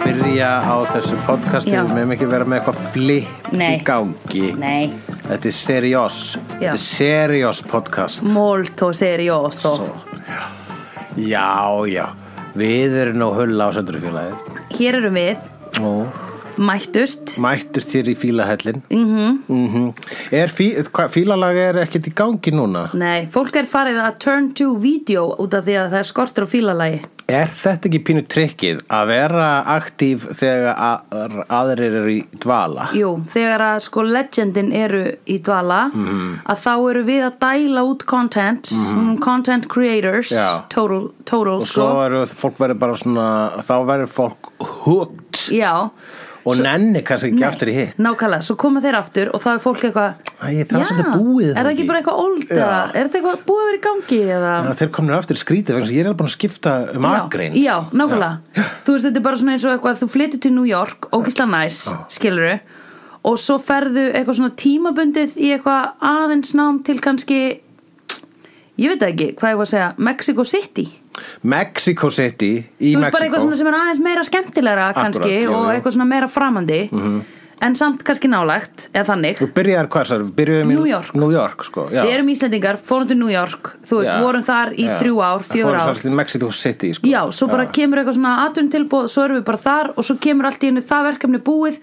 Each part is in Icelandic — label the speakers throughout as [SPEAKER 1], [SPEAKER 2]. [SPEAKER 1] byrja á þessu podcasti
[SPEAKER 2] Já.
[SPEAKER 1] við meðum ekki vera með eitthvað flip í
[SPEAKER 2] Nei.
[SPEAKER 1] gangi
[SPEAKER 2] Nei,
[SPEAKER 1] Þetta er seriós Þetta er seriós podcast
[SPEAKER 2] Mm. molto serioso
[SPEAKER 1] Já, já Við erum nú hulla á söndrufélagi
[SPEAKER 2] Hér erum við, mættust Mhm.
[SPEAKER 1] Mættust þér í fílahellin mm -hmm. Mm Er fí, hva, fílalag er ekkert í gangi núna?
[SPEAKER 2] Nei, fólk er farið að turn to video út af því að það er skortur á fílalagi
[SPEAKER 1] Er þetta ekki pínu trikkið að vera aktíf þegar að- aðrir eru í dvala?
[SPEAKER 2] Jú, þegar að sko legendin eru í dvala
[SPEAKER 1] Mhm.
[SPEAKER 2] að þá eru við að dæla út content mm, content creators
[SPEAKER 1] Já.
[SPEAKER 2] total, total
[SPEAKER 1] Og
[SPEAKER 2] sko.
[SPEAKER 1] svo eru fólk verið bara svona, þá verður fólk hugt
[SPEAKER 2] Já,
[SPEAKER 1] og nenni kannski ekki aftur í hitt.
[SPEAKER 2] nákvæmlega, svo koma þeir aftur og þá er fólk eitthvað
[SPEAKER 1] Æ, það var
[SPEAKER 2] Já,
[SPEAKER 1] svolítið búið
[SPEAKER 2] Er það ekki bara eitthvað old
[SPEAKER 1] Já.
[SPEAKER 2] eða, er þetta eitthvað búið að vera í gangi eða
[SPEAKER 1] Já, þeir komnir aftur í skrítið vegna þess að ég er alveg búin að skipta um akrein.
[SPEAKER 2] Já, já nákvæmlega Þú veist, þetta er bara svona eins og eitthvað að þú flyttur til New York ógisla næs, skilurðu og svo ferðu eitthvað svona tímabundið í eitthvað aðeins nám til kannski ég veit það ekki, hvað ég var að segja, Mexico City
[SPEAKER 1] Mexico City í
[SPEAKER 2] Þú veist, bara eitthvað
[SPEAKER 1] Mexico.
[SPEAKER 2] svona sem er aðeins meira skemmtilegra kannski
[SPEAKER 1] jú,
[SPEAKER 2] og
[SPEAKER 1] jú.
[SPEAKER 2] eitthvað svona meira framandi
[SPEAKER 1] Mhm.
[SPEAKER 2] en samt kannski nálægt, eða þannig
[SPEAKER 1] Þú byrjar hvað þar, byrjuðum í
[SPEAKER 2] New York.
[SPEAKER 1] New York, sko. Já.
[SPEAKER 2] Við erum Íslendingar, fórum til New York þú veist,
[SPEAKER 1] Já.
[SPEAKER 2] vorum þar í
[SPEAKER 1] Já.
[SPEAKER 2] þrjú ár, fjör
[SPEAKER 1] Fórum
[SPEAKER 2] ár
[SPEAKER 1] svolítið í Mexico City, sko.
[SPEAKER 2] Já, svo bara kemur eitthvað svona atun tilbúð svo erum við bara þar og svo kemur allt í einu það verkefni búið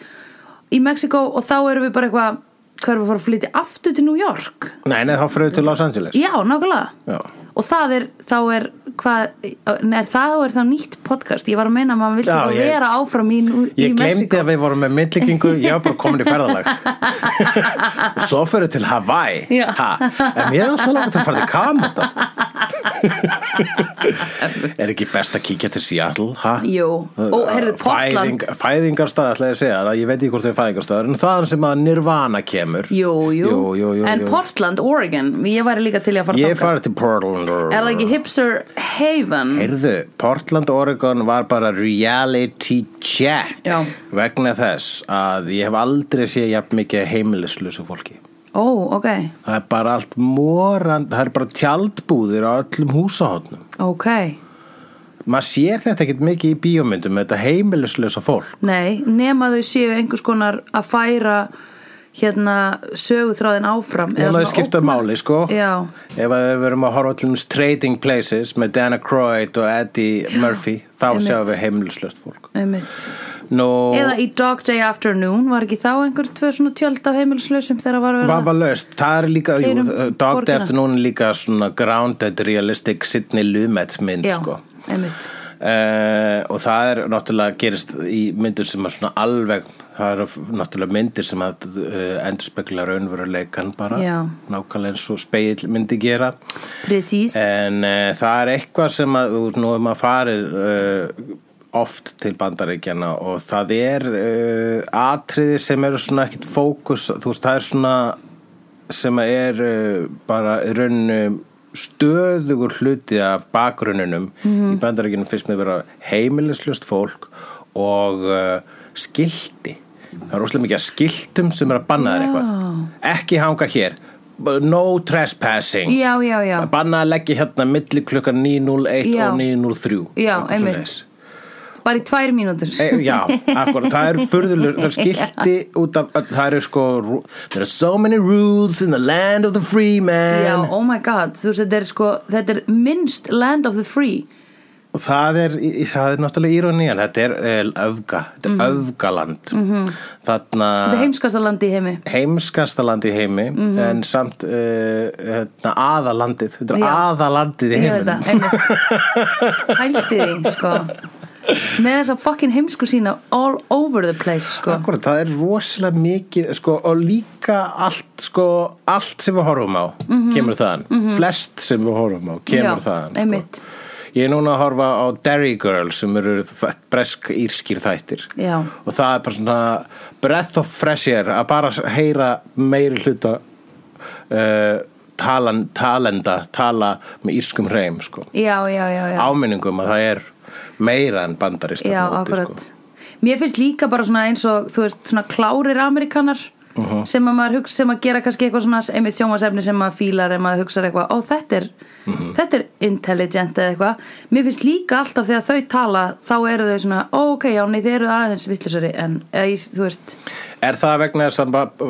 [SPEAKER 2] í Mexiko og þá erum við bara eitthvað hvað erum við að fara að flytja aftur til New York
[SPEAKER 1] Nei, nei, þá fyrir við til Los Angeles.
[SPEAKER 2] Já, nákvæmlega
[SPEAKER 1] Já.
[SPEAKER 2] og það er, þá er hvað, er það er þá nýtt podcast ég var að meina að maður vildi
[SPEAKER 1] Já,
[SPEAKER 2] bara
[SPEAKER 1] ég-
[SPEAKER 2] vera áfram í, nú- í
[SPEAKER 1] Ég glemdi
[SPEAKER 2] Mexiko
[SPEAKER 1] að við vorum með myndlíkingu, ég var bara komin í ferðalag. Svo fyrir til Hawaii.
[SPEAKER 2] Já.
[SPEAKER 1] Ha. En ég er alltaf langt að fara til Kanada. er ekki best að kíkja til Seattle? Ha?
[SPEAKER 2] Jú, og heyrðu Portland
[SPEAKER 1] Fæðing, Fæðingarstað, ætla ég að segja, það, ég veit ekki hvort þau er fæðingarstaðar, en þaðan sem að Nirvana kemur.
[SPEAKER 2] jú, jú.
[SPEAKER 1] Jú, jú, jú,
[SPEAKER 2] en
[SPEAKER 1] jú.
[SPEAKER 2] Portland, Oregon ég væri líka til í að fara
[SPEAKER 1] Ég
[SPEAKER 2] þangað.
[SPEAKER 1] farið til Portland.
[SPEAKER 2] Er það ekki hipster haven?
[SPEAKER 1] Heyrðu, Portland, Oregon var bara reality check
[SPEAKER 2] Já.
[SPEAKER 1] vegna þess að ég hef aldrei séð jafn mikið heimilislösu fólki.
[SPEAKER 2] Ó, ok,
[SPEAKER 1] Það er bara allt morand, það er bara tjaldbúðir á öllum húsahotnum.
[SPEAKER 2] ok
[SPEAKER 1] Maður sér þetta ekkert mikið í bíómyndum, þetta heimilislösa fólk.
[SPEAKER 2] Nei, nema þau séu einhvers konar að færa hérna söguþráðin áfram
[SPEAKER 1] Ég
[SPEAKER 2] svona
[SPEAKER 1] maður skipta
[SPEAKER 2] ógna-
[SPEAKER 1] máli, sko.
[SPEAKER 2] Já,
[SPEAKER 1] Ef að við verum að horfa til um Trading Places með Dana Croyd og Eddie Murphy, þá
[SPEAKER 2] einmitt.
[SPEAKER 1] sjáum við heimilislöst fólk.
[SPEAKER 2] einmitt
[SPEAKER 1] Nú,
[SPEAKER 2] Eða í Dog Day Afternoon var ekki þá einhver tvö svona tjöld af heimilslausum þegar var að vera
[SPEAKER 1] vafalaust, það er líka, jú,
[SPEAKER 2] Heyrum
[SPEAKER 1] Dog Day
[SPEAKER 2] borgina.
[SPEAKER 1] Afternoon er líka svona grounded realistic Sidney Lumet mynd,
[SPEAKER 2] Já,
[SPEAKER 1] sko.
[SPEAKER 2] einmitt
[SPEAKER 1] Uh, og það er náttúrulega gerist í myndir sem er svona alveg það eru náttúrulega myndir sem að uh, endurspegla raunveruleikan bara
[SPEAKER 2] Já.
[SPEAKER 1] nákvæmlega eins og speil myndi gera
[SPEAKER 2] Precís,
[SPEAKER 1] en uh, það er eitthvað sem að þú- nú er maður farið uh, oft til bandaríkjana og það er uh, atriði sem eru svona ekkit fókus þú veist það er svona sem að er uh, bara í rauninu stöðugur hluti af bakgrunninum í bandaríkjunum fyrst með vera heimilislust fólk og uh, skilti það er rosalega mikið af skiltum sem er að banna þér eitthvað ekki hanga hér no trespassing
[SPEAKER 2] já, já, já
[SPEAKER 1] að banna að leggja hérna milli klukkan 9.01
[SPEAKER 2] Já.
[SPEAKER 1] og 9.03
[SPEAKER 2] Já,
[SPEAKER 1] eitthvað
[SPEAKER 2] einmitt.
[SPEAKER 1] svoleiðis.
[SPEAKER 2] Bara í tvær mínútur
[SPEAKER 1] e, Já, akkur, það eru furðulur það er skilti út af það eru sko rú- there are so many rules in the land of the free man
[SPEAKER 2] Já, oh my god, þú veist þetta er sko þetta er minnst land of the free
[SPEAKER 1] og það er, í- í- það er náttúrulega íronían þetta er eh, öfga, þetta er öfgaland mm -hmm. þarna
[SPEAKER 2] Mhm. Þetta er Mhm. heimskasta landi í heimi
[SPEAKER 1] heimskasta land í heimi en samt uh, hérna, aðalandið, þetta er
[SPEAKER 2] Já.
[SPEAKER 1] aðalandið í
[SPEAKER 2] Ég veit
[SPEAKER 1] heiminum
[SPEAKER 2] það, einmitt Hældi því, sko Með þessa fucking heimsku sína all over the place, sko
[SPEAKER 1] Akkurat, það er rosalega mikið sko, og líka allt sko, allt sem við horfum á kemur þaðan, flest sem við horfum á kemur
[SPEAKER 2] Mhm. Já,
[SPEAKER 1] þaðan sko.
[SPEAKER 2] einmitt.
[SPEAKER 1] Ég er núna að horfa á Derry Girl sem eru þ- bresk-írskir þættir
[SPEAKER 2] Já.
[SPEAKER 1] og það er bara svona breath of fresh air að bara heyra meiri hluta uh, talan, talenda tala með írskum hreim sko.
[SPEAKER 2] Já, já, já, já
[SPEAKER 1] áminningum að það er meira en bandarist
[SPEAKER 2] Já, akkurat Mér finnst líka bara svona eins og, þú veist, svona klárir amerikanar
[SPEAKER 1] Uh-huh.
[SPEAKER 2] sem að maður hugsa sem að gera kannski eitthvað svona einmitt sjónvasefni sem maður fílar en maður hugsa eitthvað, ó þetta er
[SPEAKER 1] Uh-huh.
[SPEAKER 2] þetta er intelligent eða eitthvað mér finnst líka alltaf þegar þau tala þá eru þau svona, ó ok, já, nei, þið eru aðeins vittlisari en, eða, ég- þú veist
[SPEAKER 1] Er það vegna þess að bara,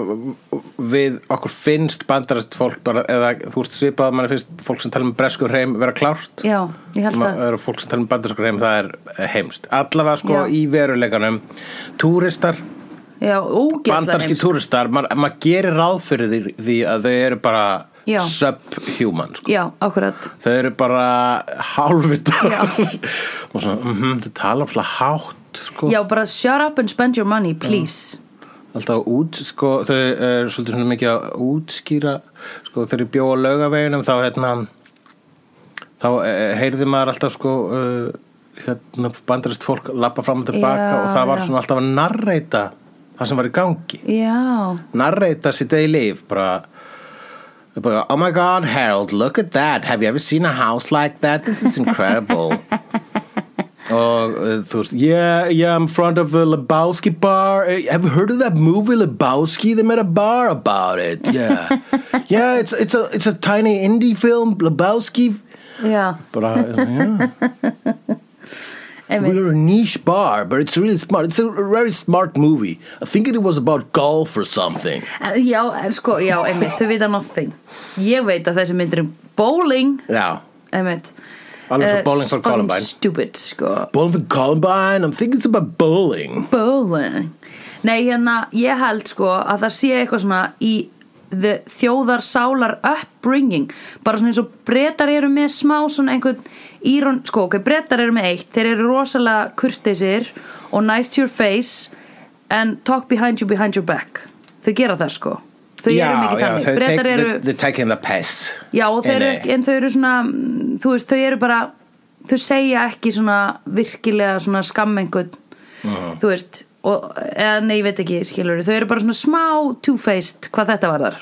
[SPEAKER 1] við okkur finnst bandarast fólk bara, eða þú veist svipað að mann finnst fólk sem tala um bresku hreim vera klárt?
[SPEAKER 2] já, ég held
[SPEAKER 1] Ma-
[SPEAKER 2] það
[SPEAKER 1] eru fólk sem tala um bandarsku hreim, það er heimst. Allavega sko
[SPEAKER 2] Já.
[SPEAKER 1] í veruleikanum, túristar, eh,
[SPEAKER 2] já, ógeðslega
[SPEAKER 1] bandarski
[SPEAKER 2] heims
[SPEAKER 1] túristar, maður ma gerir ráð fyrir því, því að þau eru bara
[SPEAKER 2] Já.
[SPEAKER 1] subhuman sko.
[SPEAKER 2] já, akkurat
[SPEAKER 1] Þau eru bara hálfvitar
[SPEAKER 2] Já.
[SPEAKER 1] og svona, mm þau tala um svona hátt sko.
[SPEAKER 2] já, bara shut up and spend your money, please
[SPEAKER 1] alltaf út sko, þau er svolítið svona mikið að útskýra sko, þegar ég bjó á laugaveginum þá hérna þá eh, heyrði maður alltaf sko eh, hérna bandarist fólk lappa fram og tilbaka
[SPEAKER 2] Já,
[SPEAKER 1] og það var
[SPEAKER 2] já.
[SPEAKER 1] svona alltaf að narreita það sem var í gangi
[SPEAKER 2] já,
[SPEAKER 1] narreita sitt eigi líf bara bara, Oh my god, Harold, look at that Have you ever seen a house like that? This is incredible Og uh, þú veist Yeah, yeah, I'm in front of the Lebowski bar Eh, Have you heard of that movie Lebowski? They made a bar about it Yeah, yeah it's, it's, a, it's a tiny indie film Lebowski
[SPEAKER 2] já,
[SPEAKER 1] Bara, yeah
[SPEAKER 2] einmitt
[SPEAKER 1] We're a niche bar, but it's really smart It's a very smart movie I think it was about golf or something
[SPEAKER 2] En- já, en sko, já, einmitt, þau vita nothing ég veit að þessi myndir um bowling
[SPEAKER 1] Já
[SPEAKER 2] einmitt
[SPEAKER 1] Alveg svo
[SPEAKER 2] Eh,
[SPEAKER 1] Bowling for
[SPEAKER 2] fucking
[SPEAKER 1] Columbine.
[SPEAKER 2] stupid, sko
[SPEAKER 1] Bowling for Columbine, I'm thinking it's about bowling
[SPEAKER 2] bowling Nei, hérna, ég held sko að það sé eitthvað svona í the þjóðar sálar upbringing bara svona eins og brettar eru með smá svona einhvern írón, sko ok, brettar eru með eitt, þeir eru rosalega kurteisir og nice to your face and talk behind you behind your back þau gera það sko þau eru mikið þannig,
[SPEAKER 1] þau
[SPEAKER 2] brettar
[SPEAKER 1] take-
[SPEAKER 2] eru
[SPEAKER 1] They're taking the piss
[SPEAKER 2] já, og þau eru
[SPEAKER 1] Nei, nei.
[SPEAKER 2] ekki, en þau eru svona mm, þú veist, þau eru bara þau segja ekki svona virkilega svona skamm einhvern þú veist, og, eða nei, ég veit ekki skilur, þau eru bara svona smá two-faced hvað þetta var þar,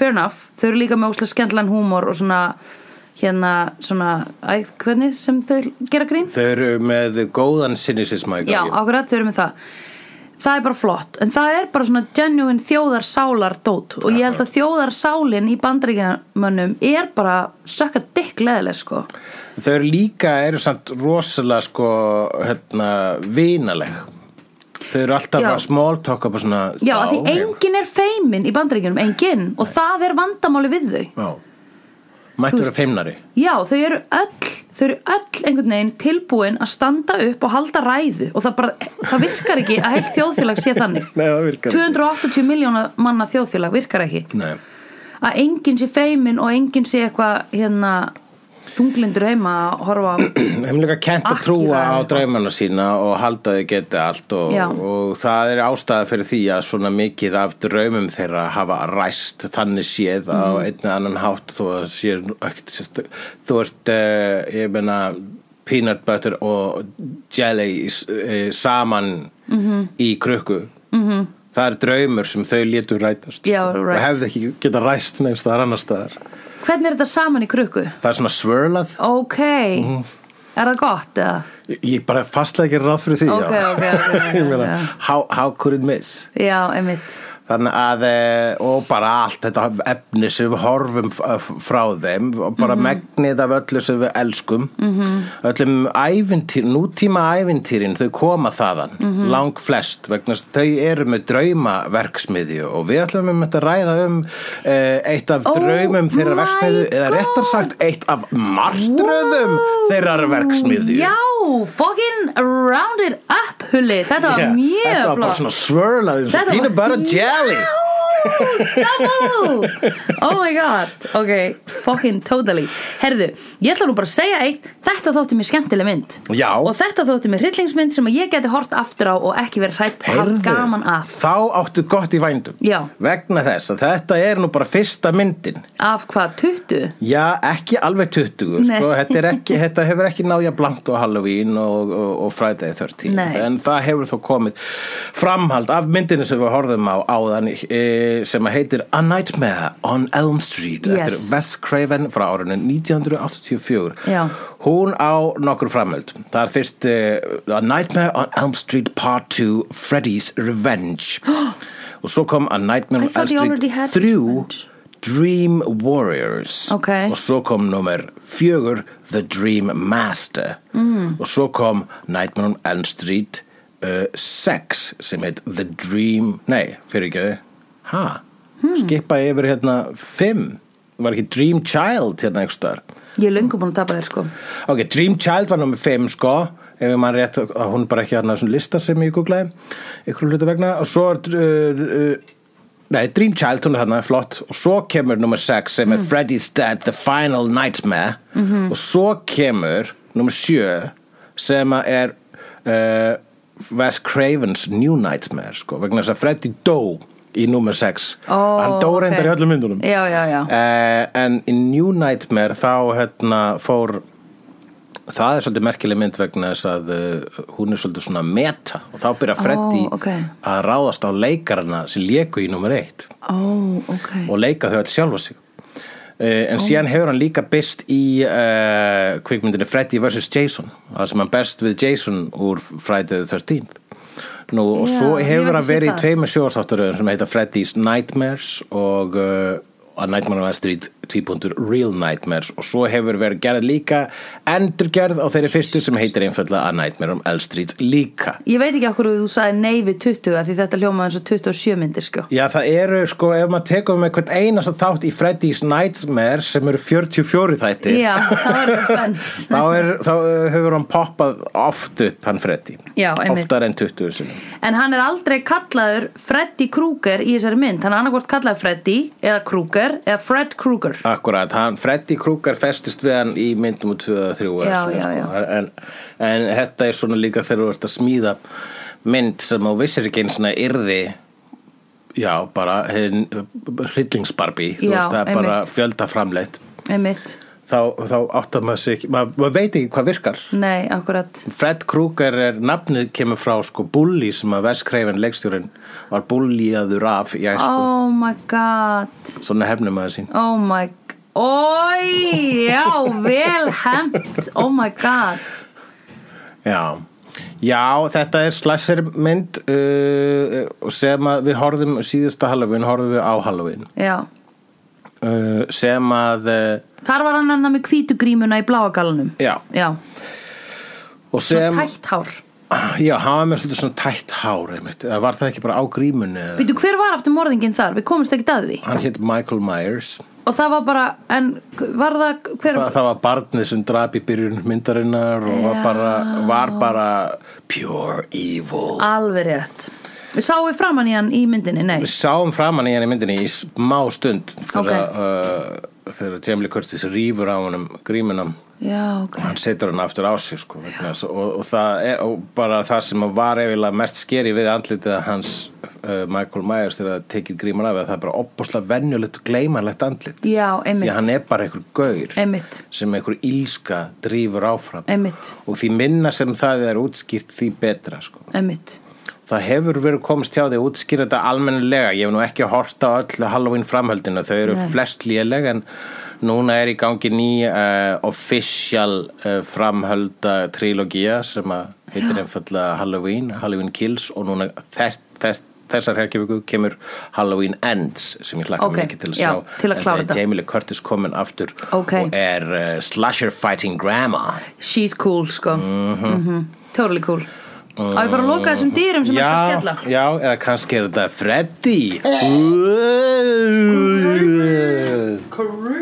[SPEAKER 2] fair enough þau eru líka með óslega skemmtlan húmor og svona hérna, svona æ, hvernig sem þau gera grín
[SPEAKER 1] Þau eru með góðan sinnisisma í
[SPEAKER 2] já,
[SPEAKER 1] gangi.
[SPEAKER 2] akkurat, þau eru með það það er bara flott, en það er bara svona genuine þjóðarsálar dót og ég held að þjóðarsálin í bandaríkjamönnum er bara sökka dikk leðileg sko
[SPEAKER 1] Þau eru líka, eru samt rosalega sko, hérna, vinaleg Þau eru alltaf
[SPEAKER 2] Já.
[SPEAKER 1] að small talk bara svona "Sá
[SPEAKER 2] já, af því
[SPEAKER 1] heim."
[SPEAKER 2] enginn er feimin í bandaríkjunum, enginn og það er vandamáli við þau
[SPEAKER 1] Já. Mættu
[SPEAKER 2] Þú
[SPEAKER 1] vera feimnari
[SPEAKER 2] já, þau eru öll, þau eru öll einhvern veginn tilbúin að standa upp og halda ræðu og það bara, það virkar ekki að heilt þjóðfélag sé þannig
[SPEAKER 1] Nei, það virkar ekki.
[SPEAKER 2] 280 miljóna manna þjóðfélag virkar ekki
[SPEAKER 1] Nei
[SPEAKER 2] að enginn sé feimin og enginn sé eitthvað hérna þunglindur heima að horfa á
[SPEAKER 1] Þeim líka kent að
[SPEAKER 2] Akira
[SPEAKER 1] trúa á
[SPEAKER 2] eða-
[SPEAKER 1] draumana sína og halda að þau geti allt og,
[SPEAKER 2] Já.
[SPEAKER 1] og það er ástæða fyrir því að svona mikið af draumum þeirra hafa ræst þannig séð á
[SPEAKER 2] Mhm.
[SPEAKER 1] einn eða annan hátt þó að sé ekkert sérst þú ert, uh, ég meina peanut butter og jelly uh, saman
[SPEAKER 2] Mhm.
[SPEAKER 1] í krukku -hmm. það er draumur sem þau létu rætast
[SPEAKER 2] Já,
[SPEAKER 1] sko,
[SPEAKER 2] right.
[SPEAKER 1] og hefði ekki geta ræst neins það annar staðar
[SPEAKER 2] hvernig er þetta saman í krukku?
[SPEAKER 1] það er svona svörlað
[SPEAKER 2] ok,
[SPEAKER 1] Mhm.
[SPEAKER 2] er það gott eða?
[SPEAKER 1] Ég- Ég bara fastlega ekki ráð fyrir því
[SPEAKER 2] Ok,
[SPEAKER 1] já.
[SPEAKER 2] ok, ok, ok,
[SPEAKER 1] Ég meina,
[SPEAKER 2] já.
[SPEAKER 1] how, how could it miss?
[SPEAKER 2] já, einmitt
[SPEAKER 1] Þannig að, eh, og bara allt þetta efni sem við horfum f- eh, f- frá þeim og bara
[SPEAKER 2] Mhm.
[SPEAKER 1] megnið af öllu sem við elskum -hmm. öllum ævintýr, nútíma ævintýrin þau koma þaðan,
[SPEAKER 2] Mhm.
[SPEAKER 1] lang flest vegna þess að þau eru með draumaverksmiðju og við ætlum um þetta að ræða um eh, eitt af
[SPEAKER 2] Oh
[SPEAKER 1] draumum þeirra
[SPEAKER 2] my
[SPEAKER 1] verksmiðju eða
[SPEAKER 2] God.
[SPEAKER 1] réttar sagt eitt af martröðum
[SPEAKER 2] Wow.
[SPEAKER 1] þeirra verksmiðju
[SPEAKER 2] já, fucking round it up hulli, þetta var
[SPEAKER 1] Já,
[SPEAKER 2] mjög
[SPEAKER 1] Þetta var bara
[SPEAKER 2] flott
[SPEAKER 1] svona svörlað eins og
[SPEAKER 2] Þetta var-
[SPEAKER 1] peanut butter jelly
[SPEAKER 2] Já, double oh my god, ok fucking totally, herðu ég ætla nú bara að segja eitt, þetta þótti mér skemmtileg mynd
[SPEAKER 1] Já.
[SPEAKER 2] og þetta þótti mér hryllingsmynd sem að ég geti hort aftur á og ekki verið hrætt haft gaman af,
[SPEAKER 1] þá áttu gott í vændum
[SPEAKER 2] Já.
[SPEAKER 1] Vegna þess að þetta er nú bara fyrsta myndin
[SPEAKER 2] af hvað, 20?
[SPEAKER 1] Já, ekki alveg 20
[SPEAKER 2] Nei.
[SPEAKER 1] sko. þetta, er ekki, þetta hefur ekki nája blankt og Halloween og, og, og Friday 13
[SPEAKER 2] Nei.
[SPEAKER 1] en það hefur þó komið framhald af myndinu sem við horfðum á áðan e, sem að heitir A Nightmare on Elm Street eftir
[SPEAKER 2] Yes.
[SPEAKER 1] Wes Craven frá árinu 1984
[SPEAKER 2] Já.
[SPEAKER 1] hún á nokkur framhald það er fyrst e, uh, A Nightmare on Elm Street Part 2 Freddy's Revenge og svo kom A Nightmare
[SPEAKER 2] I
[SPEAKER 1] on Elm
[SPEAKER 2] thought he already had
[SPEAKER 1] Street 3
[SPEAKER 2] husband.
[SPEAKER 1] Dream Warriors
[SPEAKER 2] Ok.
[SPEAKER 1] og svo kom nummer fjögur The Dream Master mm. og svo kom Nightmare on Elm Street 6 sem heit The Dream nei, fyrir ekki ha, skipa yfir hérna 5 var ekki Dream Child hérna einhvers staðar
[SPEAKER 2] Ég er löngu búin að tapa þér sko
[SPEAKER 1] Ok, Dream Child var nummer 5 sko ef ég mann rétt að hún er bara ekki hérna svona lista sem ég googlaði ykkur hlutu vegna og svo er uh, uh, Nei, Dream Child, hún er þarna, flott og svo kemur nummer 6 sem er
[SPEAKER 2] Mm.
[SPEAKER 1] Freddy's Dead, The Final Nightmare
[SPEAKER 2] Mhm.
[SPEAKER 1] og svo kemur nummer 7 sem að er uh, Wes Cravens New Nightmare sko, vegna þess að Freddy dó í nummer 6
[SPEAKER 2] Ó,
[SPEAKER 1] hann dó
[SPEAKER 2] ok.
[SPEAKER 1] reyndar í öllum myndunum
[SPEAKER 2] Já, já, já.
[SPEAKER 1] Eh, en í New Nightmare þá hérna fór það er svolítið merkileg mynd vegna þess að uh, hún er svolítið svona meta og þá byrja Freddy
[SPEAKER 2] ok.
[SPEAKER 1] að ráðast á leikarana sem leku í nummer eitt
[SPEAKER 2] Ó, ok
[SPEAKER 1] og leika þau öll sjálfa sig Uh, en síðan hefur hann líka best í uh, kvikmyndinni Freddy vs. Jason það sem hann best við Jason úr Friday the 13th Nú, og
[SPEAKER 2] Já,
[SPEAKER 1] svo
[SPEAKER 2] ég
[SPEAKER 1] hefur
[SPEAKER 2] hef
[SPEAKER 1] hann
[SPEAKER 2] ekki séð
[SPEAKER 1] verið í
[SPEAKER 2] það.
[SPEAKER 1] tveimur sjóðstátturöðum sem heita Freddy's Nightmares og uh, A Nightmare on Elm Street 2. Real Nightmares og svo hefur verið gerð líka endurgerð á þeirri fyrstu sem heitir einfallega A Nightmare on Elm Street líka
[SPEAKER 2] Ég veit ekki okkur þú sagði nei við 20 af því þetta hljómaði eins og 27 myndir sko
[SPEAKER 1] Já, það eru, sko, ef maður tekur með hvern einasta þátt í Freddy's Nightmare sem eru 44 þættir
[SPEAKER 2] Já, það var eitthvað bens
[SPEAKER 1] þá, er, þá uh, hefur hann poppað oft upp hann Freddy
[SPEAKER 2] Já, einmitt.
[SPEAKER 1] oftar en 20 sinni
[SPEAKER 2] En hann er aldrei kallaður Freddy Krueger í þessari mynd Hann er annarkvort kallaður Freddy eða Krueger eða Fred Krueger
[SPEAKER 1] Akkurat, hann, Freddy Krueger festist við hann í myndum og 2 og 3 og
[SPEAKER 2] Já,
[SPEAKER 1] svona,
[SPEAKER 2] já, já.
[SPEAKER 1] sko. en, en þetta er svona líka þegar þú ert að smíða mynd sem á vissir ekki einn svona yrði já, bara hin, hryllingsbarbi þú
[SPEAKER 2] Já,
[SPEAKER 1] veist, það er bara
[SPEAKER 2] einmitt.
[SPEAKER 1] fjöldaframleitt
[SPEAKER 2] Einmitt
[SPEAKER 1] þá, þá áttar maður sig ekki maður, maður veit ekki hvað virkar
[SPEAKER 2] Nei, akkurat
[SPEAKER 1] Fred Krueger er nafnið kemur frá sko bulli sem að Veskreifin leikstjórin var bulliaður af já, sko,
[SPEAKER 2] Oh my god
[SPEAKER 1] svona hefnum maður sín
[SPEAKER 2] Oh my god Ói, já, vel hemmt Oh my god
[SPEAKER 1] já. já, þetta er slashermynd uh, sem að við horfðum síðasta Halloween horfðum við á Halloween
[SPEAKER 2] Já,
[SPEAKER 1] uh, sem að uh,
[SPEAKER 2] þar var hann annað með hvítu grímuna í bláa galanum
[SPEAKER 1] já,
[SPEAKER 2] Já,
[SPEAKER 1] og
[SPEAKER 2] Sem...
[SPEAKER 1] sem
[SPEAKER 2] tætt hár
[SPEAKER 1] já, hann var með svolítið svona tætt hár einmitt. Eða var það ekki bara á grímunni eða?
[SPEAKER 2] Býtu, hver var aftur morðingin þar? Við komumst ekki að því
[SPEAKER 1] hann hétt Michael Myers
[SPEAKER 2] Og það var bara, en var það hver,
[SPEAKER 1] það, það var barnið sem drap í byrjun myndarinnar og var bara, var bara pure evil
[SPEAKER 2] Alveg rétt Við sáum við framan í hann í myndinni, nei
[SPEAKER 1] við sáum framan í henni myndinni í smá stund
[SPEAKER 2] Ok.
[SPEAKER 1] þegar, uh, þegar Jamie Lee Curtis rýfur á honum gríminam
[SPEAKER 2] Já, ok
[SPEAKER 1] hann setur hann aftur á sig sko, vegna þess- og, og, það er, og bara það sem var efilega mest skeri við andlitið hans uh, Michael Myers þegar það tekir gríman af að það er bara opposlega venjulegt og gleymanlegt andlit
[SPEAKER 2] Já,
[SPEAKER 1] því
[SPEAKER 2] einmitt,
[SPEAKER 1] að hann er bara einhver gaur
[SPEAKER 2] einmitt,
[SPEAKER 1] sem einhver ílska drýfur áfram
[SPEAKER 2] einmitt,
[SPEAKER 1] og því minna sem það er útskýrt því betra sko.
[SPEAKER 2] einmitt
[SPEAKER 1] það hefur verið komist hjá því að útskýra þetta almennilega, ég hef nú ekki hort á öll Halloween framhöldina, þau eru
[SPEAKER 2] Nei.
[SPEAKER 1] flest léleg en núna er í gangi ný uh, official uh, framhölda trilogía sem að heitir einfallega Halloween Halloween Kills og núna þess, þess, þessar herkjöfugu kemur Halloween Ends sem ég hlakka
[SPEAKER 2] Ok,
[SPEAKER 1] mikið til að
[SPEAKER 2] já,
[SPEAKER 1] sjá
[SPEAKER 2] til að
[SPEAKER 1] En
[SPEAKER 2] klára
[SPEAKER 1] það
[SPEAKER 2] þetta.
[SPEAKER 1] er Jamie Lee Curtis komin aftur
[SPEAKER 2] Ok.
[SPEAKER 1] og er uh, slasher fighting grandma
[SPEAKER 2] She's cool, sko mm
[SPEAKER 1] Mhm.
[SPEAKER 2] -hmm. Totally cool Á ég fara að loka þessum dýrum sem er að
[SPEAKER 1] já,
[SPEAKER 2] skella
[SPEAKER 1] já, eða kannski er þetta Freddy Krumm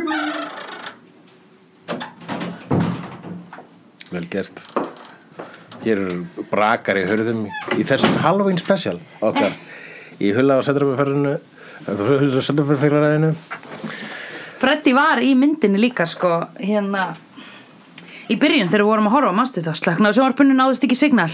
[SPEAKER 1] Vel gert Hér eru brakar í hörðum í þessum Halloween special okkar
[SPEAKER 2] Eh.
[SPEAKER 1] í hula á sættarabæðferðinu hula á sættarabæðferðinu
[SPEAKER 2] Freddy var í myndinni líka sko hérna í byrjun þegar við vorum að horfa, manstu það slagnaði sjónvarpunni náðist ekki signal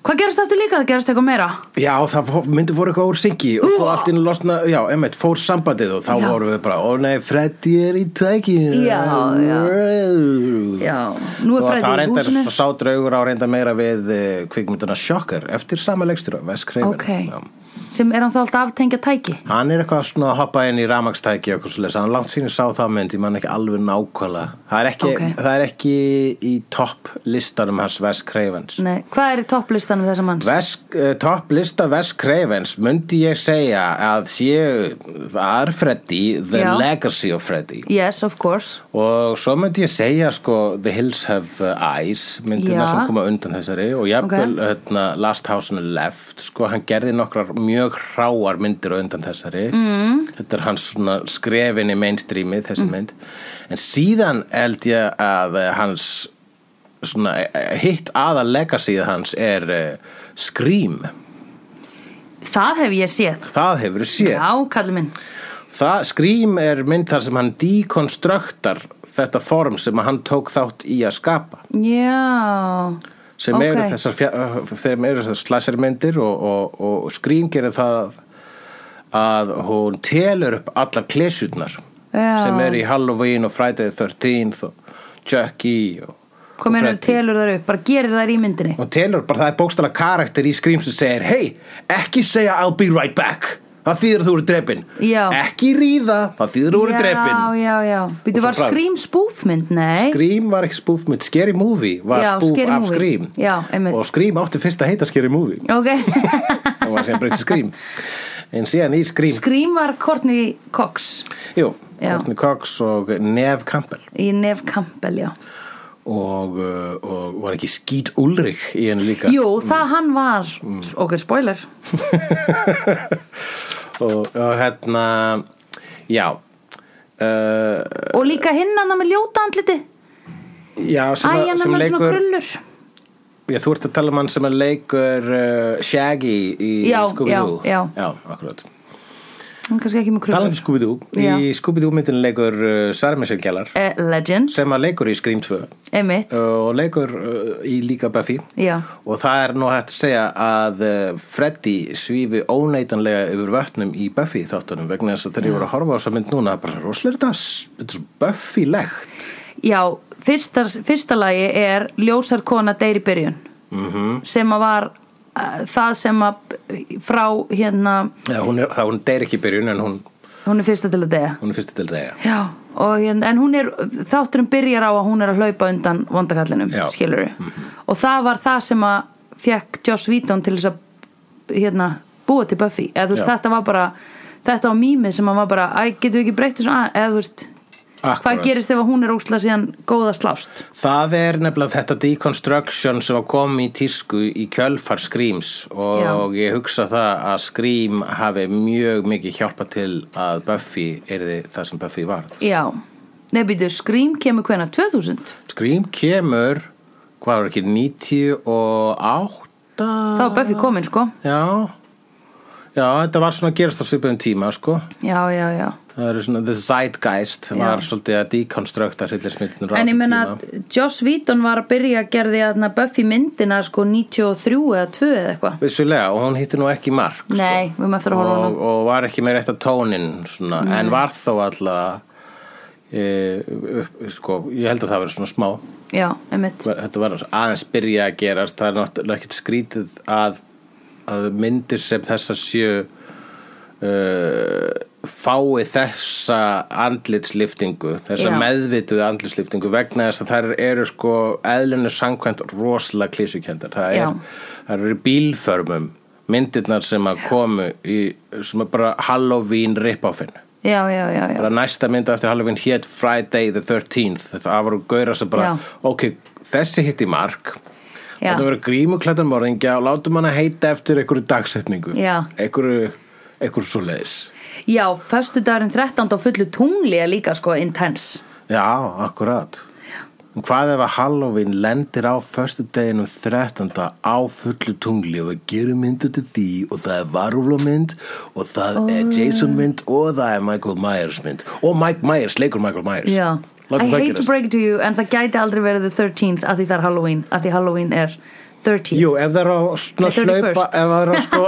[SPEAKER 2] hvað gerist aftur líka, það gerist eitthvað meira
[SPEAKER 1] Já, það fó- myndi fór eitthvað úr syngi og svo allt inn losna, já, emmitt, fór sambandið og þá
[SPEAKER 2] Já.
[SPEAKER 1] vorum við bara, ó nei, Freddy er í tækinu
[SPEAKER 2] Já, já. já, nú
[SPEAKER 1] Svo
[SPEAKER 2] er
[SPEAKER 1] að
[SPEAKER 2] Freddy
[SPEAKER 1] það
[SPEAKER 2] í
[SPEAKER 1] reyndar
[SPEAKER 2] húsinu
[SPEAKER 1] sá draugur á reynda meira við eh, kvikmyndina Shocker eftir sama leikstjóra, Wes Craven
[SPEAKER 2] Ok.
[SPEAKER 1] já.
[SPEAKER 2] sem er hann þá alltaf aftengja tæki
[SPEAKER 1] Hann er eitthvað svona að hoppa inn í ramagstæki og eitthvað svoleiðis, hann langt síni sá það mynd, ég man ekki alveg nákvæmlega. Það er ekki,
[SPEAKER 2] Ok.
[SPEAKER 1] það er ekki í topp listanum hans Wes Cravens.
[SPEAKER 2] Nei, hvað er í topplistanum þessa manns?
[SPEAKER 1] Wes, uh, topp lista Wes Cravens myndi ég segja að séu það er Freddy, The
[SPEAKER 2] Já.
[SPEAKER 1] Legacy of Freddy
[SPEAKER 2] Yes, of course
[SPEAKER 1] og svo myndi ég segja sko The Hills Have uh, Eyes myndina
[SPEAKER 2] Já.
[SPEAKER 1] sem koma undan þessari og jafnvel hérna, Last House on the Left sko hann gerði nokkrar mjög hráar myndir á undan þessari mm. þetta er hans svona skrefin í mainstreami þessi
[SPEAKER 2] Mm.
[SPEAKER 1] mynd en síðan held ég að eh, hans svona eh, hitt aða legacyð hans er uh, Scream
[SPEAKER 2] Það hef ég séð
[SPEAKER 1] það hefur séð
[SPEAKER 2] Já, kallið minn
[SPEAKER 1] Það, Scream er mynd þar sem hann dekonstruktar þetta form sem hann tók þátt í að skapa
[SPEAKER 2] Já
[SPEAKER 1] sem
[SPEAKER 2] Ok.
[SPEAKER 1] eru þessar, fjá- þeim eru þessar slæsarmyndir og, og, og Scream gerir það að hún telur upp allar klesjurnar
[SPEAKER 2] Já.
[SPEAKER 1] sem eru í Halloween og Friday the 13th og Chucky og,
[SPEAKER 2] Hvað meður
[SPEAKER 1] Freddy.
[SPEAKER 2] telur þar upp, bara gerir þær í myndinni
[SPEAKER 1] og telur bara það er bókstala karakter í Scream sem segir hei, ekki segja I'll be right back það þýður að þú eru drepin
[SPEAKER 2] Já.
[SPEAKER 1] ekki ríða, það þýður að þú eru drepin
[SPEAKER 2] Já, já, já Býtu
[SPEAKER 1] svo
[SPEAKER 2] var
[SPEAKER 1] frá-
[SPEAKER 2] Scream spúfmynd, nei
[SPEAKER 1] Scream var ekki spoof mynd, Scary Movie var
[SPEAKER 2] Já,
[SPEAKER 1] spoof
[SPEAKER 2] Scary
[SPEAKER 1] af
[SPEAKER 2] Movie.
[SPEAKER 1] Scream
[SPEAKER 2] Já, einmitt.
[SPEAKER 1] og Scream átti fyrst að heita Scary Movie
[SPEAKER 2] Ok
[SPEAKER 1] og var sem breytið Scream en síðan í Scream,
[SPEAKER 2] Scream var Courtney Cox
[SPEAKER 1] jú,
[SPEAKER 2] Já.
[SPEAKER 1] Courtney Cox og Neve Campbell
[SPEAKER 2] í Nef Campbell, já
[SPEAKER 1] og, uh, og var ekki Skít Ulrich í henni líka
[SPEAKER 2] Jú, það hann var
[SPEAKER 1] Mm.
[SPEAKER 2] Ok, spoiler
[SPEAKER 1] og, og hérna, já uh,
[SPEAKER 2] Og líka hinn hann með ljóta andliti
[SPEAKER 1] já,
[SPEAKER 2] Æ,
[SPEAKER 1] sem, að-
[SPEAKER 2] hann er
[SPEAKER 1] sem
[SPEAKER 2] með svona
[SPEAKER 1] leikur
[SPEAKER 2] krullur
[SPEAKER 1] já, þú ert að tala um hann sem að leikur uh, Shaggy í
[SPEAKER 2] Já,
[SPEAKER 1] Scooby-Doo
[SPEAKER 2] já, já.
[SPEAKER 1] akkurat
[SPEAKER 2] Hann kannski ekki með
[SPEAKER 1] Talandi
[SPEAKER 2] krullur
[SPEAKER 1] um Scooby-Doo
[SPEAKER 2] Já.
[SPEAKER 1] Í Scooby-Doo myndin leikur uh, Sarmisen Gjallar
[SPEAKER 2] eh, Legend,
[SPEAKER 1] sem að leikur í Scream 2 uh,
[SPEAKER 2] emitt
[SPEAKER 1] og leikur uh, í líka Buffy
[SPEAKER 2] Já,
[SPEAKER 1] og það er nú hægt að segja að uh, Freddy svífi óneitanlega yfir vötnum í Buffy þáttunum vegna þess að þegar ég voru að horfa á þessa mynd núna bara rosalega þetta, s- þetta er svo Buffy-legt
[SPEAKER 2] já fyrsta, fyrsta lagi er Ljósar kona deyri byrjun mm
[SPEAKER 1] Mhm.
[SPEAKER 2] -hmm. sem að var uh, það sem að frá hérna
[SPEAKER 1] ja, hún er, það hún deyr ekki í byrjun en hún,
[SPEAKER 2] hún er fyrsta til að deyja
[SPEAKER 1] hún er fyrst til deyja
[SPEAKER 2] Já, og hérna, en hún er þátturinn byrjar á að hún er að hlaupa undan vondakallinum,
[SPEAKER 1] Já. Mhm.
[SPEAKER 2] skilur og það var það sem að fekk Joss Whedon til þess að hérna, búa til Buffy, eða þú veist,
[SPEAKER 1] Já.
[SPEAKER 2] þetta var bara þetta var mýmið sem að var bara æ, getum við ekki breytt þessu, að, eða þú veist
[SPEAKER 1] Akkúrat.
[SPEAKER 2] hvað gerist ef að hún er óslega síðan góða slást
[SPEAKER 1] Það er nefnilega þetta deconstruction sem kom í tísku í kjölfar Screams og ég hugsa það að Scream hafi mjög mikið hjálpa til að Buffy erði það sem Buffy varð.
[SPEAKER 2] Já, nei, býtu, Scream kemur hvena 2000,
[SPEAKER 1] Scream kemur, hvað var ekki, 98?
[SPEAKER 2] þá er Buffy komin, sko
[SPEAKER 1] Já, já, þetta var svona að gerast á svipum tíma, sko.
[SPEAKER 2] Já, já, já
[SPEAKER 1] Það eru svona, the zeitgeist var svolítið að deconstructa hryllismyndinu
[SPEAKER 2] En ég meina, Joss Whedon var að byrja að gerði að Buffy myndina sko 93 eða 2 eða eitthvað
[SPEAKER 1] Vissulega, og hún hitti nú ekki mark. sko.
[SPEAKER 2] Nei, við erum eftir að horfa
[SPEAKER 1] og,
[SPEAKER 2] á hana
[SPEAKER 1] og var ekki með rétt að tónin svona, en var þó alltaf e, upp, sko, ég held að það verið svona smá
[SPEAKER 2] Já, einmitt
[SPEAKER 1] þetta var aðeins byrja að gerast það er náttúrulega ekkert skrítið að, að myndir sem þessa sjö uh, fái þessa andlitsliftingu þessa
[SPEAKER 2] Já.
[SPEAKER 1] meðvituð andlitsliftingu vegna þess að þær eru sko eðlunni samkvæmt rosalega klísukendar það,
[SPEAKER 2] Já.
[SPEAKER 1] er, það eru í bílförmum myndirnar sem að komu í, sem er bara Halloween rip-offin
[SPEAKER 2] Já, já, já, já
[SPEAKER 1] bara næsta mynda eftir Halloween hétt Friday the 13th það voru gauðra sem bara,
[SPEAKER 2] Já.
[SPEAKER 1] ok, þessi hitt í mark
[SPEAKER 2] Já.
[SPEAKER 1] þetta voru grímuklættan morðingja og látum hann að heita eftir einhverju dagsetningu
[SPEAKER 2] Já.
[SPEAKER 1] einhverju, einhverju svo leiðis
[SPEAKER 2] Já, föstudagurinn 13 á fullu tungli er líka sko intense
[SPEAKER 1] já, akkurat En hvað ef að Halloween lendir á förstu deginum 13. á fullu tungli og við gerum myndu til því og það er Varúla mynd og það er Jason mynd og það er Michael Myers mynd og Mike Myers leikur Michael Myers
[SPEAKER 2] Já
[SPEAKER 1] Látum
[SPEAKER 2] I
[SPEAKER 1] það
[SPEAKER 2] hate to
[SPEAKER 1] gerast.
[SPEAKER 2] break it to you en það gæti aldrei verið the 13th að því það er Halloween að því Halloween er 13th
[SPEAKER 1] Jú, ef það er á svona
[SPEAKER 2] Nei, 31st.
[SPEAKER 1] hlaupa ef það er á sko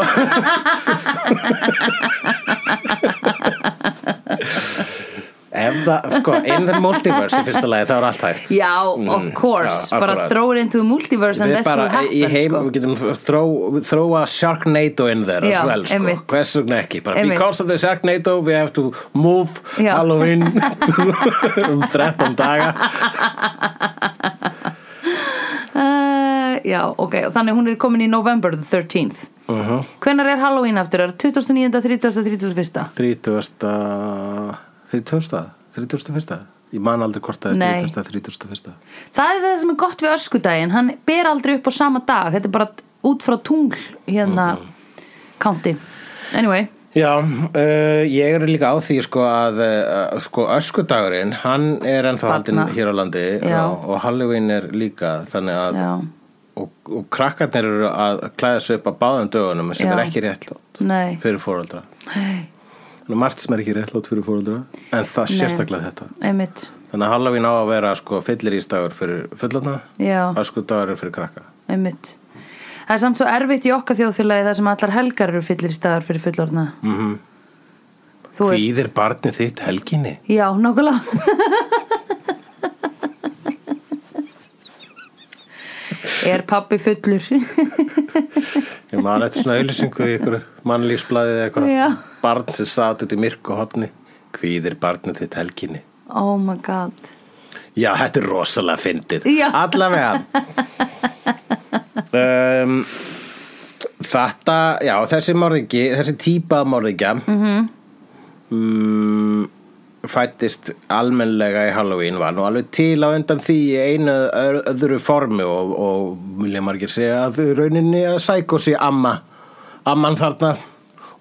[SPEAKER 1] ef það, sko, in the multiverse í fyrsta lagi, þá er allt hægt
[SPEAKER 2] Já, of course,
[SPEAKER 1] Mm, já,
[SPEAKER 2] bara
[SPEAKER 1] akkurat.
[SPEAKER 2] throw it into the multiverse and
[SPEAKER 1] Við
[SPEAKER 2] that's what happens
[SPEAKER 1] í heim,
[SPEAKER 2] sko.
[SPEAKER 1] við getum þró, þróa Sharknado in there as
[SPEAKER 2] Já,
[SPEAKER 1] well, sko,
[SPEAKER 2] einmitt.
[SPEAKER 1] hvers vegna ekki bara
[SPEAKER 2] Einmitt.
[SPEAKER 1] because of the Sharknado we have to move
[SPEAKER 2] Já.
[SPEAKER 1] Halloween um 13 daga
[SPEAKER 2] Uh, já, ok, og þannig hún er komin í November the 13th
[SPEAKER 1] uh -huh.
[SPEAKER 2] Hvenær er Halloween aftur? Er 29. 30. 31.
[SPEAKER 1] 30. 30. 31. Ég man aldrei hvort það
[SPEAKER 2] Nei.
[SPEAKER 1] er 30. 31.
[SPEAKER 2] Það er það sem er gott við öskudaginn Hann ber aldrei upp á sama dag Þetta er bara út frá tungl hérna county Anyway,
[SPEAKER 1] Já, uh, ég er líka á því sko að uh, sko öskudagurinn, hann er ennþá haldinn
[SPEAKER 2] Barna.
[SPEAKER 1] hér á landi
[SPEAKER 2] Já.
[SPEAKER 1] og Halloween er líka þannig að
[SPEAKER 2] já,
[SPEAKER 1] og, og krakkarnir eru að klæða sig upp á báðum dögunum sem
[SPEAKER 2] Já.
[SPEAKER 1] er ekki réttlátt
[SPEAKER 2] nei
[SPEAKER 1] fyrir fóröldra Nú, margt sem er ekki réttlátt fyrir fóröldra en það
[SPEAKER 2] Nei.
[SPEAKER 1] sérstaklega þetta
[SPEAKER 2] Einmitt,
[SPEAKER 1] þannig að Halloween á að vera sko fyllir ístagur fyrir fullorna
[SPEAKER 2] já,
[SPEAKER 1] öskudagur er fyrir krakka
[SPEAKER 2] einmitt Það er samt svo erfitt í okkar þjóðfélagi þar sem allar helgar eru fyllir í staðar fyrir fullorðna mm -hmm. Þú veist
[SPEAKER 1] Fýðir barnið þitt helginni
[SPEAKER 2] Já, nákvæmlega Er pappi fullur
[SPEAKER 1] ég man eftir svona auðlýsingu í ykkur mannlýsblaðið eða
[SPEAKER 2] Já.
[SPEAKER 1] eitthvað barn sem sat út í myrku hotni Hvíðir barnið þitt helginni
[SPEAKER 2] Oh my god
[SPEAKER 1] Já, þetta er rosalega fyndið
[SPEAKER 2] Já.
[SPEAKER 1] Allavega um, Þetta, já, þessi morðingi þessi típa af morðingja mm fættist almennlega í Halloween var nú alveg til á undan því í einu öðru- öðru formi og, og vilja margir segja að rauninni að sækó sé amma amman þarna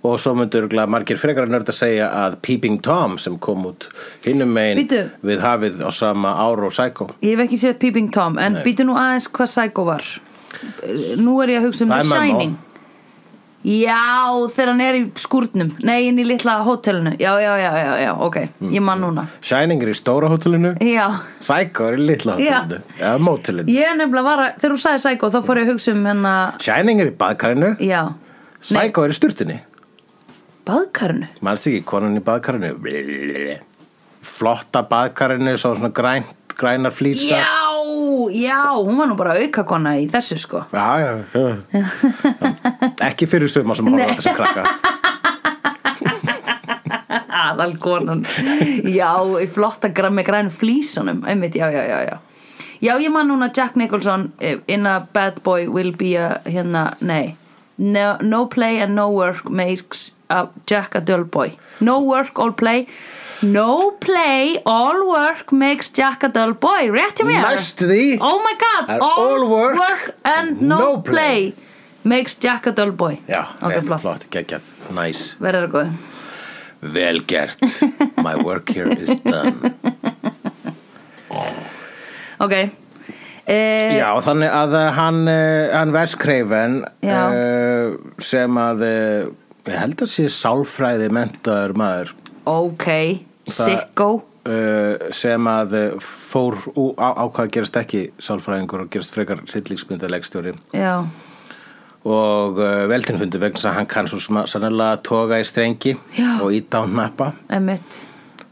[SPEAKER 1] og svo myndur margir frekar nörd að segja að Peeping Tom sem kom út hinnum megin
[SPEAKER 2] Bíddu.
[SPEAKER 1] við hafið á sama ár og sækó
[SPEAKER 2] Ég hef ekki séð Peeping Tom En býtu nú aðeins hvað Psycho var Nú er ég að hugsa um
[SPEAKER 1] Það
[SPEAKER 2] The
[SPEAKER 1] er mamma.
[SPEAKER 2] Shining Já, þegar hann er í skúrnum Nei, inn í litla hótelinu Já, já, já, já, já, ok,
[SPEAKER 1] Mm.
[SPEAKER 2] ég man núna
[SPEAKER 1] Shining er í stóra hótelinu
[SPEAKER 2] Já,
[SPEAKER 1] Psycho er í litla hótelinu eða mótelinu
[SPEAKER 2] ég nefnilega var að Þegar þú sagði Psycho, þá fór ég að hugsa um hennar
[SPEAKER 1] Shining er í baðkarinu
[SPEAKER 2] Já,
[SPEAKER 1] Psycho er í sturtunni
[SPEAKER 2] baðkarinu
[SPEAKER 1] Manst ekki, konan í baðkarinu Flotta baðkarinu Svo svona græn, grænar flýsa
[SPEAKER 2] Já, já, hún var nú bara aukakona í þessu sko
[SPEAKER 1] Já, já, já. Ekki fyrir suma sem horfa á þessu krakka
[SPEAKER 2] Aðalkonan Já, í flotta græn með græn flísunum Einmitt, já, já, já, já Já, ég man núna Jack Nicholson eh, In a bad boy will be a hérna, nei No, no play and no work makes a Jack a dull boy No work, all play No play, all work makes Jack a dull boy Rétt hjá mér
[SPEAKER 1] Næstu því.
[SPEAKER 2] Oh my
[SPEAKER 1] Er
[SPEAKER 2] god,
[SPEAKER 1] all work
[SPEAKER 2] and no,
[SPEAKER 1] no
[SPEAKER 2] play.
[SPEAKER 1] play.
[SPEAKER 2] Makes Jack a dull boy
[SPEAKER 1] Já,
[SPEAKER 2] Ok,
[SPEAKER 1] rétt,
[SPEAKER 2] flott,
[SPEAKER 1] flott, geggjað, nice
[SPEAKER 2] verður það góð
[SPEAKER 1] Vel gert, my work here is done
[SPEAKER 2] Ok eh,
[SPEAKER 1] Já, þannig að eh, hann, eh, hann verskreifin
[SPEAKER 2] Já.
[SPEAKER 1] sem að eh, ég held að sé sálfræði mentaður maður
[SPEAKER 2] Ok,
[SPEAKER 1] Það-
[SPEAKER 2] sicko
[SPEAKER 1] eh, sem að eh, fór ú- á, á hvað gerast ekki sálfræðingur og gerast frekar sittlíksmyndalegstjóri
[SPEAKER 2] Já,
[SPEAKER 1] og uh, veltinfundu vegna þess að hann kann svo sma- sannlega toga í strengi
[SPEAKER 2] Já.
[SPEAKER 1] og íta á hnappa
[SPEAKER 2] emitt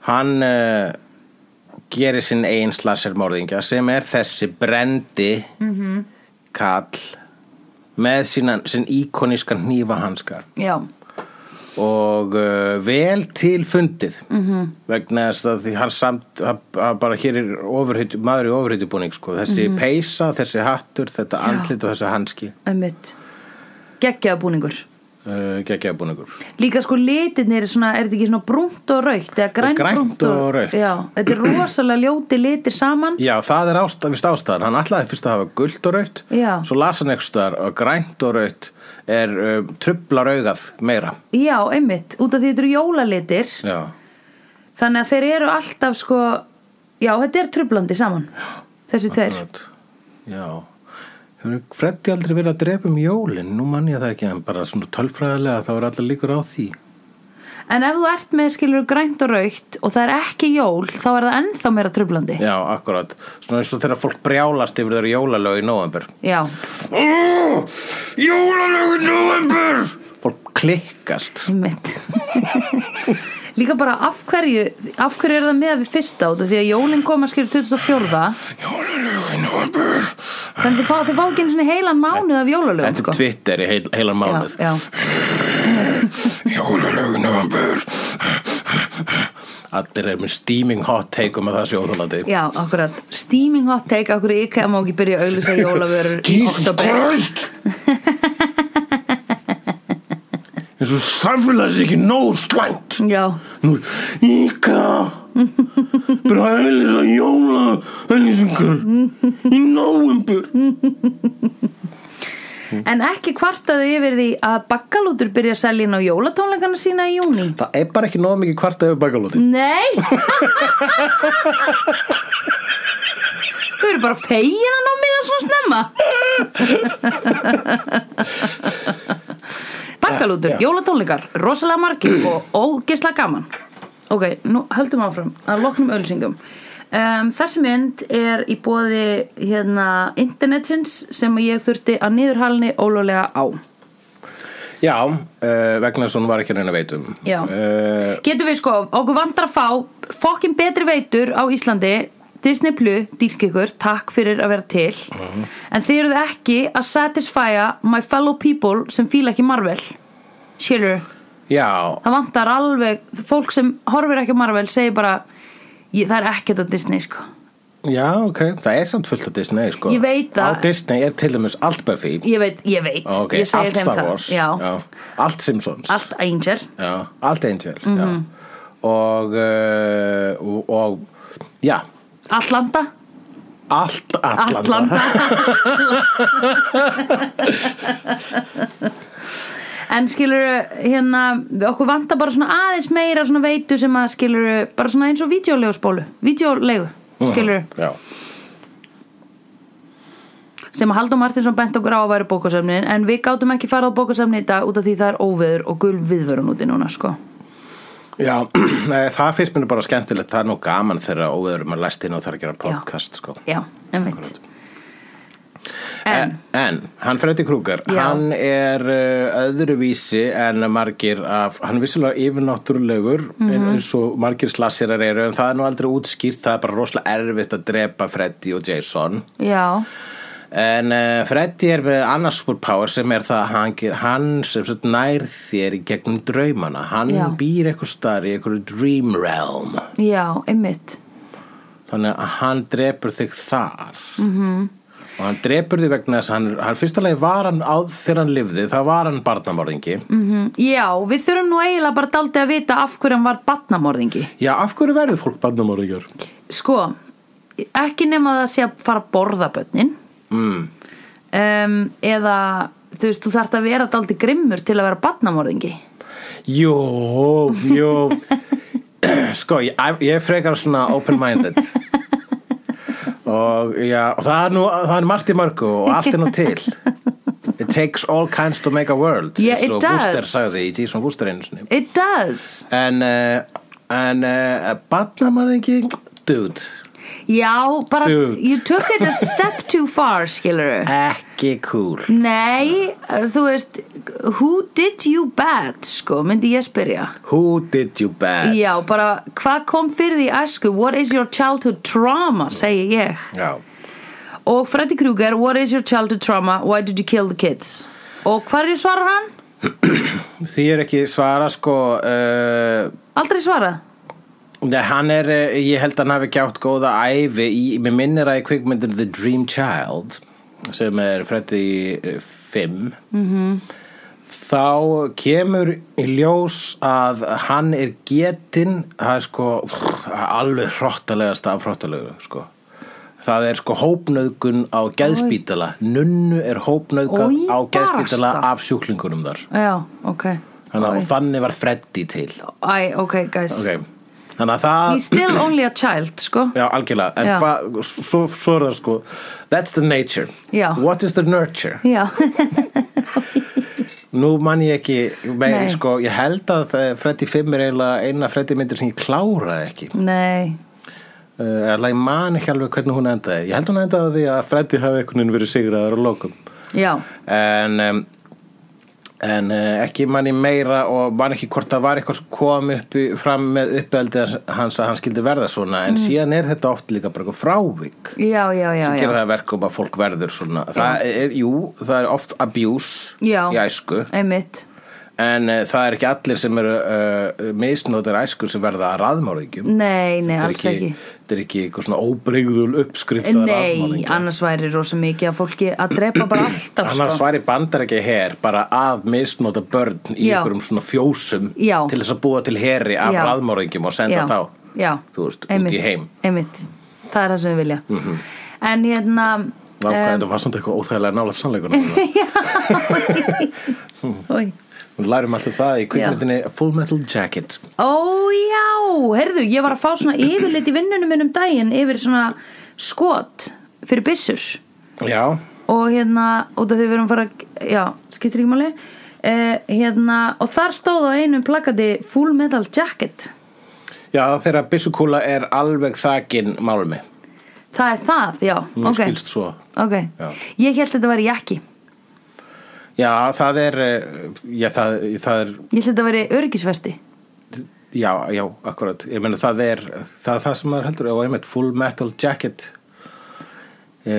[SPEAKER 1] hann uh, gerir sinn eigin slashermorðingja sem er þessi brendi -hmm. kall með sína, sinn íkonískan hnífahanskar
[SPEAKER 2] Já,
[SPEAKER 1] og uh, vel til fundið -hmm. vegna þess að því hann samt hann, hann bara hér er ofurhyttu, maður í ofurhyttubúning sko. þessi peysa, þessi hattur, þetta andlit og þessi hanski
[SPEAKER 2] emitt Geggjaða búningur
[SPEAKER 1] uh, geggjaðbúningur
[SPEAKER 2] Líka sko litinir er svona, er þetta ekki svona brúnt og raukt eða grænt,
[SPEAKER 1] Grænt og rautt.
[SPEAKER 2] Já, þetta er rosalega ljóti litir saman
[SPEAKER 1] Já, það er ástæðan, vist ástæðan. Hann ætlaði fyrst að hafa gult og raut,
[SPEAKER 2] Já.
[SPEAKER 1] svo las hann eitthvað staðar og grænt og raut er um, trublar augað meira.
[SPEAKER 2] Já, einmitt, út af því þetta eru jólalitir
[SPEAKER 1] Já,
[SPEAKER 2] Þannig að þeir eru alltaf sko Já, þetta er trublandi saman Þessi tveir
[SPEAKER 1] raut. Já. Hefur Freddi aldrei verið að drepa um jólin? Nú man ég það ekki, en bara svona tölfræðilega þá er allir líkur á því.
[SPEAKER 2] En ef þú ert með skilur grænt og raukt og það er ekki jól, þá er það ennþá meira trublandi
[SPEAKER 1] Já, akkurat. Svona eins og þegar fólk brjálast yfir þeirra jólalög í november.
[SPEAKER 2] Já,
[SPEAKER 1] Jólalög í november! Fólk klikkast.
[SPEAKER 2] einmitt líka bara af hverju af hverju er það með við fyrsta út af því að jólin koma skilur 2004 þannig þið fá, þið fá ekki einu svona heilan mánuð af jólalögum sko.
[SPEAKER 1] Þetta er Twitter í heil, heilan mánuð
[SPEAKER 2] já, já.
[SPEAKER 1] Jólalög november Allir er með steaming hot take um að það sé óþólandi
[SPEAKER 2] já, akkurat steaming hot take, akkur IKEA má ekki byrja að auðlýsa jólavörur í
[SPEAKER 1] Jesus
[SPEAKER 2] oktober
[SPEAKER 1] Christ eins og samfélags ekki nóg slæmt
[SPEAKER 2] já,
[SPEAKER 1] nú íka bara að auðlýsa jóla auðlýsingar í nóumbur
[SPEAKER 2] en ekki kvartaðu yfir því að bakkalútur byrja að selja inn á jólatónleikana sína í júni
[SPEAKER 1] það er bara ekki nóg mikið kvart eða bakalóti
[SPEAKER 2] Nei Þau eru bara fegin að ná miða svona snemma Bakkalútur,
[SPEAKER 1] Já, já.
[SPEAKER 2] jólatónleikar Rosalega margir og ógeisla gaman Ok, nú höldum áfram að loknum ölsingum um, Þessi mynd er í bóði hérna, internetsins sem ég þurfti að niðurhalni ólulega á
[SPEAKER 1] já, uh, vegna þess að hún var ekki að reyna að um. veitum
[SPEAKER 2] Já.
[SPEAKER 1] uh,
[SPEAKER 2] Getum við sko, okkur vantar að fá fokkin betri veitur á Íslandi Disney Plu, dýrk ykkur, takk fyrir að vera til
[SPEAKER 1] Mhm.
[SPEAKER 2] En þið eruð ekki að satisfæja my fellow people sem fíla ekki Marvel Skilur,
[SPEAKER 1] já,
[SPEAKER 2] það vantar alveg, fólk sem horfir ekki á Marvel segir bara ég, Það er ekkert á Disney sko
[SPEAKER 1] já, ok það er samt fullt af Disney sko.
[SPEAKER 2] Ég veit það.
[SPEAKER 1] á Disney er til dæmis allt Buffy Ah,
[SPEAKER 2] Ég veit, ég veit,
[SPEAKER 1] Ok,
[SPEAKER 2] ég segi
[SPEAKER 1] allt
[SPEAKER 2] þeim
[SPEAKER 1] Star
[SPEAKER 2] það
[SPEAKER 1] Wars
[SPEAKER 2] Já,
[SPEAKER 1] Allt Simpsons
[SPEAKER 2] allt Mhm. Angel
[SPEAKER 1] já, Allt Angel já. Og, uh, og og já,
[SPEAKER 2] Atlanta,
[SPEAKER 1] allt Atlanta,
[SPEAKER 2] Atlanta En skilur hérna, við okkur vantar bara svona aðeins meira svona veitu sem að skilur bara svona eins og vídeolegu spólu, vídeolegu skilur,
[SPEAKER 1] Mhm. Já,
[SPEAKER 2] sem að Haldur Martinsson bent okkur á að væri bókasöfnin en við gátum ekki farað á bókasöfni í dag út af því það er óveður og gul viðvörun úti núna sko.
[SPEAKER 1] já nei, það finnst mér bara skemmtilegt það er nú gaman þegar óveðurum að læst inn og þarf að gera podcast sko.
[SPEAKER 2] Já, en veit
[SPEAKER 1] Eh.
[SPEAKER 2] En,
[SPEAKER 1] en hann Freddy Krueger
[SPEAKER 2] Já.
[SPEAKER 1] hann er uh, öðruvísi en margir af, hann er vissulega yfirnáttúrulegur
[SPEAKER 2] Mhm.
[SPEAKER 1] eins og margir slassirar eru en það er nú aldrei útskýrt, það er bara rosalega erfitt að drepa Freddy og Jason
[SPEAKER 2] já,
[SPEAKER 1] En uh, Freddy er með annars superpower sem er það að hann, ge- hann sem sagt nær þér í gegnum draumana. Hann
[SPEAKER 2] Já.
[SPEAKER 1] býr eitthvað starf í eitthvað dream realm.
[SPEAKER 2] já, einmitt
[SPEAKER 1] Þannig að hann drepur þig þar. Mm -hmm. Og hann drepur þig vegna þess að hann, hann fyrsta leið var hann á þegar hann lifði, þá var hann barnamorðingi.
[SPEAKER 2] Mhm. Já, við þurfum nú eiginlega bara daldið að vita af hverju hann var batnamorðingi
[SPEAKER 1] Já, af hverju verður fólk barnamorðingar?
[SPEAKER 2] sko, ekki nema það sé að fara að borða bönnin
[SPEAKER 1] Mm.
[SPEAKER 2] um, eða þú veist, þú þarft að vera daldi grimmur til að vera batnamorðingi
[SPEAKER 1] Jó, jó Sko, ég, ég er frekar svona open-minded og, já, og það er nú það er margt í mörgu og allt er nú til It takes all kinds to make a world
[SPEAKER 2] Yeah,
[SPEAKER 1] eins
[SPEAKER 2] it
[SPEAKER 1] og
[SPEAKER 2] does.
[SPEAKER 1] Booster sagði í Jason Booster einu sinni
[SPEAKER 2] it does
[SPEAKER 1] En, uh, en uh, barnamæringi dude,
[SPEAKER 2] já, bara,
[SPEAKER 1] Dude.
[SPEAKER 2] you took it a step too far skilur
[SPEAKER 1] ekki cool
[SPEAKER 2] nei, þú veist who did you bad sko, myndi ég spyrja
[SPEAKER 1] Who did you bad?
[SPEAKER 2] já, bara, hvað kom fyrir því í æsku what is your childhood trauma, segi ég
[SPEAKER 1] Já.
[SPEAKER 2] og Freddy Krueger, what is your childhood trauma why did you kill the kids og hverju svarar hann?
[SPEAKER 1] Því er ekki svara sko uh,
[SPEAKER 2] aldrei svara
[SPEAKER 1] Nei, hann er, eh, ég held að hann hafi ekki átt góða æfi í, mér minnir að í kvikmyndin The Dream Child sem er Freddy 5 mm
[SPEAKER 2] Mhm.
[SPEAKER 1] þá kemur í ljós að hann er getinn það er sko pff, alveg hróttalegast af hróttalegu sko. það er sko hópnöðgun á geðspítala, nunnu er hópnöðgun
[SPEAKER 2] Oj,
[SPEAKER 1] á geðspítala
[SPEAKER 2] barasta.
[SPEAKER 1] af sjúklingunum þar
[SPEAKER 2] já, ok
[SPEAKER 1] þannig, að- og þannig var Freddy til
[SPEAKER 2] Æ, ok guys
[SPEAKER 1] okay. þannig að það
[SPEAKER 2] he's still only a child sko
[SPEAKER 1] Já, algjörlega, en
[SPEAKER 2] Já.
[SPEAKER 1] hvað, svo, svo er það sko That's the nature
[SPEAKER 2] Já.
[SPEAKER 1] What is the nurture?
[SPEAKER 2] já,
[SPEAKER 1] Nú man ég ekki, meir,
[SPEAKER 2] Nei.
[SPEAKER 1] sko, ég held að það- Freddy 5 er eiginlega eina Freddy myndir sem ég kláraði ekki
[SPEAKER 2] nei
[SPEAKER 1] uh, Alla ég man ekki alveg hvernig hún endaði Ég held hún endaði á því að Freddy hafi einhvern veginn verið sigraður á lokum
[SPEAKER 2] já,
[SPEAKER 1] En um, en uh, ekki manni meira og man ekki hvort það var eitthvað sem kom upp í, fram með uppeldið hans að hann skildi verða svona
[SPEAKER 2] Mm.
[SPEAKER 1] en síðan er þetta oft líka bara eitthvað frávik
[SPEAKER 2] já, já, já,
[SPEAKER 1] sem
[SPEAKER 2] já.
[SPEAKER 1] gera það að verkum að fólk verður svona það er, jú, það er oft abuse
[SPEAKER 2] Já.
[SPEAKER 1] í æsku
[SPEAKER 2] einmitt
[SPEAKER 1] en uh, það er ekki allir sem eru uh, misnótar æsku sem verða að raðmörðingjum
[SPEAKER 2] nei, nei,
[SPEAKER 1] Þetta er
[SPEAKER 2] alls ekki,
[SPEAKER 1] þetta er ekki eitthvað svona óbrigðul uppskrift að
[SPEAKER 2] nei,
[SPEAKER 1] raðmorðingja.
[SPEAKER 2] annars væri rosa mikið að fólki að drepa bara alltaf
[SPEAKER 1] annars
[SPEAKER 2] sko.
[SPEAKER 1] væri bandar ekki her bara að misnóta börn í
[SPEAKER 2] Já.
[SPEAKER 1] einhverjum svona fjósum
[SPEAKER 2] Já.
[SPEAKER 1] til þess að búa til heri af
[SPEAKER 2] Já.
[SPEAKER 1] raðmorðingjum og senda
[SPEAKER 2] já,
[SPEAKER 1] þá
[SPEAKER 2] já,
[SPEAKER 1] þú veist, út í
[SPEAKER 2] einmitt,
[SPEAKER 1] heim. Mhm.
[SPEAKER 2] einmitt, það er það sem við vilja en hérna
[SPEAKER 1] Vá, hvað, þetta var samt eitthvað óþægilega nálega sannleikuna
[SPEAKER 2] Ói.
[SPEAKER 1] við lærum alltaf það í kvikmyndinni Full Metal Jacket
[SPEAKER 2] Ó já, heyrðu, ég var að fá svona yfirlit í vinnunum minn um daginn yfir svona skot fyrir byssur
[SPEAKER 1] já,
[SPEAKER 2] og hérna, út af því við erum fara já, skiptir ekki máli eh, hérna, og þar stóð á einum plakati Full Metal Jacket
[SPEAKER 1] já þegar byssukúla er alveg þakin málmi
[SPEAKER 2] það er það, já,
[SPEAKER 1] nú
[SPEAKER 2] ok
[SPEAKER 1] skilst svo
[SPEAKER 2] ok,
[SPEAKER 1] Já.
[SPEAKER 2] ég held þetta væri jakki ég
[SPEAKER 1] já, það er eh, já, það, það er
[SPEAKER 2] held þetta væri öryggisvesti
[SPEAKER 1] já, já, akkurat ég meina það er, það er það sem maður heldur og einmitt Full Metal Jacket e,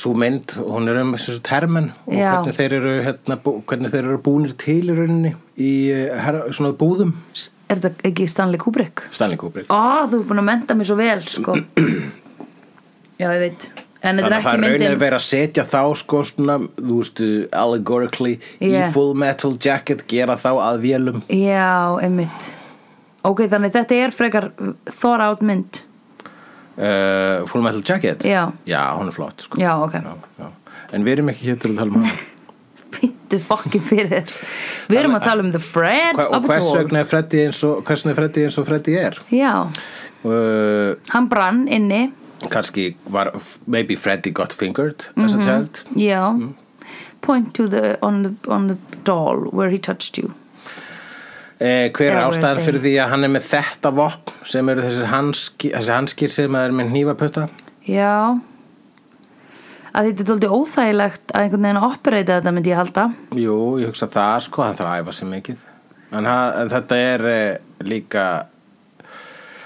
[SPEAKER 1] svo mynd hún er um þess að hermenn og
[SPEAKER 2] Já.
[SPEAKER 1] hvernig þeir, eru, hérna, bú, hvernig þeir eru búnir til í rauninni í eh, her, svona búðum
[SPEAKER 2] S- er þetta ekki Stanley Kubrick?
[SPEAKER 1] Stanley Kubrick
[SPEAKER 2] á, þú er búin að menta mér svo vel sko. já, ég veit en þetta er
[SPEAKER 1] Þannig að
[SPEAKER 2] ekki
[SPEAKER 1] það raunir
[SPEAKER 2] myndin
[SPEAKER 1] verið að setja þá sko svona, þú veistu, allegorically
[SPEAKER 2] Yeah.
[SPEAKER 1] í full metal jacket gera þá að vélum
[SPEAKER 2] Já, einmitt Ok, þannig þetta er frekar þor átt mynd
[SPEAKER 1] uh, full metal jacket
[SPEAKER 2] Já.
[SPEAKER 1] hún er flott sko
[SPEAKER 2] Já, ok,
[SPEAKER 1] Já, já. en við erum ekki hér til að tala um hana
[SPEAKER 2] býttu fokkin fyrir þér Við erum að tala um the friend
[SPEAKER 1] Hva, og
[SPEAKER 2] of
[SPEAKER 1] hvers
[SPEAKER 2] all
[SPEAKER 1] vegna er Freddy eins og hvers vegna er Freddy eins og Freddy er
[SPEAKER 2] Já,
[SPEAKER 1] uh,
[SPEAKER 2] hann brann inni
[SPEAKER 1] kannski var maybe Freddy got fingered as
[SPEAKER 2] Mhm.
[SPEAKER 1] a child
[SPEAKER 2] Já
[SPEAKER 1] Mm.
[SPEAKER 2] Point to the on, the on the doll where he touched you
[SPEAKER 1] uh, hver er
[SPEAKER 2] Eða
[SPEAKER 1] ástæðan
[SPEAKER 2] Freddy.
[SPEAKER 1] fyrir því að hann er með þetta vopn sem eru þessir hanski, þessi hanskir sem er með hnífaputta
[SPEAKER 2] Já að þetta er dóldi óþægilegt að einhvern veginn að operata þetta myndi ég halda
[SPEAKER 1] jú, ég hugsa það sko, hann þarf að æfa sér mikið en, hann, en þetta er uh, líka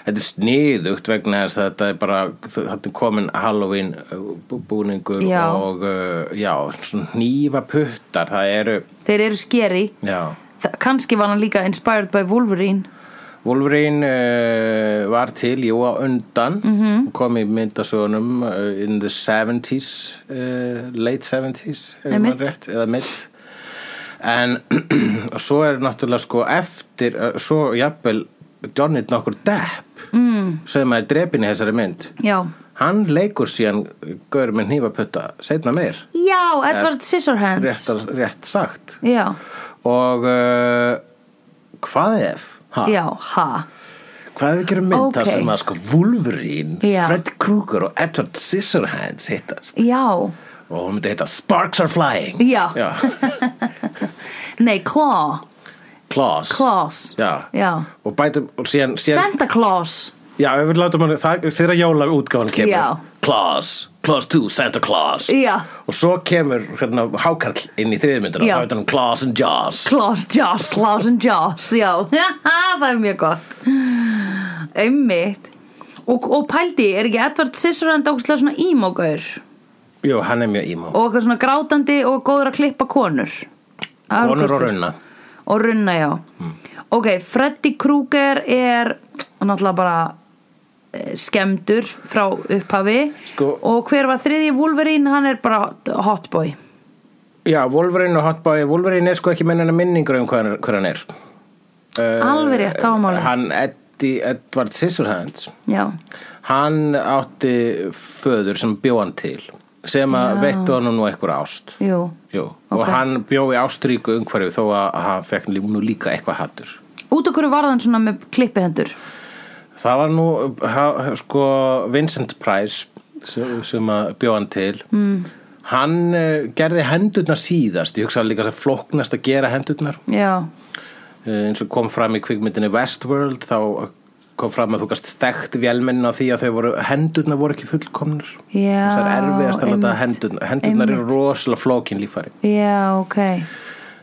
[SPEAKER 1] þetta er sniðugt vegna þess að þetta er bara þetta er komin Halloween eh, bú- búningur
[SPEAKER 2] Já.
[SPEAKER 1] og uh, já, svona hnífaputtar það eru,
[SPEAKER 2] Þeir eru skeri
[SPEAKER 1] já
[SPEAKER 2] Það- Kannski var hann líka inspired by Wolverine
[SPEAKER 1] Wolverine uh, var til, jú, á undan kom í myndasögunum uh, in the 70s uh, late 70s ef
[SPEAKER 2] Nei,
[SPEAKER 1] maður
[SPEAKER 2] mitt.
[SPEAKER 1] rétt, eða mitt en og svo er náttúrulega sko eftir uh, svo jafnvel Johnny nokkur Depp mm. sem er drepin í þessari mynd
[SPEAKER 2] Já
[SPEAKER 1] hann leikur síðan gaur með hnífaputta, seinna meir
[SPEAKER 2] Já, Edward Scissorhands
[SPEAKER 1] rétt, rétt sagt
[SPEAKER 2] Já,
[SPEAKER 1] og uh, hvað ef? Ha?
[SPEAKER 2] já, ha
[SPEAKER 1] Hvað ef við gerum mynd þar
[SPEAKER 2] Ókei.
[SPEAKER 1] sem að sko Wolverine,
[SPEAKER 2] Já.
[SPEAKER 1] Fred Krueger og Edward Scissorhands hittast
[SPEAKER 2] Já,
[SPEAKER 1] og hún myndi hitta Sparks are Flying
[SPEAKER 2] Já. nei, Claw
[SPEAKER 1] Claws,
[SPEAKER 2] Claws
[SPEAKER 1] Já.
[SPEAKER 2] Já.
[SPEAKER 1] og bætum og síðan, síðan
[SPEAKER 2] Santa Claus
[SPEAKER 1] já, ef við látum hann það, þegar jóla útgáfan kemur
[SPEAKER 2] Já.
[SPEAKER 1] Claws, Claws 2, Santa Claus
[SPEAKER 2] Já.
[SPEAKER 1] og svo kemur hérna hákarl inn í þriðmyndina
[SPEAKER 2] Já.
[SPEAKER 1] þá heitir hann Claws and Jaws
[SPEAKER 2] Claus, Jaws, Claus and Jaws Já, það er mjög gott Einmitt Og, og pældi, er ekki Edward Scissorhand ógustlega svona ímógaur
[SPEAKER 1] Jú, hann er mjög ímá
[SPEAKER 2] og eitthvað svona grátandi og góður að klippa konur Það er
[SPEAKER 1] Konur og Hmm.
[SPEAKER 2] ógeðslega-
[SPEAKER 1] runna
[SPEAKER 2] og runna já ok, Freddy Krueger er náttúrulega bara eh, skemmdur frá upphafi
[SPEAKER 1] Sko-
[SPEAKER 2] og hver var þriðji Wolverine hann er bara hot- hotboy
[SPEAKER 1] Já, Wolverine og Hotboy Wolverine er sko ekki mennina minningur um hvað hann- hver hann er uh,
[SPEAKER 2] Alveg rétt, það var málið.
[SPEAKER 1] Hann Eddie Edward Scissorhands
[SPEAKER 2] já,
[SPEAKER 1] Hann átti föður sem bjó hann til sem að veitti honum nú einhver ást
[SPEAKER 2] jú
[SPEAKER 1] Jú,
[SPEAKER 2] Ok.
[SPEAKER 1] og hann bjó í ásturíku umhverju þó að hann fekk lí- nú líka eitthvað hattur
[SPEAKER 2] út okkur var þann svona með klippihendur
[SPEAKER 1] Það var nú ha, sko Vincent Price sem, sem að bjó hann til mm. Hann uh, gerði hendurnar síðast, ég hugsa líka að flóknast að gera hendurnar
[SPEAKER 2] já,
[SPEAKER 1] Eh, eins og kom fram í kvikmyndinni Westworld þá kom fram að þú gast stekt vélmennin á því að þau voru hendurnar voru ekki fullkomnir
[SPEAKER 2] Já,
[SPEAKER 1] það er erfiðast að láta
[SPEAKER 2] einmitt.
[SPEAKER 1] hendurnar hendurnar eru
[SPEAKER 2] Einmitt.
[SPEAKER 1] rosalega flókin líffari
[SPEAKER 2] já, ok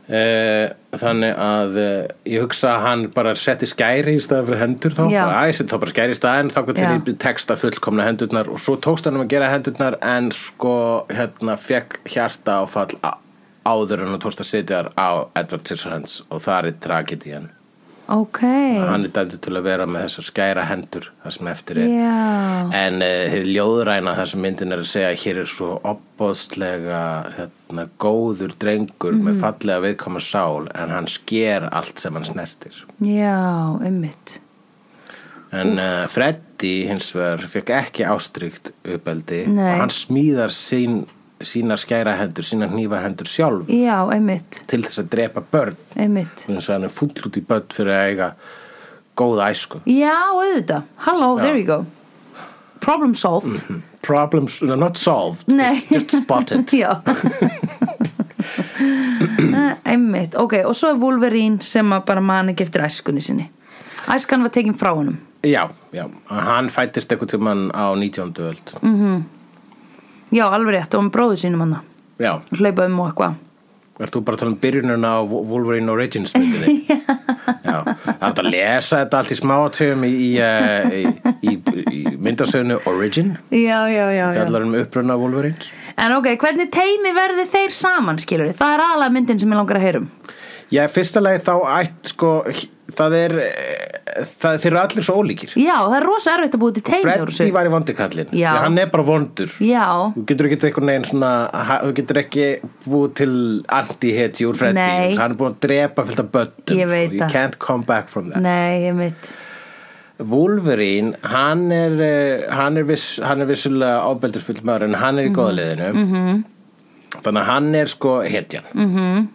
[SPEAKER 1] Uh, þannig að uh, ég hugsa að hann bara setti skæri í staðan fyrir hendur þá,
[SPEAKER 2] Já.
[SPEAKER 1] bara, æ, set þá bara skæri í staðan þá gott til
[SPEAKER 2] Já.
[SPEAKER 1] ég texta fullkomna hendurnar og svo tókst hann um að gera hendurnar en sko hérna fekk hjarta áfall á- áður en hann tókst að sitja þar á Edward Scissorhands og þar er tragedian
[SPEAKER 2] ok
[SPEAKER 1] hann er dæmdur til að vera með þessar skæra hendur það sem eftir er
[SPEAKER 2] já,
[SPEAKER 1] En uh, hefði ljóðræna þar sem myndin er að segja að hér er svo opbóðslega hérna, góður drengur
[SPEAKER 2] Mhm.
[SPEAKER 1] með fallega viðkoma sál en hann sker allt sem hann snertir.
[SPEAKER 2] já, ummitt
[SPEAKER 1] En uh, Freddy hins vegar fekk ekki ástrykt uppeldi
[SPEAKER 2] Nei.
[SPEAKER 1] og hann smíðar sín, sínar skæra hendur, sínar hnífa hendur sjálf
[SPEAKER 2] já, ummitt,
[SPEAKER 1] til þess að drepa börn.
[SPEAKER 2] ummitt
[SPEAKER 1] Þannig að hann er full út í börn fyrir að eiga góða æsku.
[SPEAKER 2] já, auðvitað, hello, there you go problem solved
[SPEAKER 1] Mhm. Problems, no, not solved,
[SPEAKER 2] Nei.
[SPEAKER 1] just spotted.
[SPEAKER 2] Já Eh, Einmitt, ok, og svo er Wolverine sem að bara man ekki eftir æskunni sinni Æskan var tekin frá honum
[SPEAKER 1] Já, já, hann fættist eitthvað tímann á 19. öld
[SPEAKER 2] Mm. Já, alveg rétt, og um bróðu sínum hann
[SPEAKER 1] Já,
[SPEAKER 2] Hlaupa um og eitthvað
[SPEAKER 1] ert þú bara að tala um byrjununa á Wolverine Origins myndinni? já, það er hægt að lesa þetta allt í smáatöfum í, í, eh, í, í, í myndasögnu Origin
[SPEAKER 2] Já, já, já,
[SPEAKER 1] fjallar um uppruna Wolverines
[SPEAKER 2] En ok, hvernig teimi verði þeir saman, skilur við? Það er aðalega myndin sem ég langar að um. heyrum
[SPEAKER 1] Já, í fyrsta lagi þá ætt sko, það er eh, það, þeir eru allir svo ólíkir
[SPEAKER 2] Já, það er rosa erfitt að búið til teimi úr
[SPEAKER 1] Freddy
[SPEAKER 2] þessu.
[SPEAKER 1] var í vondikallin,
[SPEAKER 2] Já.
[SPEAKER 1] hann er bara vondur
[SPEAKER 2] Já,
[SPEAKER 1] Þú getur ekki eitthvað neginn svona ha- þú getur ekki búið til anti-hits í úr Freddy,
[SPEAKER 2] Nei.
[SPEAKER 1] hann er búin að drepa fyllt af böttum,
[SPEAKER 2] Ég veit
[SPEAKER 1] you
[SPEAKER 2] það.
[SPEAKER 1] can't come back from that
[SPEAKER 2] nei, einmitt
[SPEAKER 1] Wolverine, hann er eh, hann er, viss, hann er vissulega ábeldisfull maður en hann er í
[SPEAKER 2] Mhm.
[SPEAKER 1] góðliðinu -hmm. þannig að hann er sko hetjan mm
[SPEAKER 2] Mhm.
[SPEAKER 1] -hmm.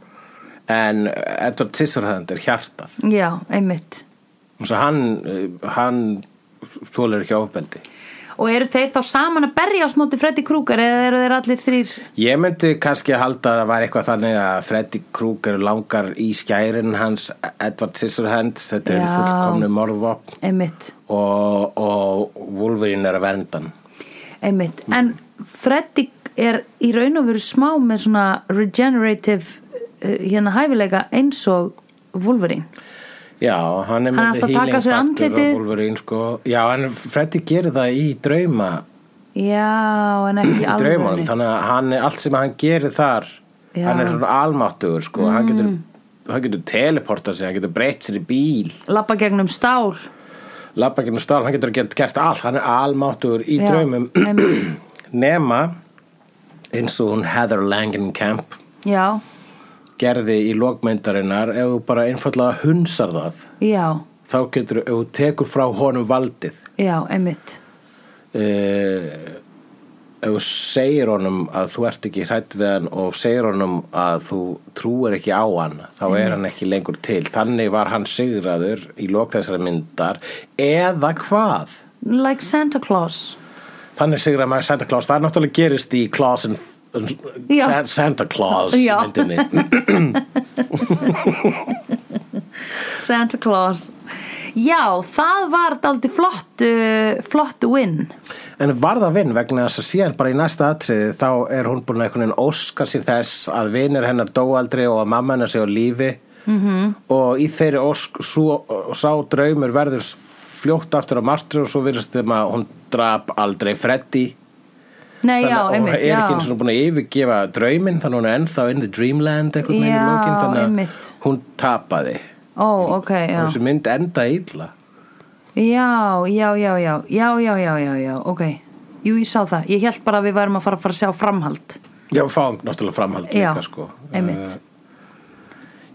[SPEAKER 1] en Edward Scissorhand er hjartað
[SPEAKER 2] Já, einmitt
[SPEAKER 1] og svo hann, eh, hann þólar ekki ofbeldi
[SPEAKER 2] Og eru þeir þá saman að berja á smóti Freddy Krueger eða eru þeir allir þrýr
[SPEAKER 1] Ég myndi kannski halda að það var eitthvað þannig að Freddy Krueger langar í skærin hans Edward Scissorhands, þetta er
[SPEAKER 2] Já.
[SPEAKER 1] fullkomni morðvopn
[SPEAKER 2] Einmitt
[SPEAKER 1] og, og Wolverine er að vernda hann.
[SPEAKER 2] Einmitt, en Freddy er í raun og veru smá með svona regenerative uh, hérna hæfileika eins og Wolverine.
[SPEAKER 1] Já, hann er
[SPEAKER 2] Hann er
[SPEAKER 1] með
[SPEAKER 2] alltaf að taka sér andlitið.
[SPEAKER 1] og Wolverine sko. Já, en Freddy gerir það í drauma
[SPEAKER 2] Já, en ekki
[SPEAKER 1] í
[SPEAKER 2] alveg.
[SPEAKER 1] draumunum, þannig að hann er allt sem hann gerir þar,
[SPEAKER 2] Já. Mm.
[SPEAKER 1] hann er svona almáttugur sko, hann getur hann getur teleportað sig, hann getur breytt sér í bíl
[SPEAKER 2] Lappa gegnum stál.
[SPEAKER 1] labba ekki með stál, hann getur gert, gert allt hann er almáttugur í
[SPEAKER 2] Já,
[SPEAKER 1] draumum
[SPEAKER 2] einmitt.
[SPEAKER 1] nema eins og hún Heather Langenkamp
[SPEAKER 2] Já,
[SPEAKER 1] gerði í lokmyndarinnar ef þú bara einfallega hunsar það
[SPEAKER 2] já,
[SPEAKER 1] þá getur, ef þú tekur frá honum valdið
[SPEAKER 2] já, einmitt.
[SPEAKER 1] eh, ef þú segir honum að þú ert ekki hrætt við hann og segir honum að þú trúir ekki á hann þá er hann ekki lengur til þannig var hann sigraður í lok þessara myndar eða hvað
[SPEAKER 2] Like Santa Claus.
[SPEAKER 1] þannig sigraði maður Santa Claus það er náttúrulega gerist í Claus and,
[SPEAKER 2] Já.
[SPEAKER 1] Sa- Santa Claus
[SPEAKER 2] Já.
[SPEAKER 1] myndinni
[SPEAKER 2] Santa Claus. Já, það var daldi flott, uh, flott win.
[SPEAKER 1] en var það vinn vegna þess að síðan bara í næsta atriði þá er hún búin að einhvern veginn óska sér þess að vinnir hennar dó aldrei og að mamma hennar sé á lífi
[SPEAKER 2] Mhm.
[SPEAKER 1] -hmm. og í þeirri ósk svo, og sá draumur verður fljótt aftur á martri og svo virðist þeim að hún drap aldrei Freddy
[SPEAKER 2] Nei, já,
[SPEAKER 1] að hún
[SPEAKER 2] einmitt,
[SPEAKER 1] er ekki eins
[SPEAKER 2] já.
[SPEAKER 1] og búin að yfirgefa drauminn þannig að hún er ennþá in the dreamland einhvern veginn í
[SPEAKER 2] Já,
[SPEAKER 1] lokin þannig
[SPEAKER 2] einmitt.
[SPEAKER 1] að hún tapaði
[SPEAKER 2] Ó, ok, já.
[SPEAKER 1] þessi mynd enda illa
[SPEAKER 2] Já, já, já, já, já, já, já, já, já, ok. Jú, ég sá það. Ég held bara að við værum að fara að fara að sjá framhald.
[SPEAKER 1] Já, við fáum náttúrulega framhald
[SPEAKER 2] Já,
[SPEAKER 1] líka sko.
[SPEAKER 2] einmitt.
[SPEAKER 1] Eh,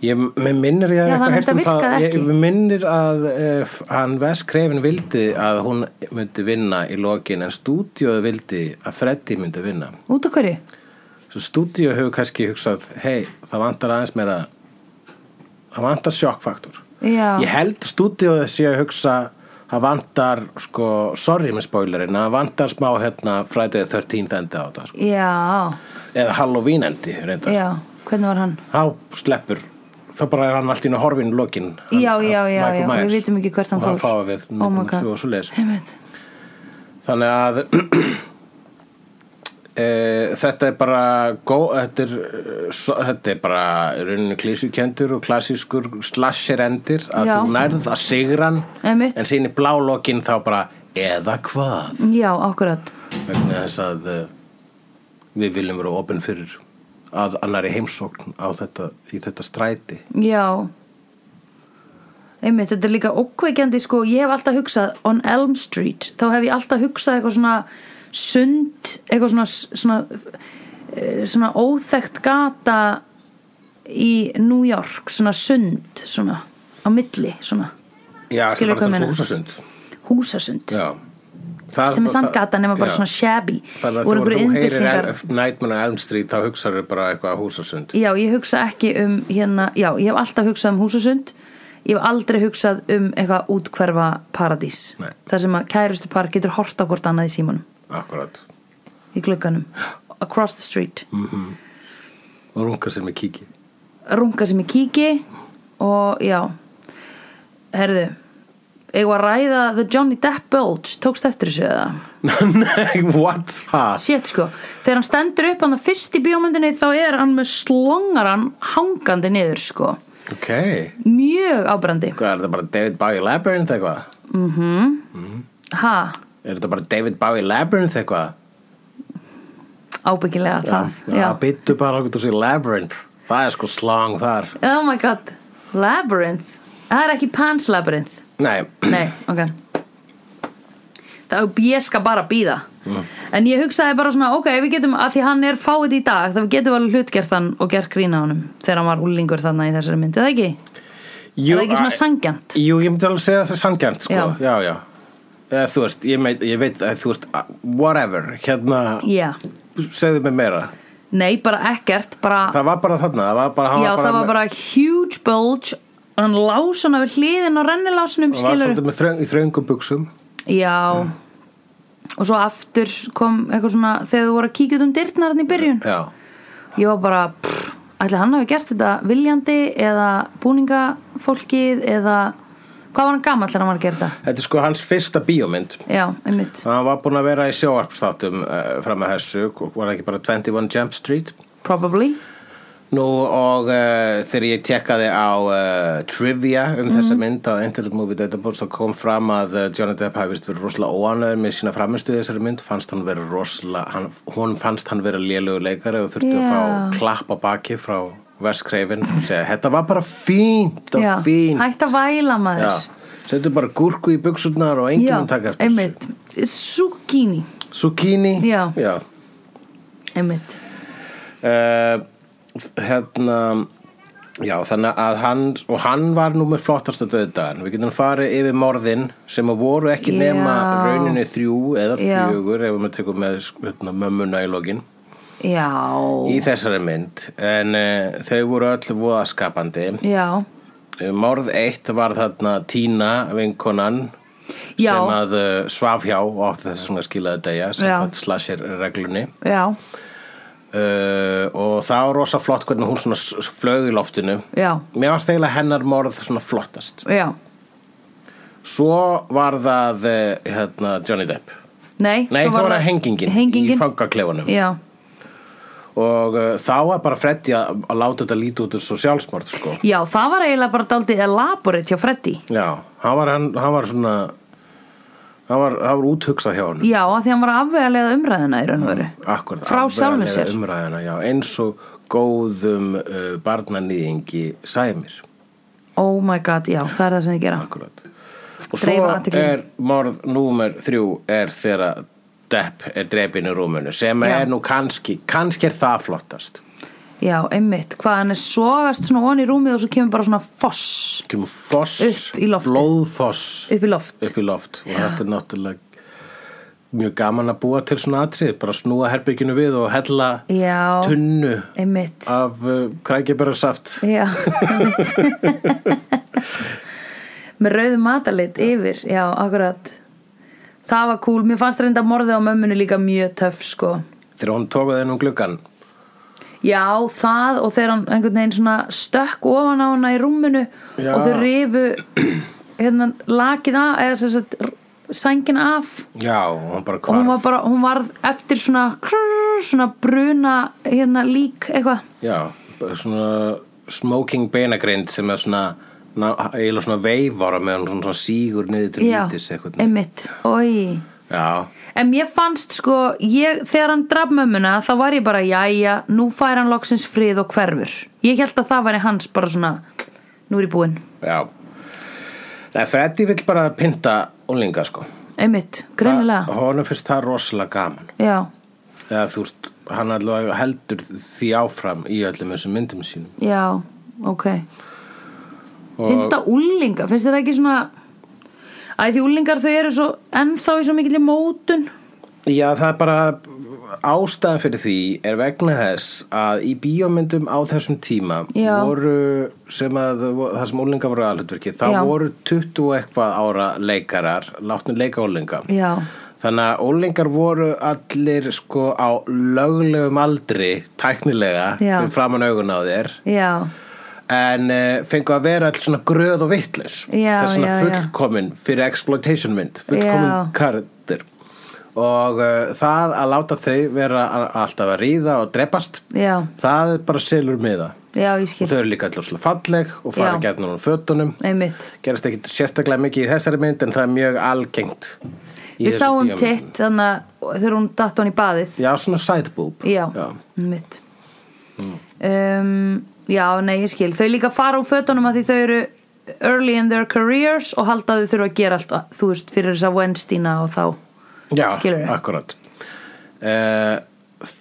[SPEAKER 1] Ég, mér minnir ég
[SPEAKER 2] Já,
[SPEAKER 1] hef
[SPEAKER 2] þannig
[SPEAKER 1] heyrt um
[SPEAKER 2] þetta virkaði
[SPEAKER 1] ég,
[SPEAKER 2] ekki.
[SPEAKER 1] Mér minnir að uh, hann Vess Krefin vildi að hún myndi vinna í lokin en stúdíóð vildi að Freddy myndi vinna
[SPEAKER 2] Út af hverju?
[SPEAKER 1] Svo stúdíóð hefur kannski hugsað hei, það vantar aðeins meira það vantar sjokkfaktor
[SPEAKER 2] Já,
[SPEAKER 1] Ég held stúdíóð sé að hugsa það vantar, sko, sorry með spoilerinn það vantar smá hérna Friday the 13th endi á þetta sko.
[SPEAKER 2] já,
[SPEAKER 1] eða Halloween endi, reyndar
[SPEAKER 2] já, hvernig var hann?
[SPEAKER 1] þá sleppur þá bara er hann allt í einu horfinn lokin hann,
[SPEAKER 2] Já, já, já,
[SPEAKER 1] Michael
[SPEAKER 2] já,
[SPEAKER 1] Myers.
[SPEAKER 2] við vitum ekki hvert hann
[SPEAKER 1] og hann
[SPEAKER 2] fór.
[SPEAKER 1] fáið við
[SPEAKER 2] Oh my
[SPEAKER 1] myndum
[SPEAKER 2] God.
[SPEAKER 1] svo svoleiðis.
[SPEAKER 2] Einmitt.
[SPEAKER 1] þannig að Uh, þetta er bara gó, þetta, er, eh, svo, þetta er bara í rauninni klísukjendur og klassískur slasher endir að
[SPEAKER 2] Já.
[SPEAKER 1] þú nærð að sigran
[SPEAKER 2] Einmitt.
[SPEAKER 1] en sín í blálokkin þá bara eða hvað
[SPEAKER 2] já, akkurat
[SPEAKER 1] vegna þess að uh, við viljum vera opinn fyrir að annari heimsókn á þetta, í þetta stræti
[SPEAKER 2] Já Einmitt, þetta er líka okkveikjandi sko, ég hef alltaf hugsað on Elm Street, þá hef ég alltaf hugsað eitthvað svona sund eitthvað svona svona, eh, svona óþekkt gata í New York svona sund, svona á milli, svona
[SPEAKER 1] Já, það
[SPEAKER 2] Skilur hvað
[SPEAKER 1] er
[SPEAKER 2] ég
[SPEAKER 1] bara
[SPEAKER 2] meina?
[SPEAKER 1] húsasund
[SPEAKER 2] húsasund
[SPEAKER 1] Já Það,
[SPEAKER 2] sem er sandgata nema bara
[SPEAKER 1] já.
[SPEAKER 2] svona shabby
[SPEAKER 1] Þannig
[SPEAKER 2] voru
[SPEAKER 1] að þegar
[SPEAKER 2] einhverju
[SPEAKER 1] þú heyrir
[SPEAKER 2] innbyltingar-
[SPEAKER 1] El- Nightmare on Elm Street þá hugsaður bara eitthvað um húsasund
[SPEAKER 2] Já, ég hugsa ekki um hérna, já, ég hef alltaf hugsað um húsasund ég hef aldrei hugsað um eitthvað útkverfa paradís
[SPEAKER 1] Nei.
[SPEAKER 2] þar sem að kærustu par getur hort á hvort annað í símanum
[SPEAKER 1] Akkurat
[SPEAKER 2] í glugganum, across the street
[SPEAKER 1] og runga sér með kíki
[SPEAKER 2] runga sem ég kíki og já herðu eigum að ræða The Johnny Depp Bulge tókst eftir þessu eða
[SPEAKER 1] Nei, what það?
[SPEAKER 2] Shit sko, þegar hann stendur upp hann fyrst í bíómyndinni þá er hann með slongaran hangandi niður sko
[SPEAKER 1] Ok,
[SPEAKER 2] mjög ábrandi
[SPEAKER 1] hvað er þetta bara David Bowie Labyrinth eitthvað?
[SPEAKER 2] ha,
[SPEAKER 1] Er þetta bara David Bowie Labyrinth eitthvað?
[SPEAKER 2] ábyggilega það já.
[SPEAKER 1] Það byttu bara okkur til sig Labyrinth Það er sko slang þar
[SPEAKER 2] Oh my god, Labyrinth Það er ekki Pan's Labyrinth
[SPEAKER 1] Nei,
[SPEAKER 2] Nei, ok Það er ég skal bara býða En ég hugsaði bara svona, ok, við getum að því hann er fáið í dag, þá við getum alveg hlutgert hann og gert grína honum þegar hann var úlingur þarna í þessari myndi, það ekki?
[SPEAKER 1] jú,
[SPEAKER 2] er það ekki svona
[SPEAKER 1] að-
[SPEAKER 2] sangjant?
[SPEAKER 1] Jú, ég myndi alveg segja það sangjant sko.
[SPEAKER 2] Já.
[SPEAKER 1] Já, já, Eða, Þú veist, ég, meit, ég veit að þú veist að- Whatever, hérna
[SPEAKER 2] Já,
[SPEAKER 1] Segðu mig meira
[SPEAKER 2] nei, bara ekkert bara,
[SPEAKER 1] Það var bara þarna Það var bara, hann
[SPEAKER 2] já, það var
[SPEAKER 1] með-
[SPEAKER 2] bara huge bulge og hann lás hann við hliðin og rennilásunum
[SPEAKER 1] Hann var
[SPEAKER 2] skilur
[SPEAKER 1] svolítið með þröng, í þröngum buksum
[SPEAKER 2] Já Og svo aftur kom eitthvað svona þegar þú voru að kíkja út um dyrnar hann í byrjun
[SPEAKER 1] Já,
[SPEAKER 2] Ég var bara, pff, ætli hann hafi gert þetta viljandi eða búningafólkið eða hvað var hann gamall þegar hann var að gera þetta?
[SPEAKER 1] þetta er sko hans fyrsta bíómynd
[SPEAKER 2] Já, einmitt,
[SPEAKER 1] Hann var búinn að vera í sjóarpstátum uh, fram að þessu og var það ekki bara 21 Jump Street
[SPEAKER 2] probably
[SPEAKER 1] Nú og uh, þegar ég tekkaði á uh, trivia um
[SPEAKER 2] Mhm.
[SPEAKER 1] þessa mynd á Internet Movie Database þá kom fram að uh, Johnny Depp hafði vist verið rosalega óanöður með sína framistuði þessari mynd fannst hann vera rosalega hann, hún fannst hann vera lélugur leikari og þurfti að
[SPEAKER 2] Já.
[SPEAKER 1] fá klapp á baki frá Veskreifin þetta var bara fínt og
[SPEAKER 2] Já,
[SPEAKER 1] fínt
[SPEAKER 2] hætt að væla maður
[SPEAKER 1] Já, setur bara gúrku í buksurnar og enginn mun taka eftir þessu.
[SPEAKER 2] einmitt Zucchini,
[SPEAKER 1] Zucchini
[SPEAKER 2] Já.
[SPEAKER 1] Já.
[SPEAKER 2] einmitt
[SPEAKER 1] Eh, hérna já þannig að hann og hann var nú með flottasta döðdagan við getum farið yfir morðin sem að voru ekki
[SPEAKER 2] Já.
[SPEAKER 1] nema rauninni þrjú eða
[SPEAKER 2] Já.
[SPEAKER 1] fjögur ef maður tekur með hérna, mömmuna í lokin
[SPEAKER 2] Já,
[SPEAKER 1] í þessari mynd en uh, þau voru öll voðaskapandi
[SPEAKER 2] já
[SPEAKER 1] Eh, morð eitt var þarna Tína vinkonan
[SPEAKER 2] Já.
[SPEAKER 1] sem að uh, svaf hjá og átti þess að skilaði degja sem
[SPEAKER 2] Já.
[SPEAKER 1] hvað slasir reglunni
[SPEAKER 2] Já,
[SPEAKER 1] uh, og það var rosa flott hvernig hún svona s- s- flög í loftinu
[SPEAKER 2] já,
[SPEAKER 1] mér varst eiginlega hennar morð svona flottast
[SPEAKER 2] já
[SPEAKER 1] svo var það uh, hérna, Johnny Depp
[SPEAKER 2] Nei,
[SPEAKER 1] nei
[SPEAKER 2] svo
[SPEAKER 1] það var það hengingin, í
[SPEAKER 2] Hengingin,
[SPEAKER 1] fangaklefunum
[SPEAKER 2] já
[SPEAKER 1] og uh, þá var bara Freddy að, að láta þetta líti út svo sjálfsmorð sko.
[SPEAKER 2] Já, það var eiginlega bara daldið elaborate hjá Freddy.
[SPEAKER 1] já, hann var, hann, hann var svona hann var, hann var úthugsað hjá hann
[SPEAKER 2] Já, að því hann var að afvegalega umræðina í raun og veru.
[SPEAKER 1] Akkurat,
[SPEAKER 2] Frá sjálfum
[SPEAKER 1] afvegalega
[SPEAKER 2] sér.
[SPEAKER 1] umræðuna, já, eins og góðum uh, barnanýðingi sæmir
[SPEAKER 2] Oh my god, já, það er það sem þið gera.
[SPEAKER 1] Akkurat. Og svo
[SPEAKER 2] Dreifa athyglinni.
[SPEAKER 1] er morð númer þrjú er þegar Depp er drepin í rúmunu sem
[SPEAKER 2] Já.
[SPEAKER 1] er nú kannski, kannski er það flottast
[SPEAKER 2] Já, einmitt, hvað hann er sogast svona von í rúmið og svo kemur bara svona foss
[SPEAKER 1] kemur foss,
[SPEAKER 2] Upp í loftið.
[SPEAKER 1] blóðfoss
[SPEAKER 2] upp í loft.
[SPEAKER 1] upp í loft og þetta er náttúrulega mjög gaman að búa til svona atrið bara snúa herbygginu við og hella
[SPEAKER 2] Já,
[SPEAKER 1] tunnu
[SPEAKER 2] einmitt.
[SPEAKER 1] af uh, krækjabærasaft
[SPEAKER 2] Já, einmitt. Með rauðum matalit yfir, já, akkurat. Það var cool, mér fannst reynda morðið á mömmunu líka mjög töff, sko.
[SPEAKER 1] þegar hún tókaði henn um gluggan
[SPEAKER 2] Já, það og þegar hann einhvern veginn svona stökk ofan á hana í rúminu
[SPEAKER 1] Já.
[SPEAKER 2] og þau rifu hérna lakið af eða sem sagt r- sængin af
[SPEAKER 1] já, og hún bara
[SPEAKER 2] og
[SPEAKER 1] hvarf
[SPEAKER 2] hún var bara, hún varð eftir svona krrrr, brrr, svona bruna hérna lík eitthvað
[SPEAKER 1] Já, svona smoking beinagrind sem er svona ná- eiginlega svona veifara með hann svona sígur niður til
[SPEAKER 2] Já,
[SPEAKER 1] lítis eitthvað
[SPEAKER 2] einmitt, oi
[SPEAKER 1] Já,
[SPEAKER 2] En mér fannst sko, ég, þegar hann draf mömmuna þá var ég bara, jæja, nú fær hann loksins frið og hverfur Ég held að það væri hans bara svona, nú er ég búinn
[SPEAKER 1] já Nei, Freddy vill bara pynta úlinga sko
[SPEAKER 2] Einmitt, greinilega
[SPEAKER 1] Honum finnst það rosalega gaman
[SPEAKER 2] Já,
[SPEAKER 1] Eða þú veist, hann allavega heldur því áfram í öllum þessum myndum sínum
[SPEAKER 2] já, ok Pynda úlinga, finnst þér það ekki svona Æ, því úlingar þau eru svo ennþá í svo mikill mótun
[SPEAKER 1] Já, það er bara ástæðan fyrir því er vegna þess að í bíómyndum á þessum tíma
[SPEAKER 2] Já.
[SPEAKER 1] voru sem að það sem úlinga voru aðhlutverki þá
[SPEAKER 2] Já.
[SPEAKER 1] voru 20 og eitthvað ára leikarar látni leika úlinga
[SPEAKER 2] Já,
[SPEAKER 1] þannig að úlingar voru allir sko á löglegum aldri tæknilega
[SPEAKER 2] Já.
[SPEAKER 1] fyrir framan augun á þér
[SPEAKER 2] já,
[SPEAKER 1] en uh, fengu að vera alls svona gröð og vittlis
[SPEAKER 2] Já,
[SPEAKER 1] er svona
[SPEAKER 2] já, já.
[SPEAKER 1] fullkomin fyrir exploitation mynd fullkomin
[SPEAKER 2] Já.
[SPEAKER 1] karakter og uh, það að láta þau vera a- alltaf að ríða og drepast
[SPEAKER 2] já,
[SPEAKER 1] það er bara selur miða
[SPEAKER 2] já, ég
[SPEAKER 1] og
[SPEAKER 2] skil
[SPEAKER 1] þau eru líka alls svona falleg og fara
[SPEAKER 2] Já.
[SPEAKER 1] gætnum úr fötunum
[SPEAKER 2] Einmitt
[SPEAKER 1] gerast ekki sérstaklega mikið í þessari mynd en það er mjög algengt í
[SPEAKER 2] Við
[SPEAKER 1] þessum
[SPEAKER 2] sáum
[SPEAKER 1] bíómyndum.
[SPEAKER 2] titt þannig að þegar hún datt hann í baðið
[SPEAKER 1] já, svona sideboob
[SPEAKER 2] Já,
[SPEAKER 1] já.
[SPEAKER 2] mitt um, Já, nei, ég skil Þau líka fara úr fötunum að því þau eru early in their careers og halda að þau þurfa að gera allt þú veist, fyrir þess að Wenstína og þá
[SPEAKER 1] Já,
[SPEAKER 2] Skilurðu?
[SPEAKER 1] akkúrat. Eh,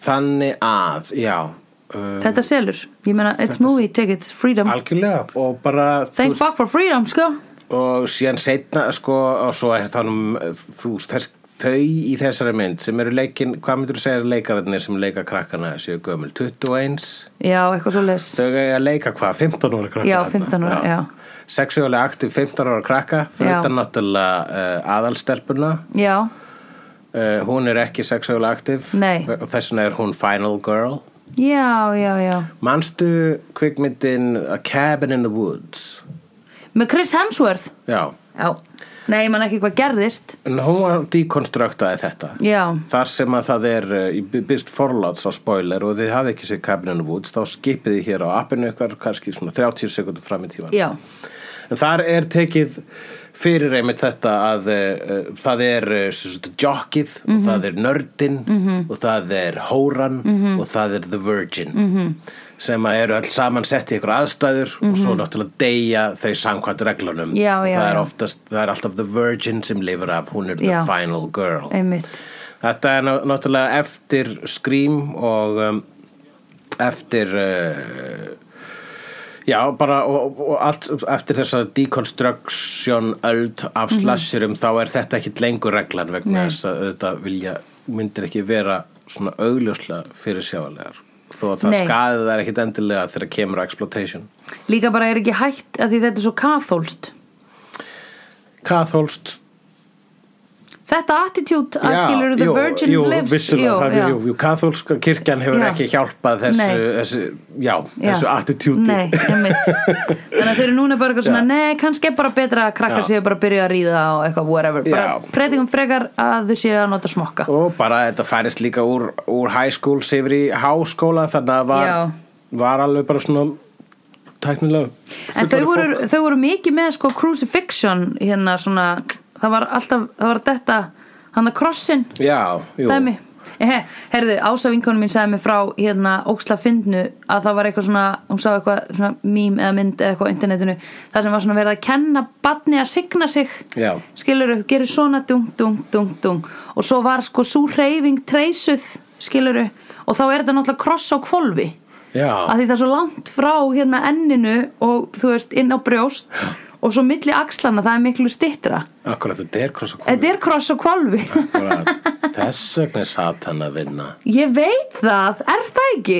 [SPEAKER 1] þannig að, já uh,
[SPEAKER 2] Þetta selur, ég meina, it's movie tickets, freedom
[SPEAKER 1] Algjörlega og bara þú
[SPEAKER 2] Thank
[SPEAKER 1] veist,
[SPEAKER 2] fuck for freedom, sko
[SPEAKER 1] og síðan setna sko og svo er þannig þú veist þess þau í þessari mynd sem eru leikin, hvað myndur þú segja að leikararnir sem leika krakkana séu gömul 21
[SPEAKER 2] Já, eitthvað svo les
[SPEAKER 1] þau eiga að leika hvað, 15 ára krakka
[SPEAKER 2] Já,
[SPEAKER 1] þarna?
[SPEAKER 2] 15 ára, já.
[SPEAKER 1] sexuálega aktiv 15 ára krakka fyrir
[SPEAKER 2] Já.
[SPEAKER 1] þetta náttúrulega uh, aðalstelpuna
[SPEAKER 2] Já,
[SPEAKER 1] uh, hún er ekki sexuálega aktiv
[SPEAKER 2] Nei.
[SPEAKER 1] og þess vegna er hún final girl
[SPEAKER 2] já, já, já
[SPEAKER 1] manstu kvikmyndin A Cabin in the Woods
[SPEAKER 2] Með Chris Hemsworth
[SPEAKER 1] já
[SPEAKER 2] Já, nei, ég man ekki hvað gerðist
[SPEAKER 1] En hún var dekonstruktaði þetta
[SPEAKER 2] Já,
[SPEAKER 1] Þar sem að það er uh, í byrst forláts á spoiler og þið hafið ekki sér Cabininu Woods þá skipið þið hér á appinu ykkar kannski svona 30 sekundur fram í tíman
[SPEAKER 2] já,
[SPEAKER 1] En þar er tekið fyrir einmitt þetta að uh, uh, það er uh, sem sagt, jockeyð
[SPEAKER 2] Mhm.
[SPEAKER 1] og það er nördin -hmm. og það er hóran
[SPEAKER 2] Mhm.
[SPEAKER 1] -hmm. og það er the virgin -hmm. sem að eru alls samansett í ykkur aðstæður og svo náttúrulega deyja þau samkvæmt reglunum
[SPEAKER 2] Mhm. Já, já,
[SPEAKER 1] það, er
[SPEAKER 2] já.
[SPEAKER 1] oftast, það er alltaf the virgin sem lifir af hún er
[SPEAKER 2] Já.
[SPEAKER 1] the final girl
[SPEAKER 2] einmitt
[SPEAKER 1] Þetta er ná- náttúrulega eftir Scream og um, eftir uh, já, bara og, og allt eftir þessa deconstruction öld af slasherum þá er þetta ekki lengur reglan vegna
[SPEAKER 2] Mhm. Nei.
[SPEAKER 1] þess að þetta vilja myndir ekki vera svona augljóslega fyrir sjálegar þó að það
[SPEAKER 2] Nei.
[SPEAKER 1] skaði þær ekkit endilega þegar kemur að exploitation
[SPEAKER 2] Líka bara er ekki hægt að því þetta er svo kathólst
[SPEAKER 1] Kathólst
[SPEAKER 2] Þetta attitude að skilur Ah, the
[SPEAKER 1] jú,
[SPEAKER 2] virgin
[SPEAKER 1] jú,
[SPEAKER 2] lives
[SPEAKER 1] vissulega, það,
[SPEAKER 2] já.
[SPEAKER 1] jú, jú, katholska kirkjan hefur
[SPEAKER 2] Já.
[SPEAKER 1] ekki hjálpað þessu,
[SPEAKER 2] Nei.
[SPEAKER 1] þessu já,
[SPEAKER 2] Já.
[SPEAKER 1] þessu attitúti
[SPEAKER 2] Nei, einmitt Þannig að þeir eru núna bara eitthvað svona
[SPEAKER 1] Já.
[SPEAKER 2] Nei, kannski er bara betra að krakkar
[SPEAKER 1] Já.
[SPEAKER 2] séu bara að byrja að ríða og eitthvað whatever
[SPEAKER 1] Já.
[SPEAKER 2] Bara predingum frekar að þau séu að nota smokka
[SPEAKER 1] og bara þetta færist líka úr, úr high school yfir í háskóla þannig að var,
[SPEAKER 2] Já.
[SPEAKER 1] var alveg bara svona tæknilega
[SPEAKER 2] En þau voru, þau voru mikið með sko crucifixion hérna svona Það var alltaf, það var þetta hann að krossin
[SPEAKER 1] já, jú,
[SPEAKER 2] dæmi He, herðu, Ása vinkonu mín sagði mig frá hérna óksla fyndnu að það var eitthvað svona, hún sá eitthvað svona mím eða mynd eða eitthvað á internetinu það sem var svona verið að kenna batni að signa sig
[SPEAKER 1] Já.
[SPEAKER 2] skilurðu, gerir svona dung, dung, dung, dung og svo var sko sú hreyfing treysuð, skilurðu og þá er þetta náttúrulega kross á kvolfi
[SPEAKER 1] já,
[SPEAKER 2] að því það er svo langt frá hérna enninu og þú veist inn á brjóst og svo milli axlana það er miklu stittra
[SPEAKER 1] akkurat þetta er kross og
[SPEAKER 2] þetta er kross á kvolfi
[SPEAKER 1] Akkúrat. þess vegna er satan að vinna
[SPEAKER 2] Ég veit það, er það ekki?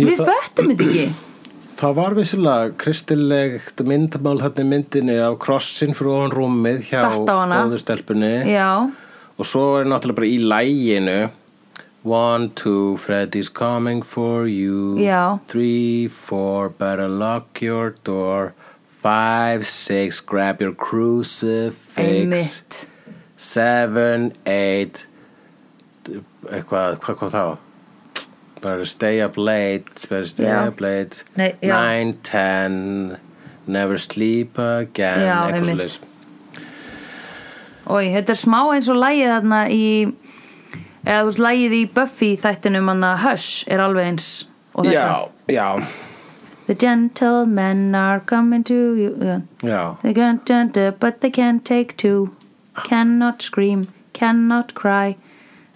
[SPEAKER 1] Ég
[SPEAKER 2] Við
[SPEAKER 1] það-
[SPEAKER 2] föttum þetta ekki
[SPEAKER 1] það var vissulega kristilegt myndamál þarna í myndinni af krossin frá ofan rúmið hjá
[SPEAKER 2] Datt á hana.
[SPEAKER 1] stelpunni
[SPEAKER 2] Já,
[SPEAKER 1] Og svo er náttúrulega bara í læginu One, two, Freddy's coming for you
[SPEAKER 2] Já.
[SPEAKER 1] Three, four, better lock your door Five, six, grab your crucifix
[SPEAKER 2] einmitt
[SPEAKER 1] Seven, eight Eitthvað, hvað kom þá? Better stay up late, better stay
[SPEAKER 2] Já.
[SPEAKER 1] up late
[SPEAKER 2] Nei, já.
[SPEAKER 1] 9, 10 Never sleep again
[SPEAKER 2] Já,
[SPEAKER 1] eitthvað
[SPEAKER 2] einmitt.
[SPEAKER 1] svoleiðis.
[SPEAKER 2] Ói, þetta er smá eins og lægið þarna í eða þú veist, lægið í Buffy þættinum hann að Hush er alveg eins og þetta
[SPEAKER 1] Já, já,
[SPEAKER 2] The gentlemen are coming to you yeah.
[SPEAKER 1] já
[SPEAKER 2] They can't tender but they can take two Cannot scream, cannot cry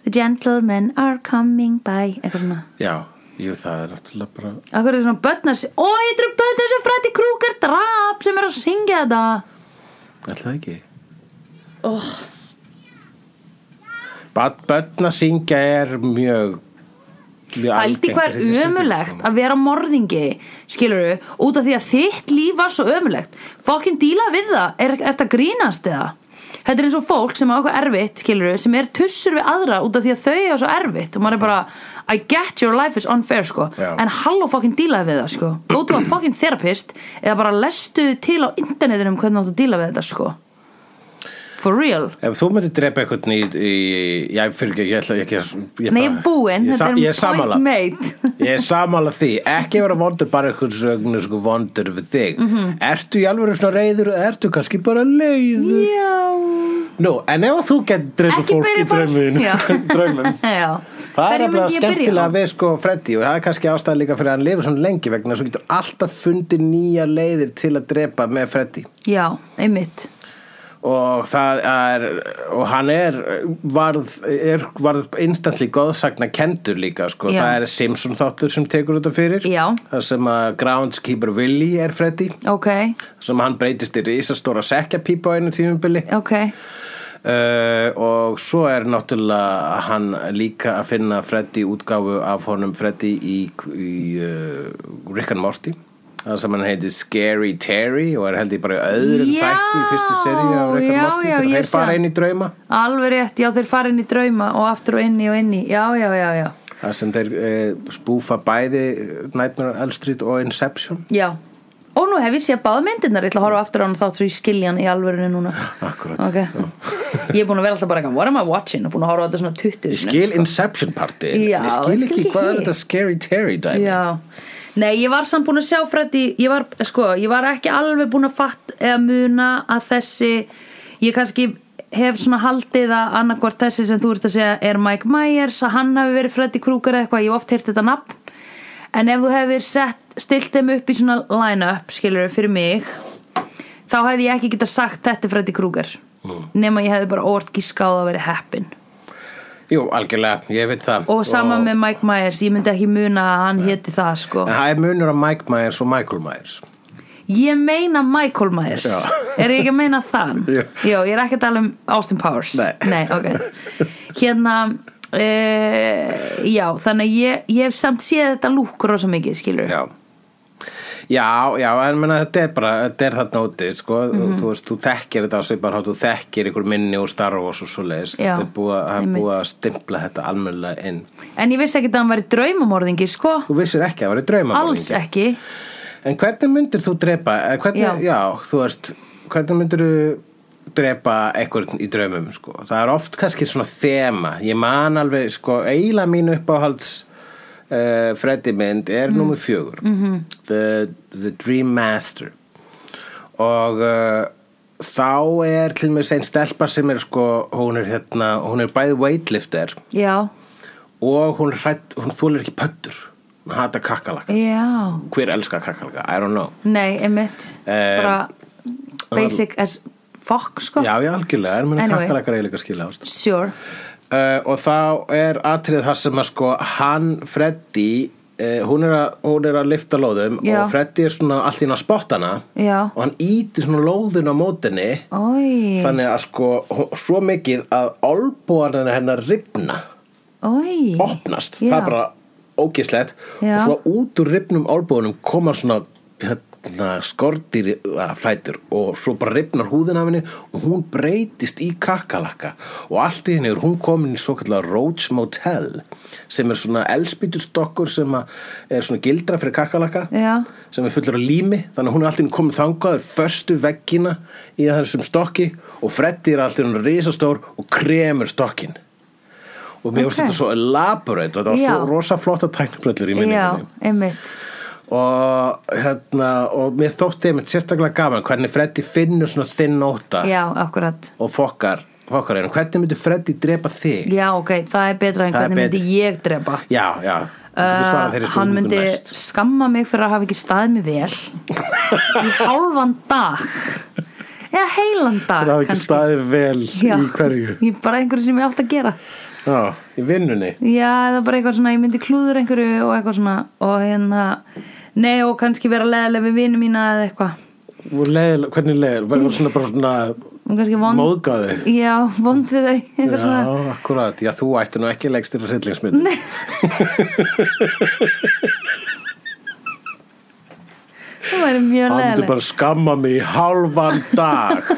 [SPEAKER 2] The gentlemen are coming by Eitthvað svona
[SPEAKER 1] Já, jú það er náttúrulega bara
[SPEAKER 2] Akkur er svona bötnar Ó, þetta eru bötnar sem Freddy Krueger drap sem er að syngja þetta
[SPEAKER 1] Er það ekki?
[SPEAKER 2] oh.
[SPEAKER 1] Bad, börn að syngja er mjög mjög
[SPEAKER 2] Pældi
[SPEAKER 1] algengt í
[SPEAKER 2] hvað
[SPEAKER 1] þessu
[SPEAKER 2] er
[SPEAKER 1] sko.
[SPEAKER 2] ömulegt að vera morðingi skilurðu, út af því að þitt líf var svo ömulegt fokkin díla við það, er þetta grínast eða? Þetta er eins og fólk sem á eitthvað erfitt skilurðu, sem er tussur við aðra út af því að þau er svo erfitt og maður er bara I get your life is unfair sko
[SPEAKER 1] Já.
[SPEAKER 2] en halló fokkin díla við það sko go to a fokkin therapist eða bara lestu til á internetinu um hvernig áttu að díla við þetta sko for real
[SPEAKER 1] Ef þú myndir drepa eitthvað í, í ég fyrir ekki, ég ætla ekki að ég
[SPEAKER 2] Nei, ég
[SPEAKER 1] bara-
[SPEAKER 2] er búin,
[SPEAKER 1] ég,
[SPEAKER 2] þetta
[SPEAKER 1] sa-
[SPEAKER 2] er um
[SPEAKER 1] ég er
[SPEAKER 2] point
[SPEAKER 1] samanlega
[SPEAKER 2] made
[SPEAKER 1] Ég er samála því, ekki vera vondur bara eitthvað sögnu sko vondur við þig
[SPEAKER 2] Mhm.
[SPEAKER 1] Ertu í alveg svona reyður og ertu kannski bara leiður
[SPEAKER 2] Já
[SPEAKER 1] Nú, en ef þú getur drepa
[SPEAKER 2] Ekki
[SPEAKER 1] fólk í
[SPEAKER 2] byrja bara-
[SPEAKER 1] draumum
[SPEAKER 2] Já.
[SPEAKER 1] draumum
[SPEAKER 2] Já.
[SPEAKER 1] Það er
[SPEAKER 2] Hverju
[SPEAKER 1] alveg
[SPEAKER 2] myndi ég byrja
[SPEAKER 1] skemmtilega
[SPEAKER 2] á?
[SPEAKER 1] við sko Freddy og það er kannski ástæða líka fyrir að hann lifur svona lengi vegna þess að þú getur alltaf fundið nýja leiðir til að drepa með Freddy
[SPEAKER 2] Já, einmitt
[SPEAKER 1] og það er og hann er varð, er, varð instantly góðsagna kendur líka sko,
[SPEAKER 2] Já.
[SPEAKER 1] það er Simpson þáttur sem tekur þetta fyrir
[SPEAKER 2] Já.
[SPEAKER 1] það sem að Groundskeeper Willie er Freddy
[SPEAKER 2] Ok,
[SPEAKER 1] sem hann breytist í risastóra sekkjapípa á einu tímumbili
[SPEAKER 2] ok
[SPEAKER 1] Uh, og svo er náttúrulega hann líka að finna Freddy útgáfu af honum Freddy í, í uh, Rick and Morty það sem hann heiti Scary Terry og er held ég bara í öðrum
[SPEAKER 2] Já,
[SPEAKER 1] þætti í fyrstu seri af Rick and Morty
[SPEAKER 2] já, já,
[SPEAKER 1] þegar
[SPEAKER 2] ég
[SPEAKER 1] þeir
[SPEAKER 2] sé
[SPEAKER 1] bara
[SPEAKER 2] það.
[SPEAKER 1] inn í drauma
[SPEAKER 2] Alveg rétt, já þeir fara inn í drauma og aftur og inn í og inn í Já, já, já, já
[SPEAKER 1] það sem þeir uh, spúfa bæði Nightmare on Elm Street og Inception
[SPEAKER 2] Já Og nú hef ég séð báða myndirnar, ég ætla að horfa aftur á hann þátt svo ég skilja hann í alvörinu núna
[SPEAKER 1] Akkúrat.
[SPEAKER 2] Ok Ég er búin að vera alltaf bara eitthvað, what am I watching? Og búin að horfa á þetta svona 20
[SPEAKER 1] ég
[SPEAKER 2] sinnum,
[SPEAKER 1] skil
[SPEAKER 2] sko.
[SPEAKER 1] Inception party
[SPEAKER 2] Já,
[SPEAKER 1] ég skil
[SPEAKER 2] ég skil
[SPEAKER 1] ekki hvað
[SPEAKER 2] ekki.
[SPEAKER 1] er þetta Scary Terry dæmi
[SPEAKER 2] Já, nei ég var samt búin að sjá Freddy, ég var, sko, ég var ekki alveg búin að fatt eða muna að þessi, ég kannski hef svona haldið að annarkvort þessi sem þú ert að segja er Mike Myers að hann hafi verið Freddy Krueger eða eitthvað, ég hef oft heyrt þetta nafn en ef þú hefðir sett, stilt þeim upp í svona line-up, skilur fyrir mig þá hefði ég ekki geta sagt þetta er Freddy Krueger nema ég hefði bara óvart gískáð að vera heppin
[SPEAKER 1] jú, algjörlega, ég veit það
[SPEAKER 2] og sama með Mike Myers, ég myndi ekki muna að hann héti það sko
[SPEAKER 1] en það er munur á Mike Myers og Michael Myers
[SPEAKER 2] Ég meina Michael Myers
[SPEAKER 1] Já.
[SPEAKER 2] Er ég ekki að meina þann?
[SPEAKER 1] Já.
[SPEAKER 2] Jó, ég er ekki að tala um Austin Powers
[SPEAKER 1] Nei.
[SPEAKER 2] ok Hérna uh, Já, þannig að ég, ég hef samt séð þetta lúk rosa mikið, skilur
[SPEAKER 1] já já, já, en menna, þetta er bara þetta er þarna úti, sko
[SPEAKER 2] Mhm.
[SPEAKER 1] þú veist, þú þekkir þetta á svipar hátt, þú þekkir ykkur minni úr Star Wars og svo leiðis
[SPEAKER 2] Já,
[SPEAKER 1] þetta er búið að- það er
[SPEAKER 2] einmitt.
[SPEAKER 1] búið að stimpla þetta almennlega inn
[SPEAKER 2] En ég vissi ekki að hann væri draumamorðingi, sko
[SPEAKER 1] þú vissir ekki að það var í drauma
[SPEAKER 2] Alls ekki
[SPEAKER 1] en hvernig myndir þú drepa eh, hvernig,
[SPEAKER 2] Já.
[SPEAKER 1] já. þú veist, hvernig myndir þú drepa eitthvað í draumum sko? það er oft kannski svona þema ég man alveg, sko, eiginlega mín uppáhalds uh, Freddy mynd er mm. nummer fjögur -hmm. the, the Dream Master og uh, þá er til mér sein stelpa sem er sko, hún er hérna hún er bæði weightlifter
[SPEAKER 2] Já,
[SPEAKER 1] og hún, hrætt, hún þúlir ekki pöttur hún hata kakkalaka
[SPEAKER 2] já
[SPEAKER 1] hver elskar kakkalaka, I don't know
[SPEAKER 2] Nei, emitt
[SPEAKER 1] Eh,
[SPEAKER 2] Bara basic as fuck, sko
[SPEAKER 1] Já, já, algjörlega, en mér
[SPEAKER 2] Anyway.
[SPEAKER 1] anyway. kakkalakar eiginlega að skilja ást.
[SPEAKER 2] Sure
[SPEAKER 1] Uh, og þá er atrið það sem að sko hann, Freddy, uh, hún, er að, hún er að lifta lóðum
[SPEAKER 2] Já.
[SPEAKER 1] og Freddy er svona allt í hann að spotta hana
[SPEAKER 2] Já
[SPEAKER 1] og hann ítir svona lóðun á mótinni
[SPEAKER 2] Ói,
[SPEAKER 1] þannig að sko hó- svo mikið að olbúarinn hennar ripna,
[SPEAKER 2] ói
[SPEAKER 1] opnast,
[SPEAKER 2] Já.
[SPEAKER 1] það er bara ógislegt
[SPEAKER 2] Já.
[SPEAKER 1] og svo út úr ripnum olbúanum koma svona hérna, skortir fætur og svo bara ripnar húðin af henni og hún breytist í kakalakka og allt í henni er hún komin í svo kallar Roach Motel sem er svona elspýtustokkur sem að er svona gildra fyrir kakalakka
[SPEAKER 2] Já.
[SPEAKER 1] sem er fullur á lími þannig að hún er allt í henni komin þangaður förstu veggina í þessum stokki og Freddy er allt í henni risastór og kremur stokkin og mér finnst
[SPEAKER 2] Ok.
[SPEAKER 1] þetta svo elaborate og þetta var
[SPEAKER 2] Já.
[SPEAKER 1] svo rosa flotta tækniplöllur í minningunni
[SPEAKER 2] já, einmitt
[SPEAKER 1] og hérna og mér þótti einmitt sérstaklega gaman hvernig Freddy finnur svona þinn nóta
[SPEAKER 2] já, akkurat
[SPEAKER 1] og fokkar, fokkar einu hvernig myndi Freddy drepa þig
[SPEAKER 2] já, ok, það er betra en
[SPEAKER 1] Það er
[SPEAKER 2] hvernig myndi
[SPEAKER 1] betra.
[SPEAKER 2] ég drepa
[SPEAKER 1] já, já,
[SPEAKER 2] Uh,
[SPEAKER 1] uh,
[SPEAKER 2] hann myndi skamma mig fyrir að hafa ekki staðið mig vel í hálfan dag eða heilan dag
[SPEAKER 1] það hafa ekki
[SPEAKER 2] kannski.
[SPEAKER 1] staðið vel
[SPEAKER 2] Já,
[SPEAKER 1] í hverju
[SPEAKER 2] í bara einhverju sem ég átt að gera
[SPEAKER 1] já, í vinnunni
[SPEAKER 2] já, eða bara eitthvað svona, ég myndi klúður einhverju og eitthvað svona og hérna, nei og kannski vera leðileg við vinnu mína eða eitthvað
[SPEAKER 1] og leðil, hvernig leðil, bara svona bara svona
[SPEAKER 2] og kannski vond
[SPEAKER 1] Móðgaði.
[SPEAKER 2] já, vond við þau, eitthvað svona
[SPEAKER 1] já, akkurat, já þú ætti nú ekki leggst til hryllingsmynd
[SPEAKER 2] það væri
[SPEAKER 1] hann
[SPEAKER 2] mjög
[SPEAKER 1] myndi
[SPEAKER 2] leðileg
[SPEAKER 1] bara skamma mig í hálfan dag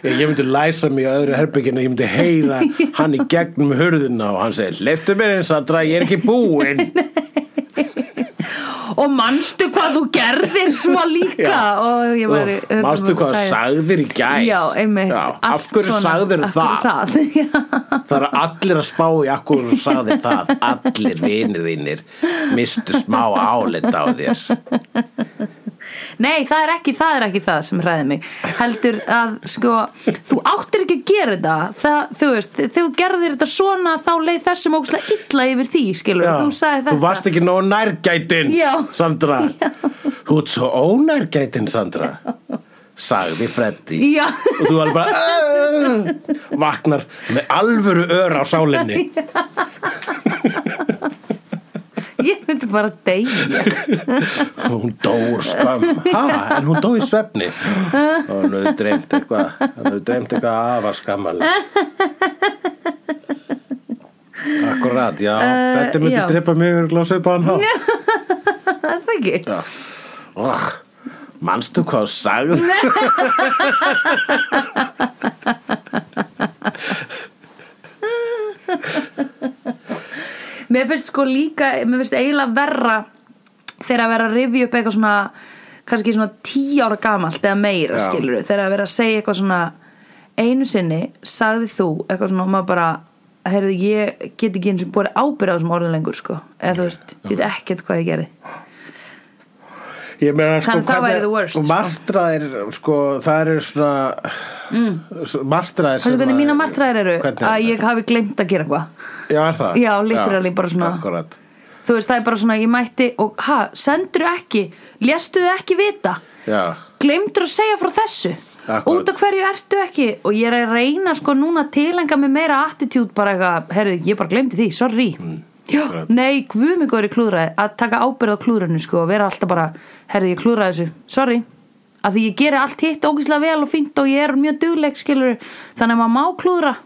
[SPEAKER 1] Ég ég myndi læsa mig á öðru herbygginu, ég myndi heyra hann í gegnum hurðina og hann segir leiftu mér eins aðra, ég er ekki búinn
[SPEAKER 2] og manstu hvað þú gerðir svo líka
[SPEAKER 1] Já.
[SPEAKER 2] og ég væri
[SPEAKER 1] Úff, Mástu hvað
[SPEAKER 2] hræðileg.
[SPEAKER 1] sagðir í gæð
[SPEAKER 2] Já, einmitt
[SPEAKER 1] Af hverju sagðir það? það? Það er allir að spá í af hverju sagðir það Allir vinir þínir mistu smá álita á þér
[SPEAKER 2] Nei, það er ekki það, er ekki það sem hræði mig Heldur að, sko, þú áttir ekki að gera þetta það, Þú veist, þegar þú gerðir þetta svona þá leið þessum ókslega illa yfir því, skilur
[SPEAKER 1] Já,
[SPEAKER 2] Þú sagði þetta
[SPEAKER 1] varst ekki nóg nærgætin
[SPEAKER 2] Já.
[SPEAKER 1] Sandra Þú ert svo ónærgætin Sandra sagði Freddy
[SPEAKER 2] Já,
[SPEAKER 1] og þú alveg bara "Ugh", vaknar með alvöru ör á sálinni
[SPEAKER 2] ég myndi bara deyja
[SPEAKER 1] og hún dór skömm ha, en hún dó í svefni og hann hefur dreymt eitthvað hann hefur dreymt eitthvað afar skammalegt Akkurat, já
[SPEAKER 2] Eh,
[SPEAKER 1] Freddy myndi
[SPEAKER 2] já.
[SPEAKER 1] drepa mig og glása upp á hann hátt
[SPEAKER 2] Það er það ekki
[SPEAKER 1] Já. Oh, manstu hvað þú sagði?
[SPEAKER 2] Mér finnst sko líka, mér finnst eiginlega verra Þegar að vera að rifja upp eitthvað svona kannski svona tíu ára gamalt eða meira,
[SPEAKER 1] Já.
[SPEAKER 2] skilur Þegar að vera að segja eitthvað svona Einu sinni sagði þú eitthvað svona og maður bara Heyrðu, ég get ekki eins og búið ábyrð á þessum orðin lengur, sko Eða þú veist, ég veit ekkert hvað ég gerði
[SPEAKER 1] Ég meina sko
[SPEAKER 2] Þannig það væri the worst.
[SPEAKER 1] Martraðir, sko, það eru svona mm. Martraðir
[SPEAKER 2] Þessu hvernig
[SPEAKER 1] að-
[SPEAKER 2] mína martræðir eru
[SPEAKER 1] Hvernig
[SPEAKER 2] að ég hafi glemt að gera eitthvað
[SPEAKER 1] Já, er það?
[SPEAKER 2] Já, literally bara svona-
[SPEAKER 1] Akkurat
[SPEAKER 2] Þú veist, það er bara svona, ég mætti og ha, sendur ekki, lestu þið ekki vita
[SPEAKER 1] Já,
[SPEAKER 2] glemdur að segja frá þessu
[SPEAKER 1] Akkurat.
[SPEAKER 2] út af hverju ertu ekki og ég er að reyna sko núna að tilenga mig meira attitude bara eitthvað, herðu, ég bara glemdi því, sorry já,
[SPEAKER 1] Mm, akkurat.
[SPEAKER 2] nei, guð mig góður í klúðraði að taka ábyrð á klúðranu sko og vera alltaf bara, herðu, ég klúðraði þessu, sorry að því ég geri allt hitt ógíslega vel og fínt og ég er mjög dugleg skilur þannig að maður má klúðra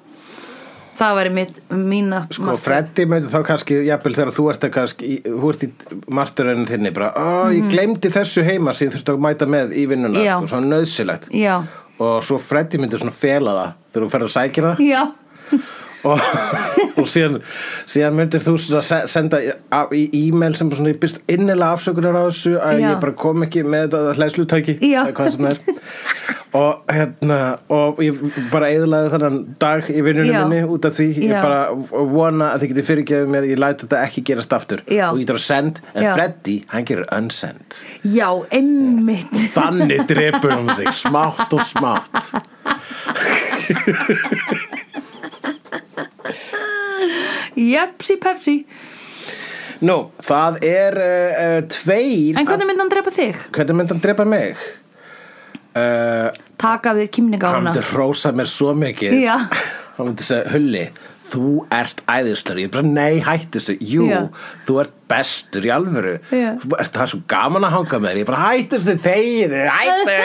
[SPEAKER 2] það væri mitt, mín að
[SPEAKER 1] sko, Freddy myndi þá kannski jafnvel þegar þú ert að kannski í- þú ert í martraðinu þinni bara, ó, ég glemdi þessu heima sem þurfti að mæta með í vinnuna
[SPEAKER 2] Mhm. Já.
[SPEAKER 1] sko, svona nöðsilegt
[SPEAKER 2] já,
[SPEAKER 1] og svo Freddy myndi svona fela það þegar þú ferð að sækja það
[SPEAKER 2] já,
[SPEAKER 1] og, og síðan, síðan myndir þú svona se- senda á- í e-mail sem svona ég byrst innilega afsökunar á þessu að
[SPEAKER 2] Já.
[SPEAKER 1] ég bara kom ekki með þetta hlæslutæki
[SPEAKER 2] Já.
[SPEAKER 1] eða hvað sem það er og hérna og ég bara eðlaði þannan dag í vinnunum
[SPEAKER 2] Já.
[SPEAKER 1] minni út af því
[SPEAKER 2] Já.
[SPEAKER 1] ég bara vona að þið getið fyrirgefið mér ég læt þetta ekki gerast aftur
[SPEAKER 2] Já.
[SPEAKER 1] og ég þarf að send en
[SPEAKER 2] Já.
[SPEAKER 1] Freddy hann gerir unsend
[SPEAKER 2] já, einmitt
[SPEAKER 1] þannig drepur hann þig smátt og smátt
[SPEAKER 2] jepsi pepsi,
[SPEAKER 1] nú það er uh, uh, tveir
[SPEAKER 2] en hvernig myndi hann drepa þig?
[SPEAKER 1] hvernig myndi hann drepa mig? Uh,
[SPEAKER 2] taka af þér
[SPEAKER 1] hann
[SPEAKER 2] kýmningána
[SPEAKER 1] myndi hrósa mér svo mikið
[SPEAKER 2] Já.
[SPEAKER 1] hann myndi segja, Hulli þú ert æðislega, ég bara nei hætti þessu, jú,
[SPEAKER 2] Já.
[SPEAKER 1] þú ert bestur í alvöru,
[SPEAKER 2] Já.
[SPEAKER 1] þú ert það er svo gaman að hanga með þér, ég bara hætti þessu þegið, hætti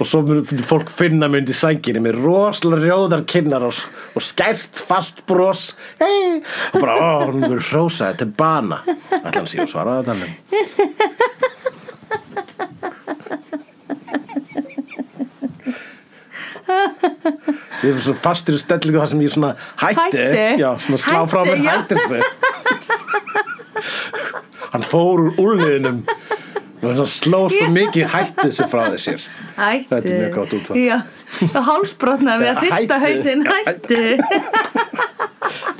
[SPEAKER 1] og svo myndi fólk finna mig undir sænginni með rosalega rjóðar kinnar og, og skært fast bros hey. og bara, ó, hún myndi hrósa þetta er bana, ætla hann sé að svara þetta alveg Ég er svo fastur í stellingu þar sem ég svona hætti,
[SPEAKER 2] Hætti?
[SPEAKER 1] Já, svona slá frá mér
[SPEAKER 2] Hætti, já.
[SPEAKER 1] hætti þessu Hann fór úr úlniðinum og það sló svo mikið hættu þessu frá þessir
[SPEAKER 2] Hættu.
[SPEAKER 1] þetta er mjög gott útfæð
[SPEAKER 2] Já, og hálsbrotnaði við að hrista
[SPEAKER 1] Hættu.
[SPEAKER 2] hausinn, hættu.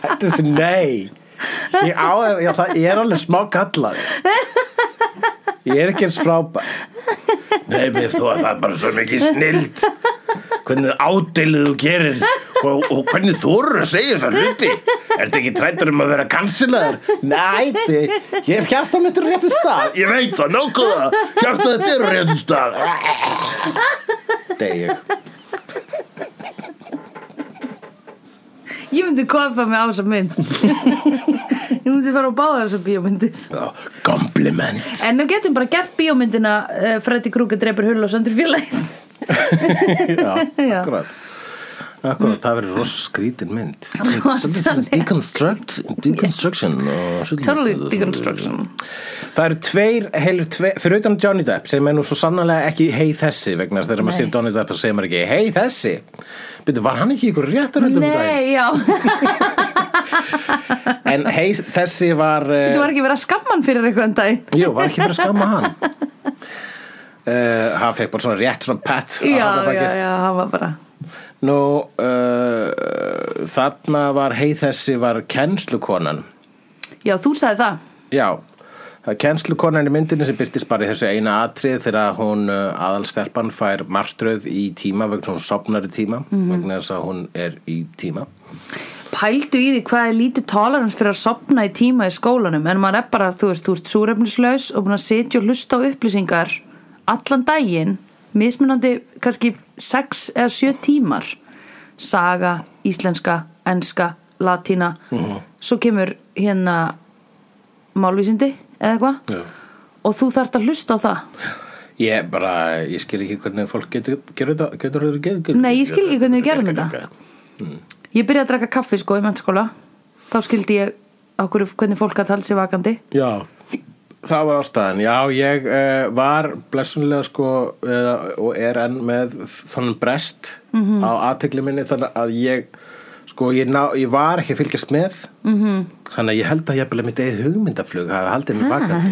[SPEAKER 1] hættu þessu nei ég á, já, það er alveg smá gallar ég er ekki eins frábær nei, við þú að það er bara svo mikið snild hvernig ádilið þú gerir og, og hvernig þú eru að segja þessar hluti er þetta ekki trættur um að vera kansilaður nei, þið, ég hef hjarta mitt er á réttu stað ég veit það, nákvæða hjarta þetta er á réttu stað degi
[SPEAKER 2] Ég myndi kofa mig á þessa mynd. Ég myndi fara á báða þessa bíómyndir.
[SPEAKER 1] compliment
[SPEAKER 2] En nú getum bara gert bíómyndina uh, Freddy Krueger dreipur hull og söndur félagið.
[SPEAKER 1] já,
[SPEAKER 2] Já.
[SPEAKER 1] akkurat Akkurat, það verður rosa skrítin mynd
[SPEAKER 2] Rosalega.
[SPEAKER 1] Deconstruct, Deconstruction og svolítið-
[SPEAKER 2] Totally deconstruction.
[SPEAKER 1] Það eru tveir, heilu tveir fyrir utan Johnny Depp sem er nú svo sannlega ekki hei þessi vegna þess að þegar maður
[SPEAKER 2] Nei.
[SPEAKER 1] sér Johnny Depp þá segir maður ekki hei þessi Byrju, var hann ekki í ykkur réttar um daginn?
[SPEAKER 2] Nei, já.
[SPEAKER 1] En hei þessi var eh,
[SPEAKER 2] Þú var ekki verið að skamma hann fyrir eitthvað um en dag.
[SPEAKER 1] Jú, var ekki fyrir að skamma hann Uh, hann fekk bara svona rétt svona pat á
[SPEAKER 2] Já,
[SPEAKER 1] handarbakið.
[SPEAKER 2] já, já, hann var bara.
[SPEAKER 1] Nú, uh, þarna var heið þessi var kennslukonan.
[SPEAKER 2] Já, þú sagði það.
[SPEAKER 1] Já, það er kennslukonan í myndinni sem byrtist bara í þessu eina atrið þegar hún uh, aðalsterpan fær martröð í tíma vegna hún sopnar í tíma,
[SPEAKER 2] Mhm.
[SPEAKER 1] vegna þess að hún er í tíma.
[SPEAKER 2] Pældu í því hvað er lítið tolerans fyrir að sopna í tíma í skólanum en maður er bara, þú veist, þú ert súrefnislaus og búin að sitja og hlusta á upplýsingar allan daginn, mismunandi kannski 6 eða 7 tímar saga, íslenska, enska, latína svo kemur hérna málvísindi eða eitthvað
[SPEAKER 1] Já.
[SPEAKER 2] og þú þarft að hlusta á það
[SPEAKER 1] Ég bara, ég skil ekki hvernig fólk getur, getur, getur, getur, getur, getur
[SPEAKER 2] Nei, ég skil ekki hvernig við gerum þetta. Ég byrjaði að draka kaffi sko í mennskóla þá skildi ég á hverju, hvernig fólk að tala sér vakandi
[SPEAKER 1] Já Það var ástæðan, já, ég uh, var blessunlega sko uh, og er enn með þannig brest á aðtegli minni þannig að ég, sko, ég, ná, ég var ekki að fylgjast með -hmm. þannig að ég held að ég hefði mitt eigið hugmyndaflug hafi haldið mér bakandi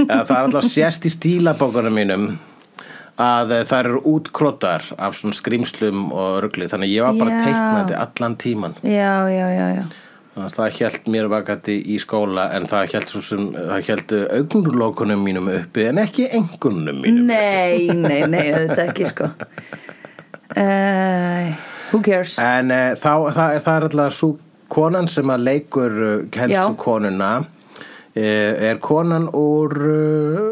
[SPEAKER 1] Eða, Það er alltaf sérst í stílabókunum mínum að eh, þær eru útkrotar af svona skrimslum og rugli þannig að ég var bara
[SPEAKER 2] Já.
[SPEAKER 1] teiknandi allan tíman
[SPEAKER 2] Já, já, já, já
[SPEAKER 1] Þannig að Það hjælt mér vakandi í skóla en það hjælt svo sem, það hjælt augnlokunum mínum uppi en ekki engunum mínum.
[SPEAKER 2] Nei, nei, nei, auðvitað ekki sko uh, Who cares
[SPEAKER 1] En uh, þá, það, er- það er alltaf svo konan sem að leikur uh, kennslu
[SPEAKER 2] Já.
[SPEAKER 1] konuna eh, er konan úr uh,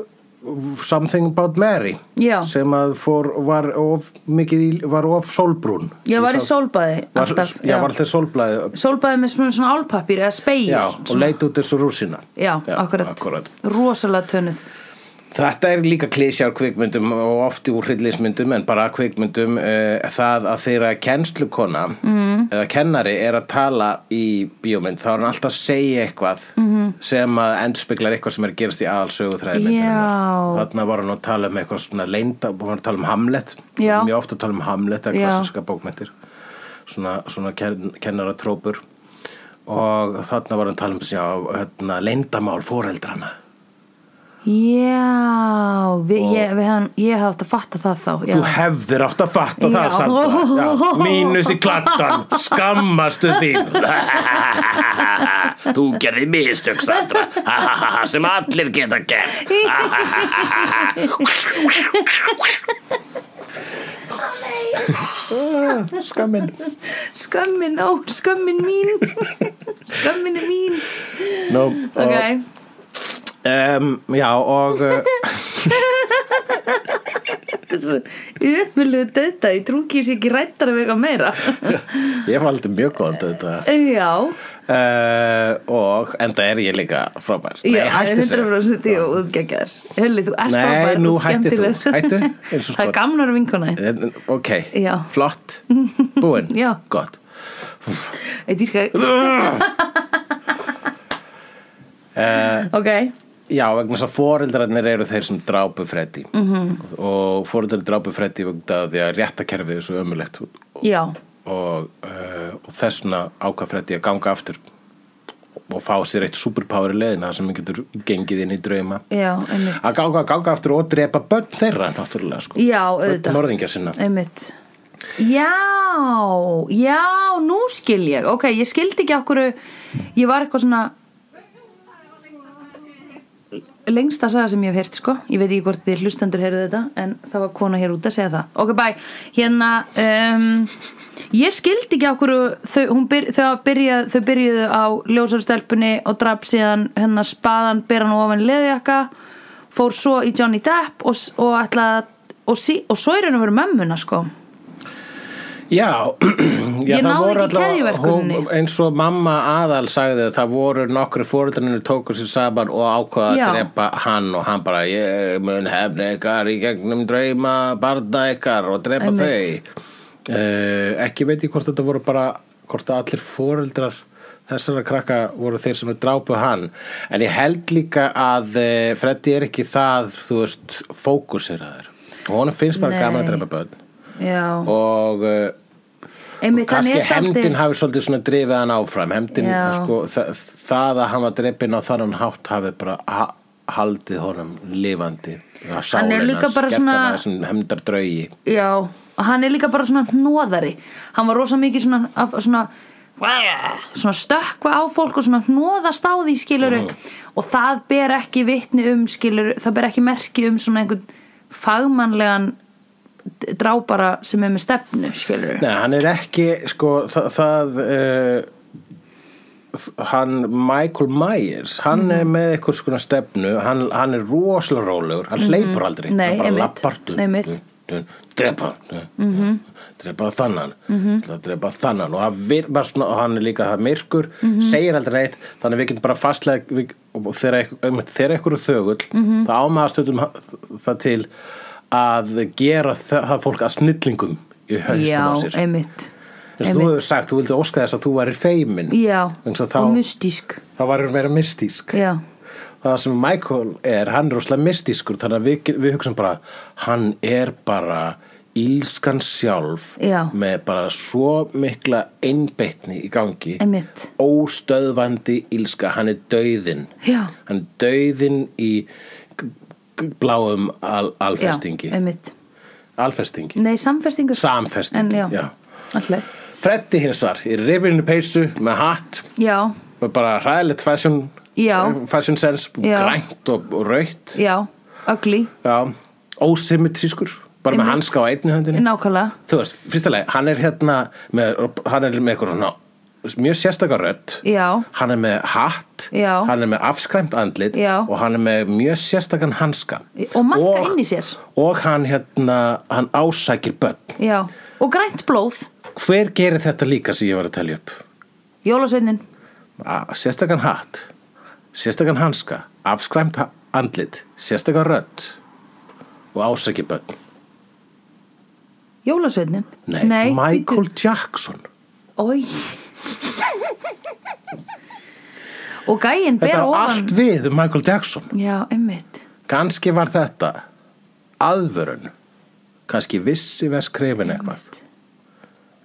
[SPEAKER 1] Something About Mary
[SPEAKER 2] Já.
[SPEAKER 1] sem að fór, var of, mikið í, var of sólbrún.
[SPEAKER 2] Ég var í sólbaði
[SPEAKER 1] Var,
[SPEAKER 2] alltaf,
[SPEAKER 1] já, var alltaf sólblæði
[SPEAKER 2] Sólbaði með svona- svona álpappir eða speil
[SPEAKER 1] já, og leit út þessu rúsina.
[SPEAKER 2] já, akkurat. Rosalega tönuð
[SPEAKER 1] Þetta er líka klísjár kvikmyndum og oft úr hryllismyndum en bara kvikmyndum uh, það að þeirra kennslukona mm.
[SPEAKER 2] Mhm.
[SPEAKER 1] eða kennari er að tala í bíómynd þá er hann alltaf að segja eitthvað
[SPEAKER 2] Mhm.
[SPEAKER 1] -hmm. sem að endspeglar eitthvað sem er að gerast í aðalsögu
[SPEAKER 2] Já.
[SPEAKER 1] Þarna var hann að tala um eitthvað svona leinda og var að tala um Hamlet
[SPEAKER 2] Já.
[SPEAKER 1] Mjög ofta að tala um Hamlet eða
[SPEAKER 2] Já.
[SPEAKER 1] klassiska bókmyndir svona, svona ken, kennaratrópur og þarna var hann að tala um já, hérna, leindamál fóreldrana
[SPEAKER 2] Já, við, ég, við hefðan, ég hafði átt að fatta það þá já.
[SPEAKER 1] Þú hefðir átt að fatta
[SPEAKER 2] Já.
[SPEAKER 1] það samt Já. Mínus í klattan, skammastu þín Þú gerði mistök, Sandra sem allir geta gert Skammin
[SPEAKER 2] Skömmin, ó, skömmin mín Skömmin er mín
[SPEAKER 1] no,
[SPEAKER 2] Ok,
[SPEAKER 1] um, Já, og uh,
[SPEAKER 2] þessu uppilugu döðda Ég trú ekki ég sé ekki rættar af eitthvað meira
[SPEAKER 1] ég valdi mjög góðan þetta
[SPEAKER 2] Já
[SPEAKER 1] uh, og enda er ég líka frábær
[SPEAKER 2] Já,
[SPEAKER 1] hættu þessu.
[SPEAKER 2] 100% í og útgeggjaður Hulli, þú ert
[SPEAKER 1] Nei,
[SPEAKER 2] frábær,
[SPEAKER 1] nú
[SPEAKER 2] þú ert
[SPEAKER 1] hættir þú.
[SPEAKER 2] skemmtilegur.
[SPEAKER 1] Hættu, eins og
[SPEAKER 2] Það er
[SPEAKER 1] skot.
[SPEAKER 2] gamnar vinkona þín.
[SPEAKER 1] En, ok,
[SPEAKER 2] Já.
[SPEAKER 1] flott búinn,
[SPEAKER 2] Já.
[SPEAKER 1] gott Eh.
[SPEAKER 2] Ég dýrka
[SPEAKER 1] Eh.
[SPEAKER 2] Ok,
[SPEAKER 1] já, vegna þess að foreldrarnir eru þeir sem drápu Freddy -hmm.
[SPEAKER 2] Mhm.
[SPEAKER 1] og foreldrarnir drápu Freddy vegna því að réttakerfið er svo ömulegt og, eh,
[SPEAKER 2] já
[SPEAKER 1] uh, og þessna ákvað Freddy að ganga aftur og fá sér eitt superpower í leðina sem getur gengið inn í drauma
[SPEAKER 2] já, einmitt
[SPEAKER 1] að ganga, ganga aftur og drepa börn þeirra náttúrulega sko
[SPEAKER 2] Já, auðvitað.
[SPEAKER 1] morðingja sinna
[SPEAKER 2] einmitt já, já, nú skil ég ok, ég skildi ekki okkur ég var eitthvað svona lengsta saga sem ég hef heyrt sko ég veit ekki hvort þið hlustendur heyrðu þetta en það var kona hér út að segja það ok, bæ, hérna um, ég skildi ekki okkur þau, hún byr, þau, byrja, þau byrjuðu á ljósarstelpunni og draf síðan hérna spaðan, byrjan ofan leðjaka fór svo í Johnny Depp og, s- og ætla og, sí, og svo er hann að vera mömmuna sko
[SPEAKER 1] Já, já
[SPEAKER 2] Ég
[SPEAKER 1] það
[SPEAKER 2] náði
[SPEAKER 1] voru
[SPEAKER 2] ekki
[SPEAKER 1] allavega-
[SPEAKER 2] keðjuverkuninni.
[SPEAKER 1] hún- eins og mamma aðal sagði að það voru nokkru fóreldrarnir tóku sér saman og ákvaða
[SPEAKER 2] Já.
[SPEAKER 1] að drepa hann og hann bara ég mun hefna ykkar í gegnum drauma barna ykkar og drepa
[SPEAKER 2] Einmitt.
[SPEAKER 1] þau uh, ekki veit ég hvort þetta voru bara hvort að allir fóreldrar þessara krakka voru þeir sem drápu hann en ég held líka að uh, Freddy er ekki það þú veist fókuseraður og honum finnst bara
[SPEAKER 2] Nei.
[SPEAKER 1] gaman að drepa börn
[SPEAKER 2] já,
[SPEAKER 1] og uh,
[SPEAKER 2] einmitt hann
[SPEAKER 1] kannski
[SPEAKER 2] er dálítið-
[SPEAKER 1] hefndin hafi svolítið svona drifið hann áfram hefndin,
[SPEAKER 2] Já.
[SPEAKER 1] sko, það, það að hann var drefin á þannan hátt hafi bara ha haldið honum lifandi að sálinn
[SPEAKER 2] er líka
[SPEAKER 1] hans,
[SPEAKER 2] bara
[SPEAKER 1] gert
[SPEAKER 2] svona-
[SPEAKER 1] hann að þessum hefndar draugi
[SPEAKER 2] Já, og hann er líka bara svona hnóðari Hann var rosa mikið svona, af- svona svona stökkva á fólk og svona hnóðast á því skilur og það ber ekki vitni um skilur, það ber ekki merki um svona einhvern fagmannlegan d- drábara sem er með stefnu skilur
[SPEAKER 1] Nei, hann er ekki, sko, það, það uh, hann Michael Myers, hann
[SPEAKER 2] Mhm.
[SPEAKER 1] er með eitthvað skona stefnu, hann, hann er rosalega rólegur, hann hleypur aldrei
[SPEAKER 2] Mhm. Nei,
[SPEAKER 1] hann bara
[SPEAKER 2] einmitt.
[SPEAKER 1] lappar, dun,
[SPEAKER 2] Einmitt. Mhm.
[SPEAKER 1] dun, dun, drepa mm -hmm. drepa þannan mm -hmm. drepa þannan og hann, vir, bara svona, og hann er líka það myrkur, segir aldrei neitt þannig við getum bara fastlega við, og þegar einhver- einmitt, þegar eitthvað er þögull mm -hmm. það ámaðastöldum það til að gera það, það fólk að snillingum í
[SPEAKER 2] Já,
[SPEAKER 1] haustum á sér
[SPEAKER 2] einmitt
[SPEAKER 1] Þess að þú hefur sagt, þú vildi óska þess að þú væri feimin
[SPEAKER 2] Já,
[SPEAKER 1] Eins og þá,
[SPEAKER 2] og mystísk
[SPEAKER 1] þá var hann meira mystísk
[SPEAKER 2] Já,
[SPEAKER 1] Það sem Michael er, hann er rosalega mystískur Þannig að við, við hugsaum bara Hann er bara ílskan sjálf
[SPEAKER 2] Já.
[SPEAKER 1] Með bara svo mikla einbeitni í gangi
[SPEAKER 2] einmitt
[SPEAKER 1] Óstöðvandi ílska, hann er dauðinn
[SPEAKER 2] Já.
[SPEAKER 1] Hann er dauðinn í g- g- bláum al,
[SPEAKER 2] Já,
[SPEAKER 1] alfestingi
[SPEAKER 2] einmitt
[SPEAKER 1] Alfestingi,
[SPEAKER 2] Nei, samfestingur En
[SPEAKER 1] samfestingi
[SPEAKER 2] já,
[SPEAKER 1] Já.
[SPEAKER 2] alltaf
[SPEAKER 1] Freddi hins var í rifinu peysu með hatt
[SPEAKER 2] Já,
[SPEAKER 1] og bara hræðilegt fashion
[SPEAKER 2] Já.
[SPEAKER 1] fashion sense,
[SPEAKER 2] Já.
[SPEAKER 1] grænt og, og rautt
[SPEAKER 2] já, ugly
[SPEAKER 1] já, ósymmetrískur bara með
[SPEAKER 2] Einmitt.
[SPEAKER 1] hanska á einni höndinni
[SPEAKER 2] Nákvæmlega
[SPEAKER 1] þú veist, fyrsta leið, hann er hérna með, hann er með eitthvað svona mjög sérstakar rödd
[SPEAKER 2] Já.
[SPEAKER 1] hann er með hatt,
[SPEAKER 2] Já.
[SPEAKER 1] hann er með afskræmt andlit
[SPEAKER 2] Já.
[SPEAKER 1] og hann er með mjög sérstakan hanska
[SPEAKER 2] Og maðka inn í sér.
[SPEAKER 1] og hann hérna, hann ásækir börn
[SPEAKER 2] Já, og grænt blóð
[SPEAKER 1] hver gerir þetta líka sem ég var að telja upp
[SPEAKER 2] Jólasveinin
[SPEAKER 1] A- sérstakan hatt sérstakan hanska afskræmt ha- andlit sérstakan rödd og ásækjabönn
[SPEAKER 2] Jólasveinin
[SPEAKER 1] nei, Michael Jackson
[SPEAKER 2] Ói Og gæinn
[SPEAKER 1] þetta
[SPEAKER 2] ber
[SPEAKER 1] er
[SPEAKER 2] ofan
[SPEAKER 1] allt við um Michael Jackson
[SPEAKER 2] Já, einmitt
[SPEAKER 1] kannski var þetta aðvörun kannski vissi vers krefin eitthvað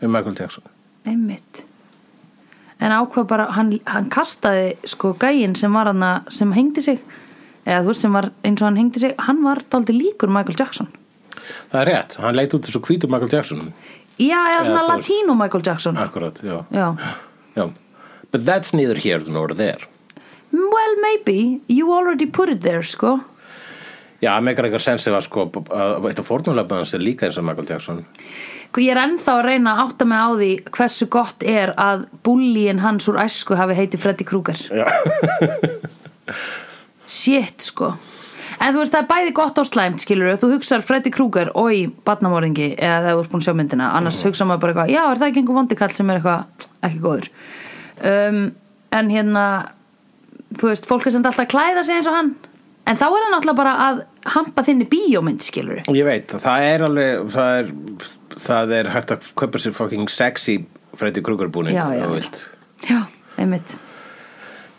[SPEAKER 1] um Michael Jackson
[SPEAKER 2] Einmitt En ákvað bara, hann, hann kastaði sko gæinn sem var hann sem hengdi sig eða þú veist sem var eins og hann hengdi sig hann var daldið líkur Michael Jackson
[SPEAKER 1] það er rétt, hann leit út þessu hvítu Michael Jackson
[SPEAKER 2] Já, eða svona
[SPEAKER 1] þú veist-
[SPEAKER 2] latínó Michael Jackson
[SPEAKER 1] akkurat, já.
[SPEAKER 2] Já
[SPEAKER 1] já but that's neither here nor there
[SPEAKER 2] Well, maybe, you already put it there, sko
[SPEAKER 1] já, megar eitthvað sensið var sko að eitt af fórnulefnum hans er líka eins og Michael Jackson
[SPEAKER 2] Sko, Ég er ennþá að reyna að átta mig á því hversu gott er að búlíin hans úr æsku hafi heiti Freddy Krueger
[SPEAKER 1] Já.
[SPEAKER 2] Shit, sko En þú veist, það er bæði gott og slæmt, skilur Þú hugsar Freddy Krueger og í batnamóringi eða það er búin að sjá myndina annars mm hugsa maður bara eitthvað, já, er það ekki einhver vondikall sem er eitthvað ekki góður um, En hérna þú veist, fólk er sem alltaf að klæða sig eins og hann En þá er hann alltaf bara að hampa þinni bíómynd, skilur
[SPEAKER 1] Ég veit, það er alveg það er, það er hægt að köpa sér fucking sexy Freddy Krueger búning
[SPEAKER 2] Já,
[SPEAKER 1] ef
[SPEAKER 2] já.
[SPEAKER 1] þú vilt.
[SPEAKER 2] Já, einmitt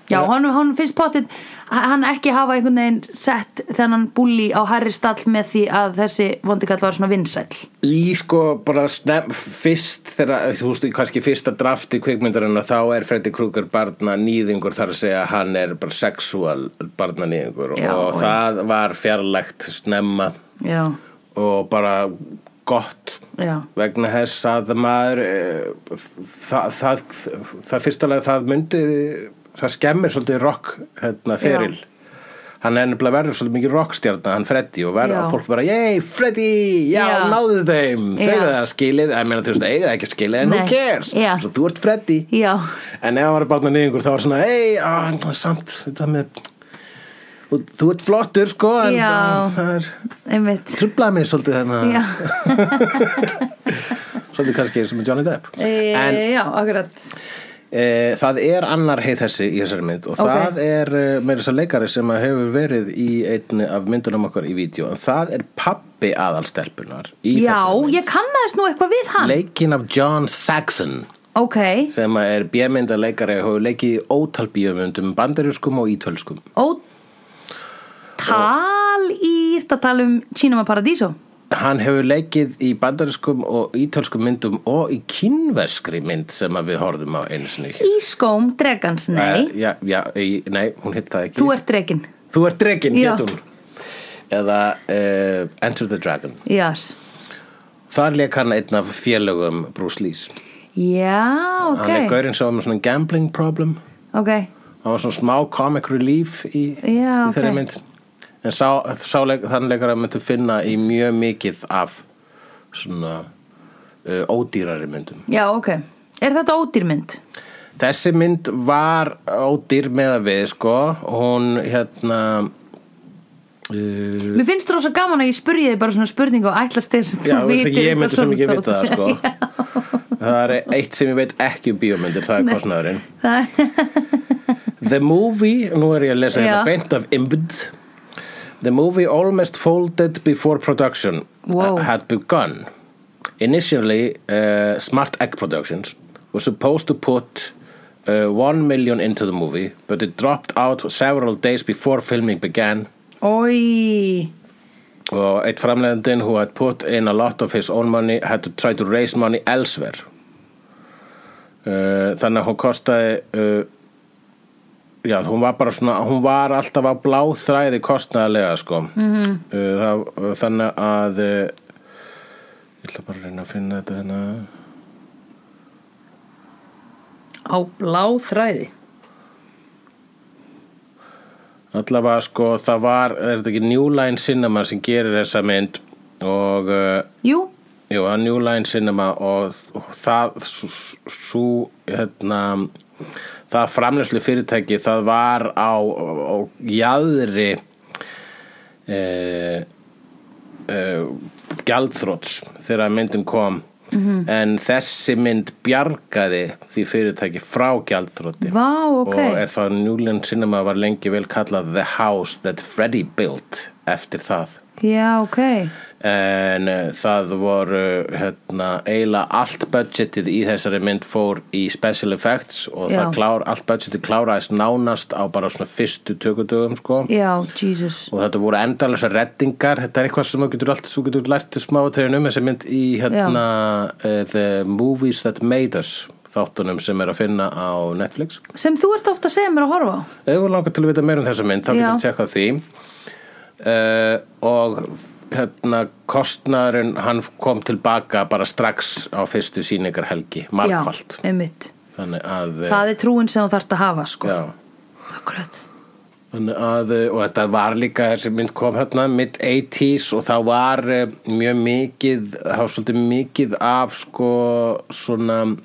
[SPEAKER 2] Já, honum, honum finnst pottit hann ekki hafa einhvern veginn sett þennan búli á Harry stall með því að þessi vondikall var svona vinsæll
[SPEAKER 1] Í sko bara snem, fyrst þegar, þú veist, kannski fyrsta drafti kvikmyndarinn þá er Freddy Krueger barna nýðingur þar að segja að hann er bara sexual barna nýðingur
[SPEAKER 2] Já,
[SPEAKER 1] og
[SPEAKER 2] já.
[SPEAKER 1] það var fjarlægt snemma
[SPEAKER 2] Já,
[SPEAKER 1] og bara gott
[SPEAKER 2] já,
[SPEAKER 1] vegna þess að maður eh, það, það, það fyrsta lega það myndi það skemmir svolítið rock hérna, feril hann er nefnilega verður svolítið mikið rockstjarna hann Freddy og verður
[SPEAKER 2] Já.
[SPEAKER 1] að fólk bara yey Freddy, já,
[SPEAKER 2] Já.
[SPEAKER 1] náðu þeim
[SPEAKER 2] Já.
[SPEAKER 1] þau eru það skilið, ég meina þú veist eiga það ekki skilið en
[SPEAKER 2] Nei.
[SPEAKER 1] who cares,
[SPEAKER 2] Já.
[SPEAKER 1] svo þú ert Freddy
[SPEAKER 2] já
[SPEAKER 1] en ef hann var barna nýðingur þá var svona ei, á, samt þetta með þú, þú ert flottur sko en
[SPEAKER 2] Já.
[SPEAKER 1] uh, það er
[SPEAKER 2] einmitt
[SPEAKER 1] trublaði mig svolítið þennan
[SPEAKER 2] Já,
[SPEAKER 1] svolítið kannski eins og með Johnny Depp
[SPEAKER 2] e,
[SPEAKER 1] en
[SPEAKER 2] já akkurat
[SPEAKER 1] e, það er annar heið þessi í þessari mynd og
[SPEAKER 2] Ok.
[SPEAKER 1] það er e, meira þess að leikari sem að hefur verið í einni af myndunum okkar í vídeo en það er pappi aðalstelpunar í
[SPEAKER 2] Já,
[SPEAKER 1] þessari mynd
[SPEAKER 2] ég kannaðist nú eitthvað við hann
[SPEAKER 1] leikinn af John Saxon
[SPEAKER 2] Ok,
[SPEAKER 1] sem að er bjömyndaleikari og hefur leikið í ótal bjömyndum bandarískum og ítölskum
[SPEAKER 2] ó Tal í, þetta tal um Cinema Paradiso
[SPEAKER 1] hann hefur leikið í bandarískum og ítölskum myndum og í kínverskri mynd sem að við horfum á einu sinni
[SPEAKER 2] Í skóm dregans, nei
[SPEAKER 1] Eh, já, já, í- nei, hún hitt það ekki
[SPEAKER 2] Þú ert dregin,
[SPEAKER 1] Þú ert dregin,
[SPEAKER 2] Já.
[SPEAKER 1] hétt hún Eða uh, Enter the Dragon
[SPEAKER 2] jás
[SPEAKER 1] Þar leik hann einn af félögum Bruce Lees
[SPEAKER 2] Já, ok
[SPEAKER 1] Hann er gaurinn sem var með svona gambling problem
[SPEAKER 2] Ok,
[SPEAKER 1] Hann var svona smá comic relief í,
[SPEAKER 2] Já,
[SPEAKER 1] í þeirri
[SPEAKER 2] ok.
[SPEAKER 1] mynd En sá, sá leik, þann leikar að myndi finna í mjög mikið af svona uh, ódýrari myndum
[SPEAKER 2] já, ok Er þetta ódýrmynd?
[SPEAKER 1] Þessi mynd var ódýr með að við sko Hún hérna uh,
[SPEAKER 2] Mér finnst rosa gaman að ég spurði þig bara svona spurningu og ætlast þess að
[SPEAKER 1] Já,
[SPEAKER 2] þú
[SPEAKER 1] þú veist
[SPEAKER 2] vitir
[SPEAKER 1] ekki, ég myndi
[SPEAKER 2] eitthvað
[SPEAKER 1] sem ekki
[SPEAKER 2] svona
[SPEAKER 1] vita það,
[SPEAKER 2] dót.
[SPEAKER 1] sko. Það er eitt sem ég veit ekki um bíómyndir, það er kostnaðurinn.
[SPEAKER 2] Það-
[SPEAKER 1] The movie, nú er ég að lesa
[SPEAKER 2] Já.
[SPEAKER 1] hérna beint af Imbd. The movie almost folded before production uh,
[SPEAKER 2] Wow.
[SPEAKER 1] had begun. Initially, uh, Smart Egg Productions was supposed to put uh, one million into the movie, but it dropped out several days before filming began.
[SPEAKER 2] Oj
[SPEAKER 1] Og eitt framleiðandinn who had put in a lot of his own money had to try to raise money elsewhere. Uh, þannig að hún kostaði, uh, já hún var bara svona, hún var alltaf að blá þræði kostnaðarlega sko. Mm -hmm. uh, það, uh, þannig að, uh, ég ætla bara að reyna að finna þetta hérna.
[SPEAKER 2] Á blá þræði
[SPEAKER 1] Allavega sko, það var, er þetta ekki New Line Cinema sem gerir þessa mynd og... Uh,
[SPEAKER 2] Jú,
[SPEAKER 1] Jú, að New Line Cinema og og það svo, hérna það framleyslu fyrirtæki það var á, á jæðri e, e, gjaldþróts þegar myndin kom
[SPEAKER 2] Mhm.
[SPEAKER 1] -hmm. en þessi mynd bjargaði því fyrirtæki frá gjaldþróti
[SPEAKER 2] vá, ok
[SPEAKER 1] og er það New Line Cinema var lengi vel kallað The House That Freddy Built eftir það
[SPEAKER 2] Já, ok
[SPEAKER 1] en uh, það voru hérna, eiginlega allt budgetið í þessari mynd fór í special effects og
[SPEAKER 2] Já.
[SPEAKER 1] það klár, allt budgetið kláraðist nánast á bara svona fyrstu tökudögum sko
[SPEAKER 2] Já, Jesus
[SPEAKER 1] og þetta voru endalega reddingar þetta er eitthvað sem þú getur allt þú getur lært smáatöðin um þessi mynd í hérna, uh, The Movies That Made Us þáttunum sem er að finna á Netflix
[SPEAKER 2] Sem þú ert ofta að segja mér að horfa á
[SPEAKER 1] Ef þú langar til að vita meira um þessa mynd, þá
[SPEAKER 2] Já.
[SPEAKER 1] getur tjekkað því. Uh, og hérna, kostnaðurinn, hann kom tilbaka bara strax á fyrstu sýningar helgi, margfalt.
[SPEAKER 2] Já, einmitt
[SPEAKER 1] Þannig að, eh,
[SPEAKER 2] Það er trúin sem þú þarft að hafa, sko
[SPEAKER 1] já.
[SPEAKER 2] Akkurat
[SPEAKER 1] Þannig að, eh, og þetta var líka, þessi mynd kom hérna, mid-80s og það var eh, mjög mikið, það var svolítið mikið af sko svona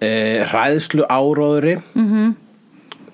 [SPEAKER 1] e, hræðslu áróðri -hmm.
[SPEAKER 2] Mhm.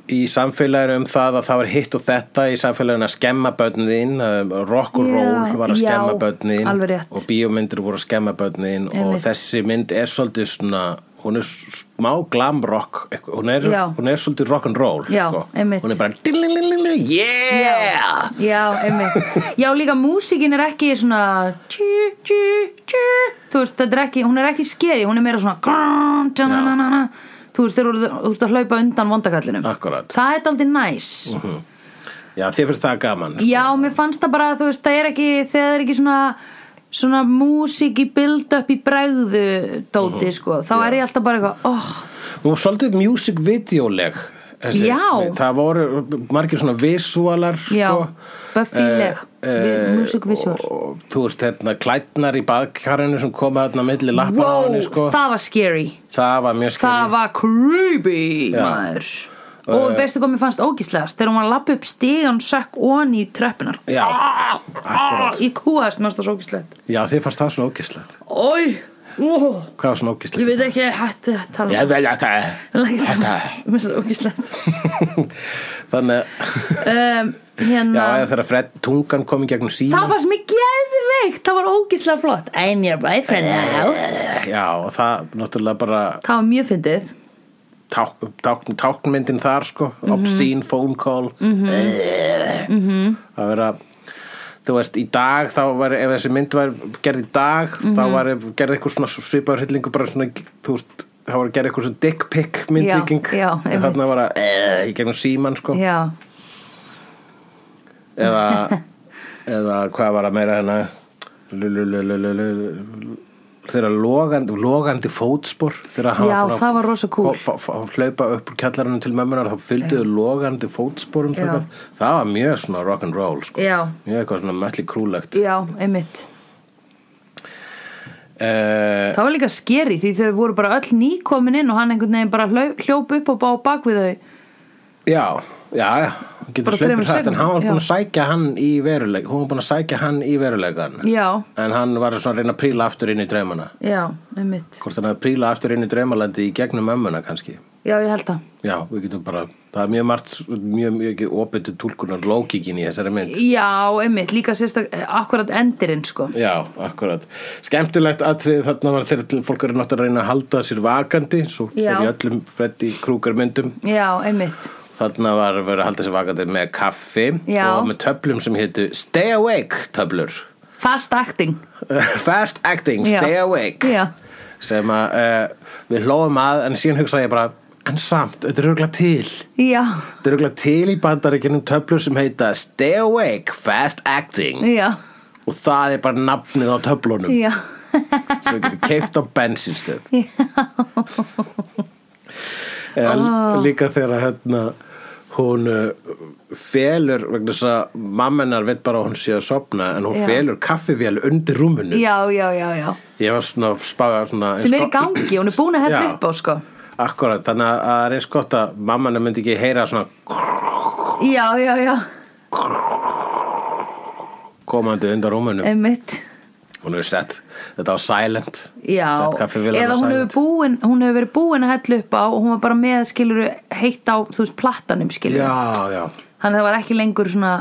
[SPEAKER 1] í samfélaginu um það að það var hitt og þetta í samfélaginu að skemma börnin þín, eh, rock and
[SPEAKER 2] Já,
[SPEAKER 1] roll var að
[SPEAKER 2] já,
[SPEAKER 1] skemma börnin þín
[SPEAKER 2] alveg rétt.
[SPEAKER 1] og bíómyndir voru að skemma börnin þín og
[SPEAKER 2] Einmitt.
[SPEAKER 1] þessi mynd er svolítið svona hún er smá glam rock eitthvað- hún er,
[SPEAKER 2] Já.
[SPEAKER 1] hún er svolítið rock and roll
[SPEAKER 2] Já,
[SPEAKER 1] sko.
[SPEAKER 2] einmitt.
[SPEAKER 1] hún er bara dilililililu, yeah
[SPEAKER 2] Já, einmitt Já, líka músíkin er ekki svona tjú, tjú, tjú. Þú veist, þetta er ekki, hún er ekki skeri Hún er meira svona grrrn, tjananana. Þú þú veist, þeir eru þú ert að hlaupa undan vondakallinum
[SPEAKER 1] Akkurat.
[SPEAKER 2] það er aldrei næs
[SPEAKER 1] Já, þið finnst það gaman.
[SPEAKER 2] já, mér fannst það bara, þú veist, það er ekki þegar það er ekki svona svona músík í build-up í bregðu dóti,
[SPEAKER 1] Mhm.
[SPEAKER 2] sko, þá er ég alltaf bara eitthvað, oh,
[SPEAKER 1] Þú var svolítið music videoleg. þessi-
[SPEAKER 2] Já.
[SPEAKER 1] Það voru margir svona visualar.
[SPEAKER 2] já
[SPEAKER 1] Sko. eh,
[SPEAKER 2] Buffy-leg, uh, músikvisual
[SPEAKER 1] og, og, þú veist, hérna, klætnar í baðkarinu sem koma þarna milli lappar á
[SPEAKER 2] wow,
[SPEAKER 1] henni, sko.
[SPEAKER 2] það var scary
[SPEAKER 1] það var mjög skrið.
[SPEAKER 2] það var creepy
[SPEAKER 1] Já.
[SPEAKER 2] maður og eh, veistu hvað mér fannst ógíslegast þegar hún var að lappa upp stígan sökk on í tröppunar
[SPEAKER 1] Já, akkurat.
[SPEAKER 2] í kúast mér fannst það svo ógíslegt
[SPEAKER 1] Já, þið fannst það svona ógislegt.
[SPEAKER 2] oi, ó,
[SPEAKER 1] Hvað var svona
[SPEAKER 2] ég
[SPEAKER 1] ógislegt?
[SPEAKER 2] veit ekki að hættu að tala um
[SPEAKER 1] Ég vel ekki.
[SPEAKER 2] Like- mér finnst það ógíslegt
[SPEAKER 1] Þannig, já,
[SPEAKER 2] um, hérna
[SPEAKER 1] eða þegar Fred tungan kom í gegnum síma.
[SPEAKER 2] það fannst mér geðveikt það var ógíslega flott I'm your boyfriend now
[SPEAKER 1] Já, og það náttúrulega bara
[SPEAKER 2] það var mjög fyndið
[SPEAKER 1] tákn, tákn, táknmyndin þar sko
[SPEAKER 2] Mhm.
[SPEAKER 1] obscene phone call mm
[SPEAKER 2] Mhm.
[SPEAKER 1] -hmm. að vera þú veist, í dag þá var ef þessi mynd var gerð í dag þá
[SPEAKER 2] Mhm.
[SPEAKER 1] var gerð eitthvað svona svipaður hillingu bara svona, þú veist, þá var gerð eitthvað svona dick pic myndlíking
[SPEAKER 2] Já, já,
[SPEAKER 1] En þarna
[SPEAKER 2] einmitt.
[SPEAKER 1] var að, eh, í gegnum síman sko
[SPEAKER 2] já,
[SPEAKER 1] eða, eða hvað var að meira hérna lulululululul þeirra logandi, logandi fótspor þeirra hann
[SPEAKER 2] Já,
[SPEAKER 1] var búinn að
[SPEAKER 2] það var rosa kúl.
[SPEAKER 1] fá- fá- fá- hlaupa upp úr kjallarinu til mömmunar þá fylgdu þau logandi fótsporum
[SPEAKER 2] Já.
[SPEAKER 1] það, það var mjög svona rock'n'roll sko.
[SPEAKER 2] já,
[SPEAKER 1] mjög eitthvað svona mölli krúlegt
[SPEAKER 2] já, einmitt
[SPEAKER 1] eh,
[SPEAKER 2] Það var líka skeri því þau voru bara öll nýkomin inn og hann einhvern veginn bara hlau- hljóp upp og bá bak við þau.
[SPEAKER 1] já, já, já hann
[SPEAKER 2] Bara
[SPEAKER 1] getur
[SPEAKER 2] þremur
[SPEAKER 1] hlaupið hrætt en
[SPEAKER 2] sekúndum,
[SPEAKER 1] hann var búin
[SPEAKER 2] já.
[SPEAKER 1] að sækja hann í veruleik hún var búin að sækja hann í veruleikan
[SPEAKER 2] Já,
[SPEAKER 1] en hann var svona að reyna að príla aftur inn í draumana
[SPEAKER 2] já, einmitt.
[SPEAKER 1] hvort hann að príla aftur inn í draumalandi í gegnum mömmuna kannski
[SPEAKER 2] Já, ég held það.
[SPEAKER 1] Já, við getum bara, það er mjög margt, mjög, mjög opið til tólkunar lókikin í þessari mynd.
[SPEAKER 2] Já, einmitt, líka sérstak, akkurat endirinn sko.
[SPEAKER 1] Já, akkurat. Skemmtilegt atriði þarna var þegar til fólk eru náttúrulega að reyna að halda sér vakandi, svo
[SPEAKER 2] Já.
[SPEAKER 1] er í öllum Freddy Krueger myndum.
[SPEAKER 2] Já, einmitt.
[SPEAKER 1] Þarna var verið að halda sér vakandi með kaffi
[SPEAKER 2] Já.
[SPEAKER 1] og með töflum sem hétu Stay Awake töflur.
[SPEAKER 2] Fast acting.
[SPEAKER 1] Fast acting,
[SPEAKER 2] Já.
[SPEAKER 1] Stay Awake.
[SPEAKER 2] Já,
[SPEAKER 1] Sem að uh, við hlóðum að en síðan hugsaði ég bara, en samt, þetta er hugla til.
[SPEAKER 2] já,
[SPEAKER 1] Þetta er auðvitað til í bandaríkjunum töflur sem heita Stay Awake, Fast Acting
[SPEAKER 2] já,
[SPEAKER 1] og það er bara nafnið á töflunum
[SPEAKER 2] já.
[SPEAKER 1] sem við getum keift á bensinstöð Eða
[SPEAKER 2] Ah.
[SPEAKER 1] Líka þegar hérna, hún uh, felur vegna þess að mammenar veit bara að hún sé að sopna en hún
[SPEAKER 2] Já.
[SPEAKER 1] felur kaffivél undir rúminu
[SPEAKER 2] Já, já, já, já.
[SPEAKER 1] Ég var svona spáða svona,
[SPEAKER 2] Sem er í gangi, hún er búin að hella
[SPEAKER 1] Sko, Já.
[SPEAKER 2] upp á sko.
[SPEAKER 1] Akkurat, þannig að það er eins gott að mammanar myndi ekki heyra svona
[SPEAKER 2] Já, já, já,
[SPEAKER 1] komandi undir rúminu
[SPEAKER 2] einmitt.
[SPEAKER 1] Hún hefur sett þetta á silent
[SPEAKER 2] Já,
[SPEAKER 1] Sett kaffivélina
[SPEAKER 2] eða
[SPEAKER 1] á
[SPEAKER 2] hún hefur,
[SPEAKER 1] silent.
[SPEAKER 2] búin, hún hefur verið búin að hella upp á og hún var bara með skilur heitt á, þú veist, plattanum skilur
[SPEAKER 1] Já, já
[SPEAKER 2] þannig að það var ekki lengur svona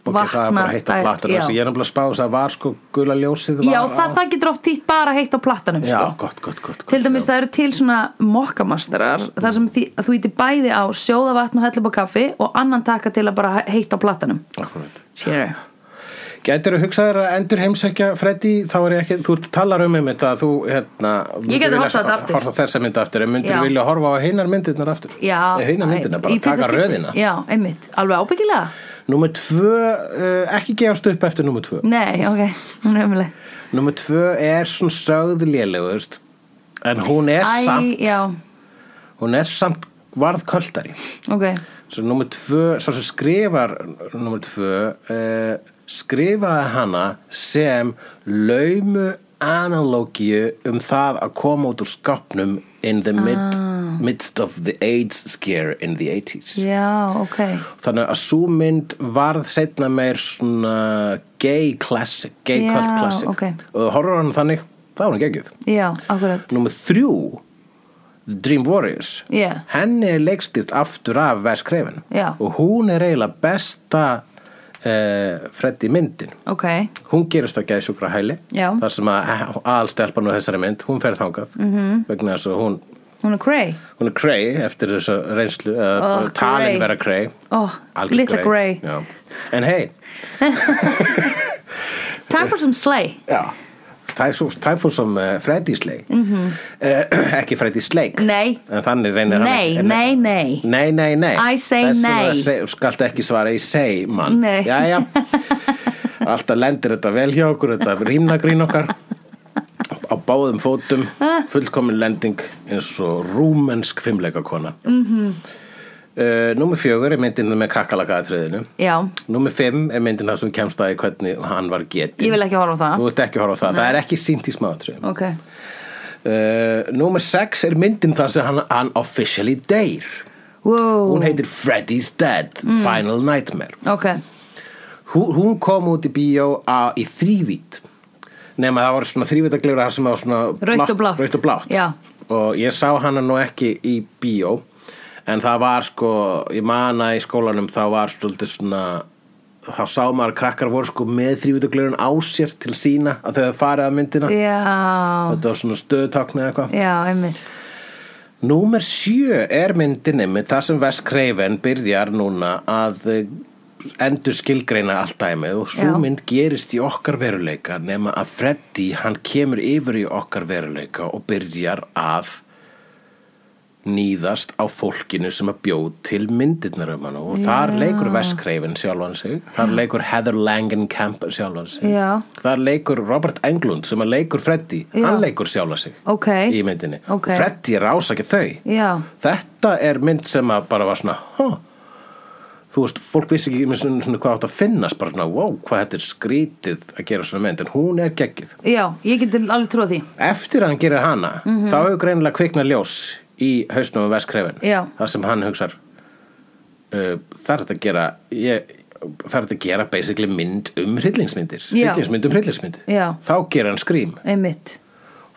[SPEAKER 1] Ok, það er
[SPEAKER 2] vatna
[SPEAKER 1] bara heitt á plattunum
[SPEAKER 2] já.
[SPEAKER 1] Þessi ég er nefnilega að spá þess að var sko gula ljósið var
[SPEAKER 2] já
[SPEAKER 1] á-
[SPEAKER 2] það, það getur oft þýtt bara heitt á plattanum
[SPEAKER 1] Já,
[SPEAKER 2] sko.
[SPEAKER 1] gott, gott, gott, gott
[SPEAKER 2] til dæmis það eru til svona mokkamastarar þar sem því, þú ítir bæði á sjóða vatn og hella upp á kaffi og annan taka til að bara heitt á plattanum
[SPEAKER 1] Akkurat
[SPEAKER 2] skilur
[SPEAKER 1] Gætir þú hugsað þér að endur heimsækja Freddy, þá er ég ekki, þú talar um einmitt að þú, hérna myndir
[SPEAKER 2] gæti
[SPEAKER 1] vilja
[SPEAKER 2] horft á þetta aftur.
[SPEAKER 1] horft á þessa mynd aftur, en myndir
[SPEAKER 2] Já.
[SPEAKER 1] vilja horfa á hinar myndirnar aftur
[SPEAKER 2] Já,
[SPEAKER 1] Nei, hinar myndirnar, bara
[SPEAKER 2] í fyrsta
[SPEAKER 1] taka
[SPEAKER 2] skipti.
[SPEAKER 1] röðina
[SPEAKER 2] Já, einmitt, alveg ábyggilega
[SPEAKER 1] Númer tvö, uh, ekki gefast upp eftir númer tvö
[SPEAKER 2] Nei, ok, hún er ömuleg
[SPEAKER 1] Númer tvö er svona sögð lélegust En hún er samt
[SPEAKER 2] já,
[SPEAKER 1] hún er samt varð kvöldari
[SPEAKER 2] ok
[SPEAKER 1] svo nummer tvö, svo sem skrifar nummer tvö eh, skrifaði hana sem laumu analogíu um það að koma út úr skapnum in the mid,
[SPEAKER 2] Ah.
[SPEAKER 1] midst of the AIDS scare in the 80s
[SPEAKER 2] Já, ok
[SPEAKER 1] þannig að svo mynd varð setna meir svona gay classic, gay
[SPEAKER 2] Já,
[SPEAKER 1] cult classic
[SPEAKER 2] ok.
[SPEAKER 1] og horfður hann þannig, þá er hann geggjuð
[SPEAKER 2] Já, akkurat
[SPEAKER 1] Númer þrjú The Dream Warriors
[SPEAKER 2] Já.
[SPEAKER 1] Henni er leikstift aftur af Wes Craven
[SPEAKER 2] Já.
[SPEAKER 1] Og hún er eiginlega besta uh, Freddy myndin
[SPEAKER 2] Ok,
[SPEAKER 1] Hún gerist að geða sjúkra hæli
[SPEAKER 2] Já.
[SPEAKER 1] Þar sem að aðalstelpan og þessari mynd Hún fer þangað mm
[SPEAKER 2] Mhm.
[SPEAKER 1] -hmm. Vegna þess að hún,
[SPEAKER 2] hún er grey
[SPEAKER 1] hún er Cray Eftir þessa reynslu uh,
[SPEAKER 2] Oh, Grey.
[SPEAKER 1] Talin vera Cray
[SPEAKER 2] Oh,
[SPEAKER 1] Algjör
[SPEAKER 2] little
[SPEAKER 1] Grey.
[SPEAKER 2] Grey.
[SPEAKER 1] Já. En hei
[SPEAKER 2] Time for some slay
[SPEAKER 1] Já það er svo það fór sem uh, Freddy Slay mm -hmm. ekki Freddy Slake
[SPEAKER 2] Mhm. Nei.
[SPEAKER 1] en þannig reynir
[SPEAKER 2] Nei,
[SPEAKER 1] hann
[SPEAKER 2] nei, nei.
[SPEAKER 1] Nei, nei, nei
[SPEAKER 2] I say
[SPEAKER 1] Þess
[SPEAKER 2] nei.
[SPEAKER 1] vegna seg- Skaltu ekki svara í seg, mann
[SPEAKER 2] Nei.
[SPEAKER 1] Jæja Alltaf lendir þetta vel hjá okkur Þetta rýmnagrín okkar Á báðum fótum Fullkomin lending eins og rúmensk fimmleikakona mm
[SPEAKER 2] Mhm.
[SPEAKER 1] -hmm. Númer fjögur er myndinu með kakalakaðatriðinu
[SPEAKER 2] Já,
[SPEAKER 1] Númer fimm er myndin það sem kemst að í hvernig hann var getinn.
[SPEAKER 2] ég vil ekki horfa á það
[SPEAKER 1] Þú ert ekki að horfa á það, það er ekki sínt í smáatröðum.
[SPEAKER 2] Ok,
[SPEAKER 1] Uh, númer sex er myndin þar sem hann, hann officially deyr.
[SPEAKER 2] wow
[SPEAKER 1] Hún heitir Freddy's Dead,
[SPEAKER 2] Mm.
[SPEAKER 1] Final Nightmare.
[SPEAKER 2] Ok,
[SPEAKER 1] Hún, hún kom út í bíó á, í þrývít. Nefn að það var svona þrývítaglera þar sem það var svona...
[SPEAKER 2] Rautt og blátt.
[SPEAKER 1] Rautt og blátt.
[SPEAKER 2] Já.
[SPEAKER 1] Og ég sá hana nú ekki í bíó, en það var sko, ég mana í skólanum, þá var svolítið svona þá sá maður að krakkar voru sko með þrývitaglurinn á sér til sína að þau hafa farið að myndina
[SPEAKER 2] já
[SPEAKER 1] þetta var svona stöðutakna eða eitthvað
[SPEAKER 2] Já, einmitt
[SPEAKER 1] Númer sjö er myndinni með það sem Wes Craven byrjar núna að eh, endur skilgreina allt dæmið og svo
[SPEAKER 2] Já.
[SPEAKER 1] mynd gerist í okkar veruleika nema að Freddy hann kemur yfir í okkar veruleika og byrjar að nýðast á fólkinu sem að bjóð til myndirnar um hann og þar leikur Wes Craven sjálfan sig þar leikur Heather Langenkamp sjálfan sig
[SPEAKER 2] Já.
[SPEAKER 1] þar leikur Robert Englund sem að leikur Freddy
[SPEAKER 2] Já.
[SPEAKER 1] hann leikur sjálfan sig
[SPEAKER 2] Ok.
[SPEAKER 1] í myndinni
[SPEAKER 2] Ok.
[SPEAKER 1] Freddy er ásakið þau
[SPEAKER 2] Já,
[SPEAKER 1] þetta er mynd sem að bara var svona huh. þú veist, fólk vissi ekki með svona, svona hvað átt að finnast bara svona, wow, hvað þetta er skrítið að gera svona mynd, en hún er geggið
[SPEAKER 2] já, ég geti alveg trúið því
[SPEAKER 1] eftir að hann gerir hana
[SPEAKER 2] Mhm.
[SPEAKER 1] þá hefur greinilega kvikna ljós í hausnum um veskrefin
[SPEAKER 2] Já.
[SPEAKER 1] þar sem hann hugsar uh, þar er þetta að gera ég, þar er þetta að gera basically mynd um hryllingsmyndir
[SPEAKER 2] Já.
[SPEAKER 1] hryllingsmynd um hryllingsmynd
[SPEAKER 2] Já.
[SPEAKER 1] þá gerir hann skrím
[SPEAKER 2] Einmitt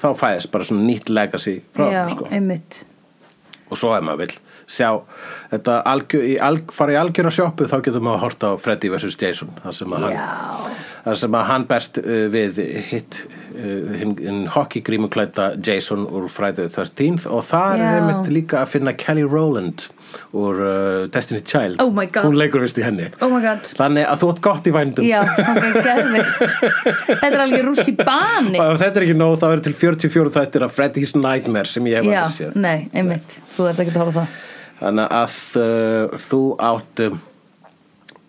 [SPEAKER 1] þá fæðist bara svona nýtt legacy frá
[SPEAKER 2] Já,
[SPEAKER 1] honum, sko.
[SPEAKER 2] einmitt
[SPEAKER 1] og svo ef maður vill sjá þetta algjör, í, alg, fara í algjöra sjoppu þá getur maður að horta á Freddy vs. Jason þar sem að, hann,
[SPEAKER 2] Já.
[SPEAKER 1] þar sem að hann berst uh, við hitt uh, hinn hin hokkigrímuklæta Jason úr Friday the 13th og þar
[SPEAKER 2] Já.
[SPEAKER 1] er einmitt líka að finna Kelly Rowland úr uh, Destiny Child
[SPEAKER 2] Oh my God.
[SPEAKER 1] hún leikur vist í henni
[SPEAKER 2] Oh my god
[SPEAKER 1] þannig að þú ert gott í vændum
[SPEAKER 2] Já, ok, geðvikt Þetta er alveg rússi bani
[SPEAKER 1] og ef þetta er ekki nóg þá er til 44 þættir af Freddy's Nightmare sem ég hef
[SPEAKER 2] Já, Mm.
[SPEAKER 1] aldrei séð
[SPEAKER 2] nei, einmitt Þú ert ekki að horfa á það
[SPEAKER 1] þannig að uh, þú átt um,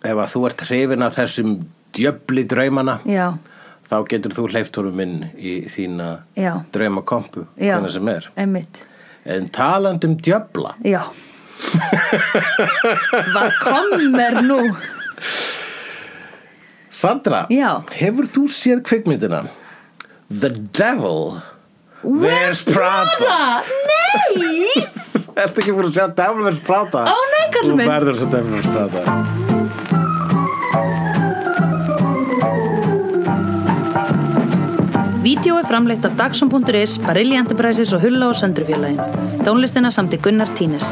[SPEAKER 1] ef að þú ert hrifin að þessum djöfli draumana
[SPEAKER 2] Já,
[SPEAKER 1] þá getur þú hleyft honum inn í þína
[SPEAKER 2] Já.
[SPEAKER 1] draumakompu
[SPEAKER 2] já
[SPEAKER 1] hvernig sem er
[SPEAKER 2] Einmitt
[SPEAKER 1] en talandi um djöfla
[SPEAKER 2] Já Hvað kommer nú?
[SPEAKER 1] Sandra,
[SPEAKER 2] Já.
[SPEAKER 1] hefur þú séð kvikmyndina The Devil Where's Prada?
[SPEAKER 2] Prada? Nei!
[SPEAKER 1] Ertu ekki búin að sjá Devil Wears Prada?
[SPEAKER 2] Ó, nei, kallinn minn.
[SPEAKER 1] Þú verður svo Devil Wears Prada
[SPEAKER 2] Vídeó er framleitt af Dagsum.is, Barilli Enterprises og Hulla og Söndrufjörlægin. Tónlistina samt í Gunnar Tínes.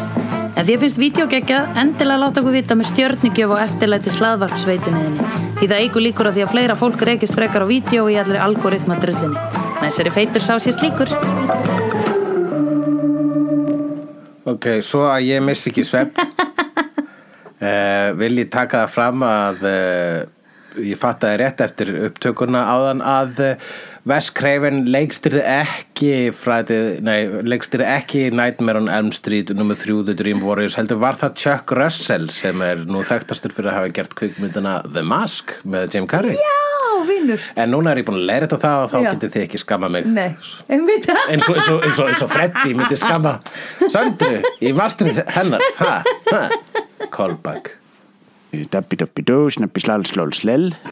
[SPEAKER 2] Ef því að finnst vídeo geggja, endilega láta okkur vita með stjörnugjöf og eftirlæti slaðvarpsveituninni. Því það eigur líkur að því að fleira fólk reykist frekar á vídeo í allri algoritma drullinni. Næsari feitur sá sér slíkur.
[SPEAKER 1] Ok, svo að ég missi ekki svepp uh, vil ég taka það fram að uh, ég fattaði rétt eftir upptökuna áðan að uh, Wes Craven leikstyrði ekki fræði, nei, leikstyrði ekki Nightmare on Elm Street nummer 3 The Dream Warriors, heldur var það Chuck Russell sem er nú þekktastur fyrir að hafa gert kvikmyndina The Mask með Jim Carrey
[SPEAKER 2] Já, vinnur.
[SPEAKER 1] en núna er ég búin að leira þetta það og þá
[SPEAKER 2] Já.
[SPEAKER 1] getið þið ekki skamma mig
[SPEAKER 2] Nei, einmitt það.
[SPEAKER 1] eins og, eins og, eins og, eins og Freddy myndi skamma Söndru í martrið hennar ha, ha, callback
[SPEAKER 3] Dabbi dabbi dó, snabbi slal slól slel